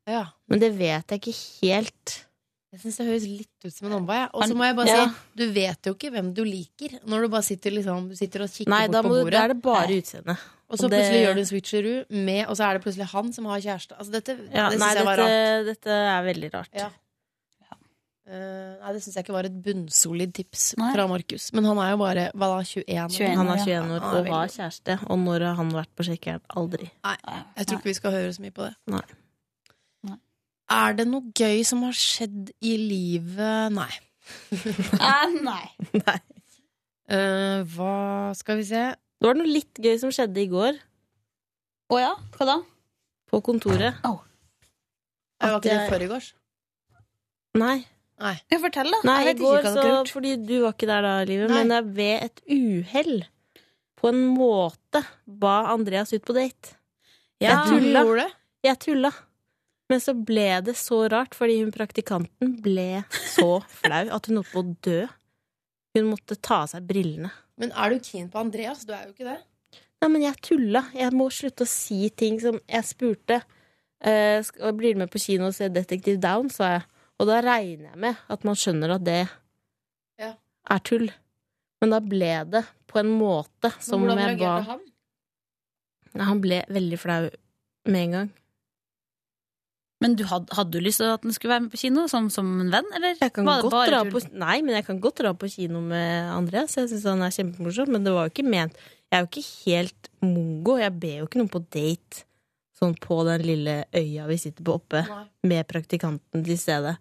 Speaker 3: Ja.
Speaker 11: Men det vet jeg ikke helt.
Speaker 3: Jeg syns det høres litt ut som en omvei. jeg. Og så
Speaker 11: Han-
Speaker 3: må jeg bare
Speaker 11: Ja.
Speaker 3: si, du vet jo ikke hvem du liker når du bare sitter, liksom, du sitter og kikker
Speaker 11: Nei,
Speaker 3: bort
Speaker 11: da,
Speaker 3: på
Speaker 11: må du,
Speaker 3: bordet.
Speaker 11: da er det bare utseendet.
Speaker 3: Og så
Speaker 11: det-
Speaker 3: plutselig gjør du en switcheroo, med, og så er det plutselig han som har kjæreste. Altså, dette
Speaker 11: ja,
Speaker 3: det
Speaker 11: Nei,
Speaker 3: syns jeg var
Speaker 11: dette,
Speaker 3: rart.
Speaker 11: dette er veldig rart.
Speaker 3: Ja. Eh, nei, det syns jeg ikke var et bunnsolid tips
Speaker 11: Nei.
Speaker 3: fra Markus. Men han er jo bare hva da, 21?
Speaker 11: han er 21 år og har
Speaker 3: veldig-
Speaker 11: kjæreste. Og når har han vært på sjekkeren? Aldri.
Speaker 3: Nei, jeg tror ikke vi skal høre så mye på det.
Speaker 11: Nei.
Speaker 3: Er det noe gøy som har skjedd i livet? Nei.
Speaker 25: Ah, nei.
Speaker 3: Eh, hva skal vi se?
Speaker 11: Det var noe litt gøy som skjedde i går.
Speaker 25: Å ja? Hva da?
Speaker 11: På kontoret.
Speaker 3: Jeg var ikke det i
Speaker 11: jeg-
Speaker 3: forgårs?
Speaker 11: Nei.
Speaker 3: Nei.
Speaker 25: Ja, fortell, da.
Speaker 11: Nei,
Speaker 25: jeg
Speaker 11: i
Speaker 25: vet
Speaker 11: går
Speaker 25: ikke hva
Speaker 11: så
Speaker 25: dere har gjort.
Speaker 11: Fordi du var ikke der da, Livet,
Speaker 25: Nei.
Speaker 11: men jeg ved et uhell på en måte ba Andreas ut på date. Jeg
Speaker 25: Ja, du
Speaker 11: tulla.
Speaker 25: gjorde det?
Speaker 11: Jeg tulla. Men så ble det så rart, fordi hun praktikanten ble så flau at hun holdt på å dø. Hun måtte ta av seg brillene.
Speaker 3: Men er du keen på Andreas? Du er jo ikke det.
Speaker 11: Nei, men jeg tulla. Jeg må slutte å si ting som jeg spurte. eh, sk- og blir du med på kino og ser Detektiv Down, sa jeg. Og da regner jeg med at man skjønner at det
Speaker 3: Ja.
Speaker 11: er tull. Men da ble det på en måte som
Speaker 3: hvordan
Speaker 11: jeg ba
Speaker 3: reagerte han?
Speaker 11: Nei, han ble veldig flau med en gang.
Speaker 25: Men du hadde, hadde du lyst til at den skulle være med på kino, som, som en venn, eller? Jeg
Speaker 11: Kan godt dra på, nei, men jeg kan godt dra på kino med Andreas. Jeg syns han er kjempemorsom, men det var jo ikke ment Jeg er jo ikke helt mongo. Jeg ber jo ikke noen på date sånn på den lille øya vi sitter på oppe, med praktikanten til stede.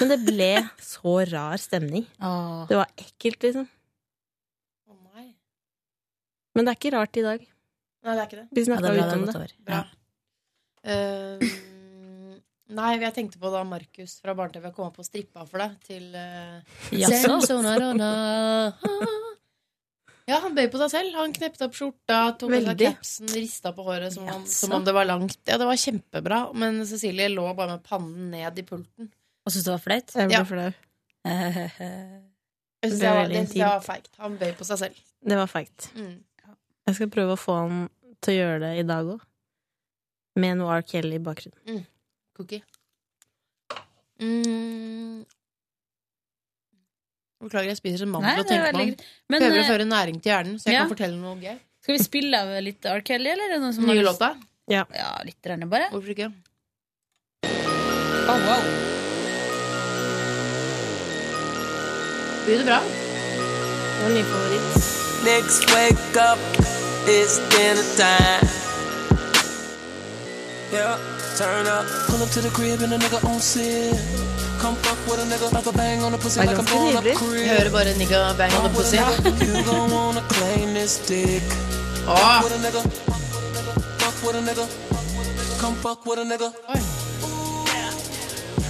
Speaker 11: Men det ble så rar stemning.
Speaker 25: Åh.
Speaker 11: Det var ekkelt, liksom. Men det er ikke rart i dag.
Speaker 3: Nei, det er ikke det.
Speaker 11: Vi snakka jo ut om det.
Speaker 3: Eh, nei, jeg tenkte på da Markus fra Barne-TV kom opp og strippa for deg til eh,
Speaker 25: Jaså?
Speaker 3: Sensonarona. Ja, han bøy på seg selv. Han knepte opp skjorta, tok av seg
Speaker 25: Veldig.
Speaker 3: capsen, rista på håret som, han,
Speaker 25: Jaså.
Speaker 3: som om det var langt. Ja, det var kjempebra, men Cecilie lå bare med pannen ned i pulten.
Speaker 25: Og syntes det var flaut?
Speaker 3: Jeg ble Ja.
Speaker 11: flau.
Speaker 3: Jeg synes
Speaker 11: Det
Speaker 3: det,
Speaker 11: var
Speaker 3: var,
Speaker 11: veldig
Speaker 3: det, synes jeg var
Speaker 11: intimt.
Speaker 3: feigt. Han bøy på seg selv.
Speaker 11: Det var feigt.
Speaker 3: Mm.
Speaker 11: Jeg skal prøve å få han til å gjøre det i dag òg. Med noe R. Kelly i bakgrunnen.
Speaker 3: Cookie. Mm. Beklager, jeg spiser en mandel
Speaker 25: Nei,
Speaker 3: og
Speaker 25: det er
Speaker 3: tenker meg
Speaker 25: veldig
Speaker 3: om.
Speaker 25: greit. Men,
Speaker 3: Prøver å
Speaker 25: eh,
Speaker 3: føre næring til hjernen, så jeg
Speaker 25: ja.
Speaker 3: kan fortelle noe gøy.
Speaker 25: Skal vi spille av litt R. Kelly, eller? Er det noen som
Speaker 3: Nye
Speaker 25: har lyst-
Speaker 3: låta?
Speaker 11: Ja.
Speaker 25: litt grann bare.
Speaker 3: Hvorfor ikke?
Speaker 25: Oh, wow.
Speaker 3: Blir det bra?
Speaker 9: Next wake up, it's dinner time. Yeah, turn up. Pull up to the crib and a nigga on sip. Come fuck with a nigga, like a bang on the pussy,
Speaker 3: Det er
Speaker 9: like I'm
Speaker 3: ganske
Speaker 9: blowing up
Speaker 3: nydelig.
Speaker 9: crib.
Speaker 3: Jeg hører bare nigga bang on the pussy.
Speaker 9: You gon' wanna claim this dick.
Speaker 3: Ah.
Speaker 9: Fuck with a nigga, fuck with a nigga, come fuck with a nigga.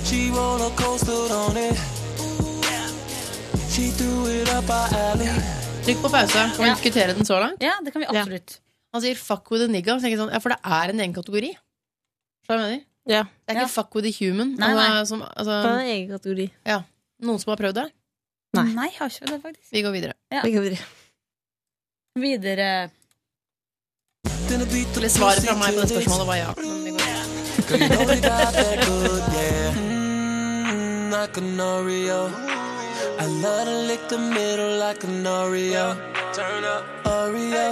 Speaker 9: She roller coastered on it. She threw it up our alley.
Speaker 3: Trykk på pause. Kan vi diskutere den så langt?
Speaker 25: Ja, det kan vi absolutt.
Speaker 3: Han sier 'fuck with a nigga', så tenker jeg sånn, ja, for det er en egen kategori. Skjønner du hva jeg mener? Det er ikke 'fuck with a human'.
Speaker 25: Nei,
Speaker 3: altså,
Speaker 25: nei.
Speaker 3: Som, altså,
Speaker 11: Det er en egen kategori.
Speaker 3: ja. Noen som har prøvd det?
Speaker 25: Nei. jeg har ikke det, faktisk.
Speaker 3: Vi går videre.
Speaker 25: Ja. Videre
Speaker 3: Eller svaret fra meg på det spørsmålet var ja. Men vi går videre.
Speaker 9: Girl, you know we got that good, yeah. Mmm, like an Oreo. I love to lick the middle like an Oreo. Turn up. Oreo.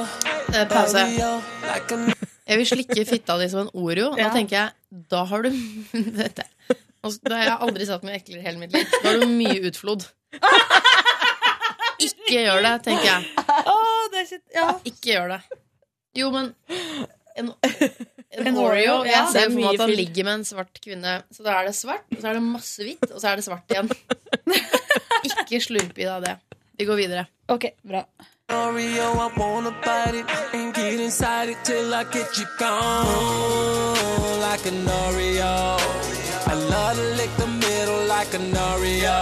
Speaker 3: Eh, pause.
Speaker 9: Oreo, like an
Speaker 3: Jeg vil slikke fitta di som en Oreo. Da
Speaker 9: Ja.
Speaker 3: tenker jeg da har du dette. Og så- Da har jeg aldri satt meg eklere i hele mitt liv. Da har du mye utflod. Ikke gjør det, tenker jeg. Ikke gjør det. Jo, men en, en,
Speaker 25: En
Speaker 3: Oreo
Speaker 25: Oreo,
Speaker 3: Jeg
Speaker 25: ja.
Speaker 3: ser
Speaker 25: Det er
Speaker 3: for meg
Speaker 25: mye
Speaker 3: at han
Speaker 25: fyll.
Speaker 3: ligger med en svart kvinne. Så da er det svart, og så er det masse hvitt, og så er det svart igjen. Ikke slurp i deg det. Vi går videre.
Speaker 25: Ok, bra
Speaker 9: Oreo, I wanna bite it and get
Speaker 12: inside it till I get you gone. Like an Oreo. I love to lick the middle like an Oreo.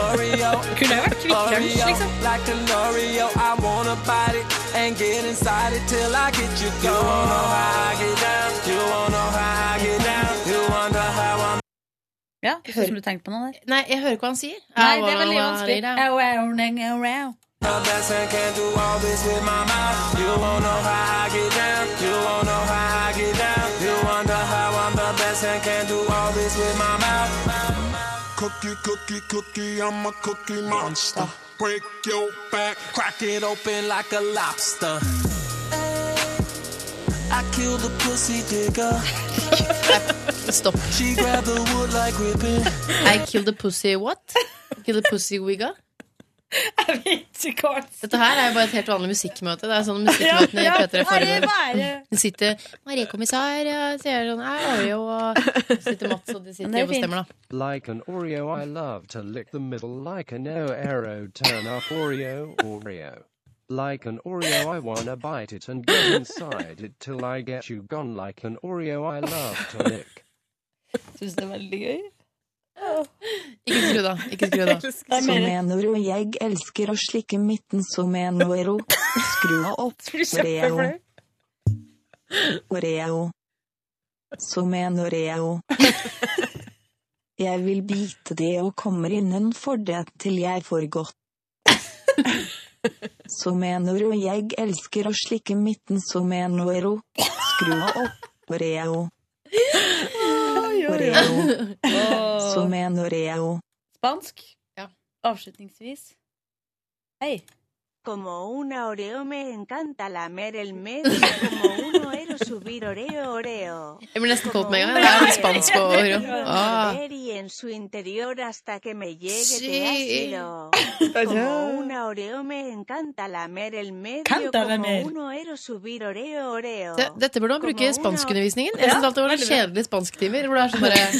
Speaker 12: Oreo.
Speaker 26: Kunne jo vært Kvikk Lunsj,
Speaker 12: Oreo,
Speaker 26: liksom.
Speaker 12: Like an Oreo. I wanna bite it and get inside it till I get you gone. You wanna know how I get down. You wanna know how I get down. You wonder how I'm
Speaker 26: Ja, jeg synes du tenkte på noe der.
Speaker 3: Nei, jeg hører ikke hva han sier.
Speaker 26: Nei, det er veldig vanskelig. Au, au, neng, au, au.
Speaker 12: My best friend can do all this with my mouth. You won't know how I get down. You won't know how I get down. You wonder how I'm the best and can do all this with my mouth. Cookie, cookie, cookie, I'm a cookie monster. Break your back, crack it open like a lobster. I kill the pussy digger.
Speaker 3: Stopp.
Speaker 12: She grabbed the wood like ribbon.
Speaker 3: I kill the pussy what? Kill the pussy wigga?
Speaker 26: Jeg vet ikke hva
Speaker 3: Dette her er jo bare et helt vanlig musikkmøte. Det er sånn musikkmøtene i
Speaker 26: Ja, ja,
Speaker 3: P3
Speaker 26: det er
Speaker 3: foregår.
Speaker 26: bare-
Speaker 3: Det sitter Marie kommissær og sier sånn Her er Oreo og så sitter Mats og de
Speaker 27: Men det
Speaker 3: sitter
Speaker 27: er
Speaker 3: og bestemmer, da.
Speaker 27: Like an Oreo, I love to lick the middle like an O arrow, turn up Oreo, Oreo. Like an Oreo, I wanna bite it and get inside it till I get you gone. Like an Oreo, I love to lick.
Speaker 26: Syns det er veldig gøy.
Speaker 3: Ikke skru, da. Ikke skru, da.
Speaker 4: Som en oro, jeg elsker å slikke midten som en oro. Skru av opp, Oreo. Oreo. Som en Oreo. Jeg vil bite det og kommer innenfor det til jeg får godt. Som en oro, jeg elsker å slikke midten som en oro. Skru av opp, Oreo. Oreo. Som en Oreo.
Speaker 26: Spansk. Avslutningsvis. Hei.
Speaker 28: Como una Oreo me encanta lamer el medio. Como un Oreo subir Oreo Oreo.
Speaker 3: Jeg blir nesten kåt med en gang. Det er litt spansk og Oreo.
Speaker 28: Quiero
Speaker 3: Ah.
Speaker 28: envolver y en su interior hasta que me llegue
Speaker 3: Sí.
Speaker 28: de ácido. Como una Oreo me encanta lamer el medio.
Speaker 3: Canta
Speaker 28: Como
Speaker 3: lamer.
Speaker 28: un Oreo subir Oreo Oreo.
Speaker 3: Det, dette burde man bruke i spanskundervisningen. Jeg synes
Speaker 28: Ja,
Speaker 3: alltid det var noen
Speaker 28: veldig bra.
Speaker 3: kjedelige spansktimer hvor det er sånn bare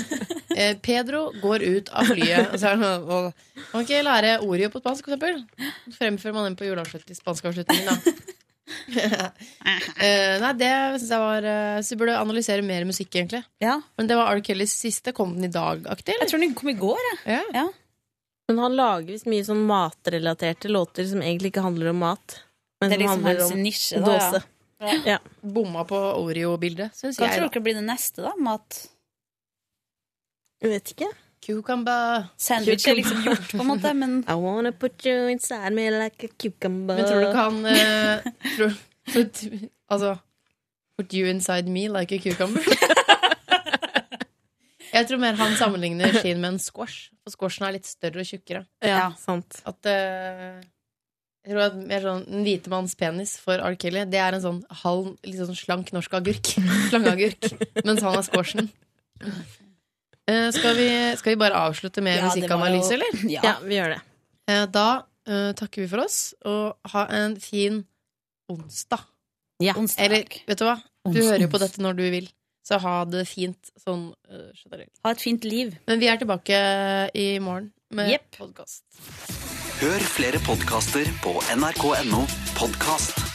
Speaker 3: eh, Pedro går ut av flyet, og så er han sånn og, Kan man ikke lære Oreo på spansk, for eksempel? Så Fremfører man den på juleavslutning, spanskavslutningen, da. Eh, nei, det syns jeg var eh, Så vi burde analysere mer musikk, egentlig. Men det var R. Kellys siste. Kom den i dag-aktig? Jeg
Speaker 26: tror den kom i går,
Speaker 3: jeg.
Speaker 26: Ja.
Speaker 11: Men han lager visst mye sånn matrelaterte låter som egentlig ikke handler om mat. Men
Speaker 26: Det er
Speaker 11: som
Speaker 26: liksom
Speaker 11: handler
Speaker 26: hans
Speaker 11: om
Speaker 26: nisje, da,
Speaker 11: dåse.
Speaker 26: ja.
Speaker 11: Ja.
Speaker 3: Bomma på Oreo-bildet, syns
Speaker 26: Hva
Speaker 3: jeg.
Speaker 26: tror
Speaker 3: da.
Speaker 26: dere blir det neste, da? Mat?
Speaker 11: Jeg vet ikke.
Speaker 3: Cucumber.
Speaker 26: Sandwich er liksom gjort, på en måte, men
Speaker 11: I wanna put you inside me like a cucumber.
Speaker 3: Men tror du ikke han eh, tror, put, Altså Put you inside me like a cucumber? Jeg tror mer han sammenligner skien med en squash. For squashen er litt større og tjukkere.
Speaker 11: Ja, sant.
Speaker 3: At eh, jeg tror at mer sånn En hvite manns penis for R. Kelly, det er en sånn halv, litt sånn slank norsk agurk. Slangeagurk. Mens han er squashen. Eh, skal, vi, skal vi bare avslutte med
Speaker 11: Ja, det var jo-
Speaker 3: musikkanalyse, eller?
Speaker 11: Ja. Ja, vi gjør det.
Speaker 3: Eh, Da eh, takker vi for oss, og ha en fin onsdag.
Speaker 26: Onsdag.
Speaker 3: Eller, vet du hva? Du
Speaker 26: Ons-
Speaker 3: hører jo på
Speaker 26: ons.
Speaker 3: dette når du vil, så ha det fint sånn eh, generelt.
Speaker 26: Ha et fint liv.
Speaker 3: Men vi er tilbake i morgen med
Speaker 26: Jepp.
Speaker 3: podcast.
Speaker 29: Hør flere podkaster på nrk.no podkast.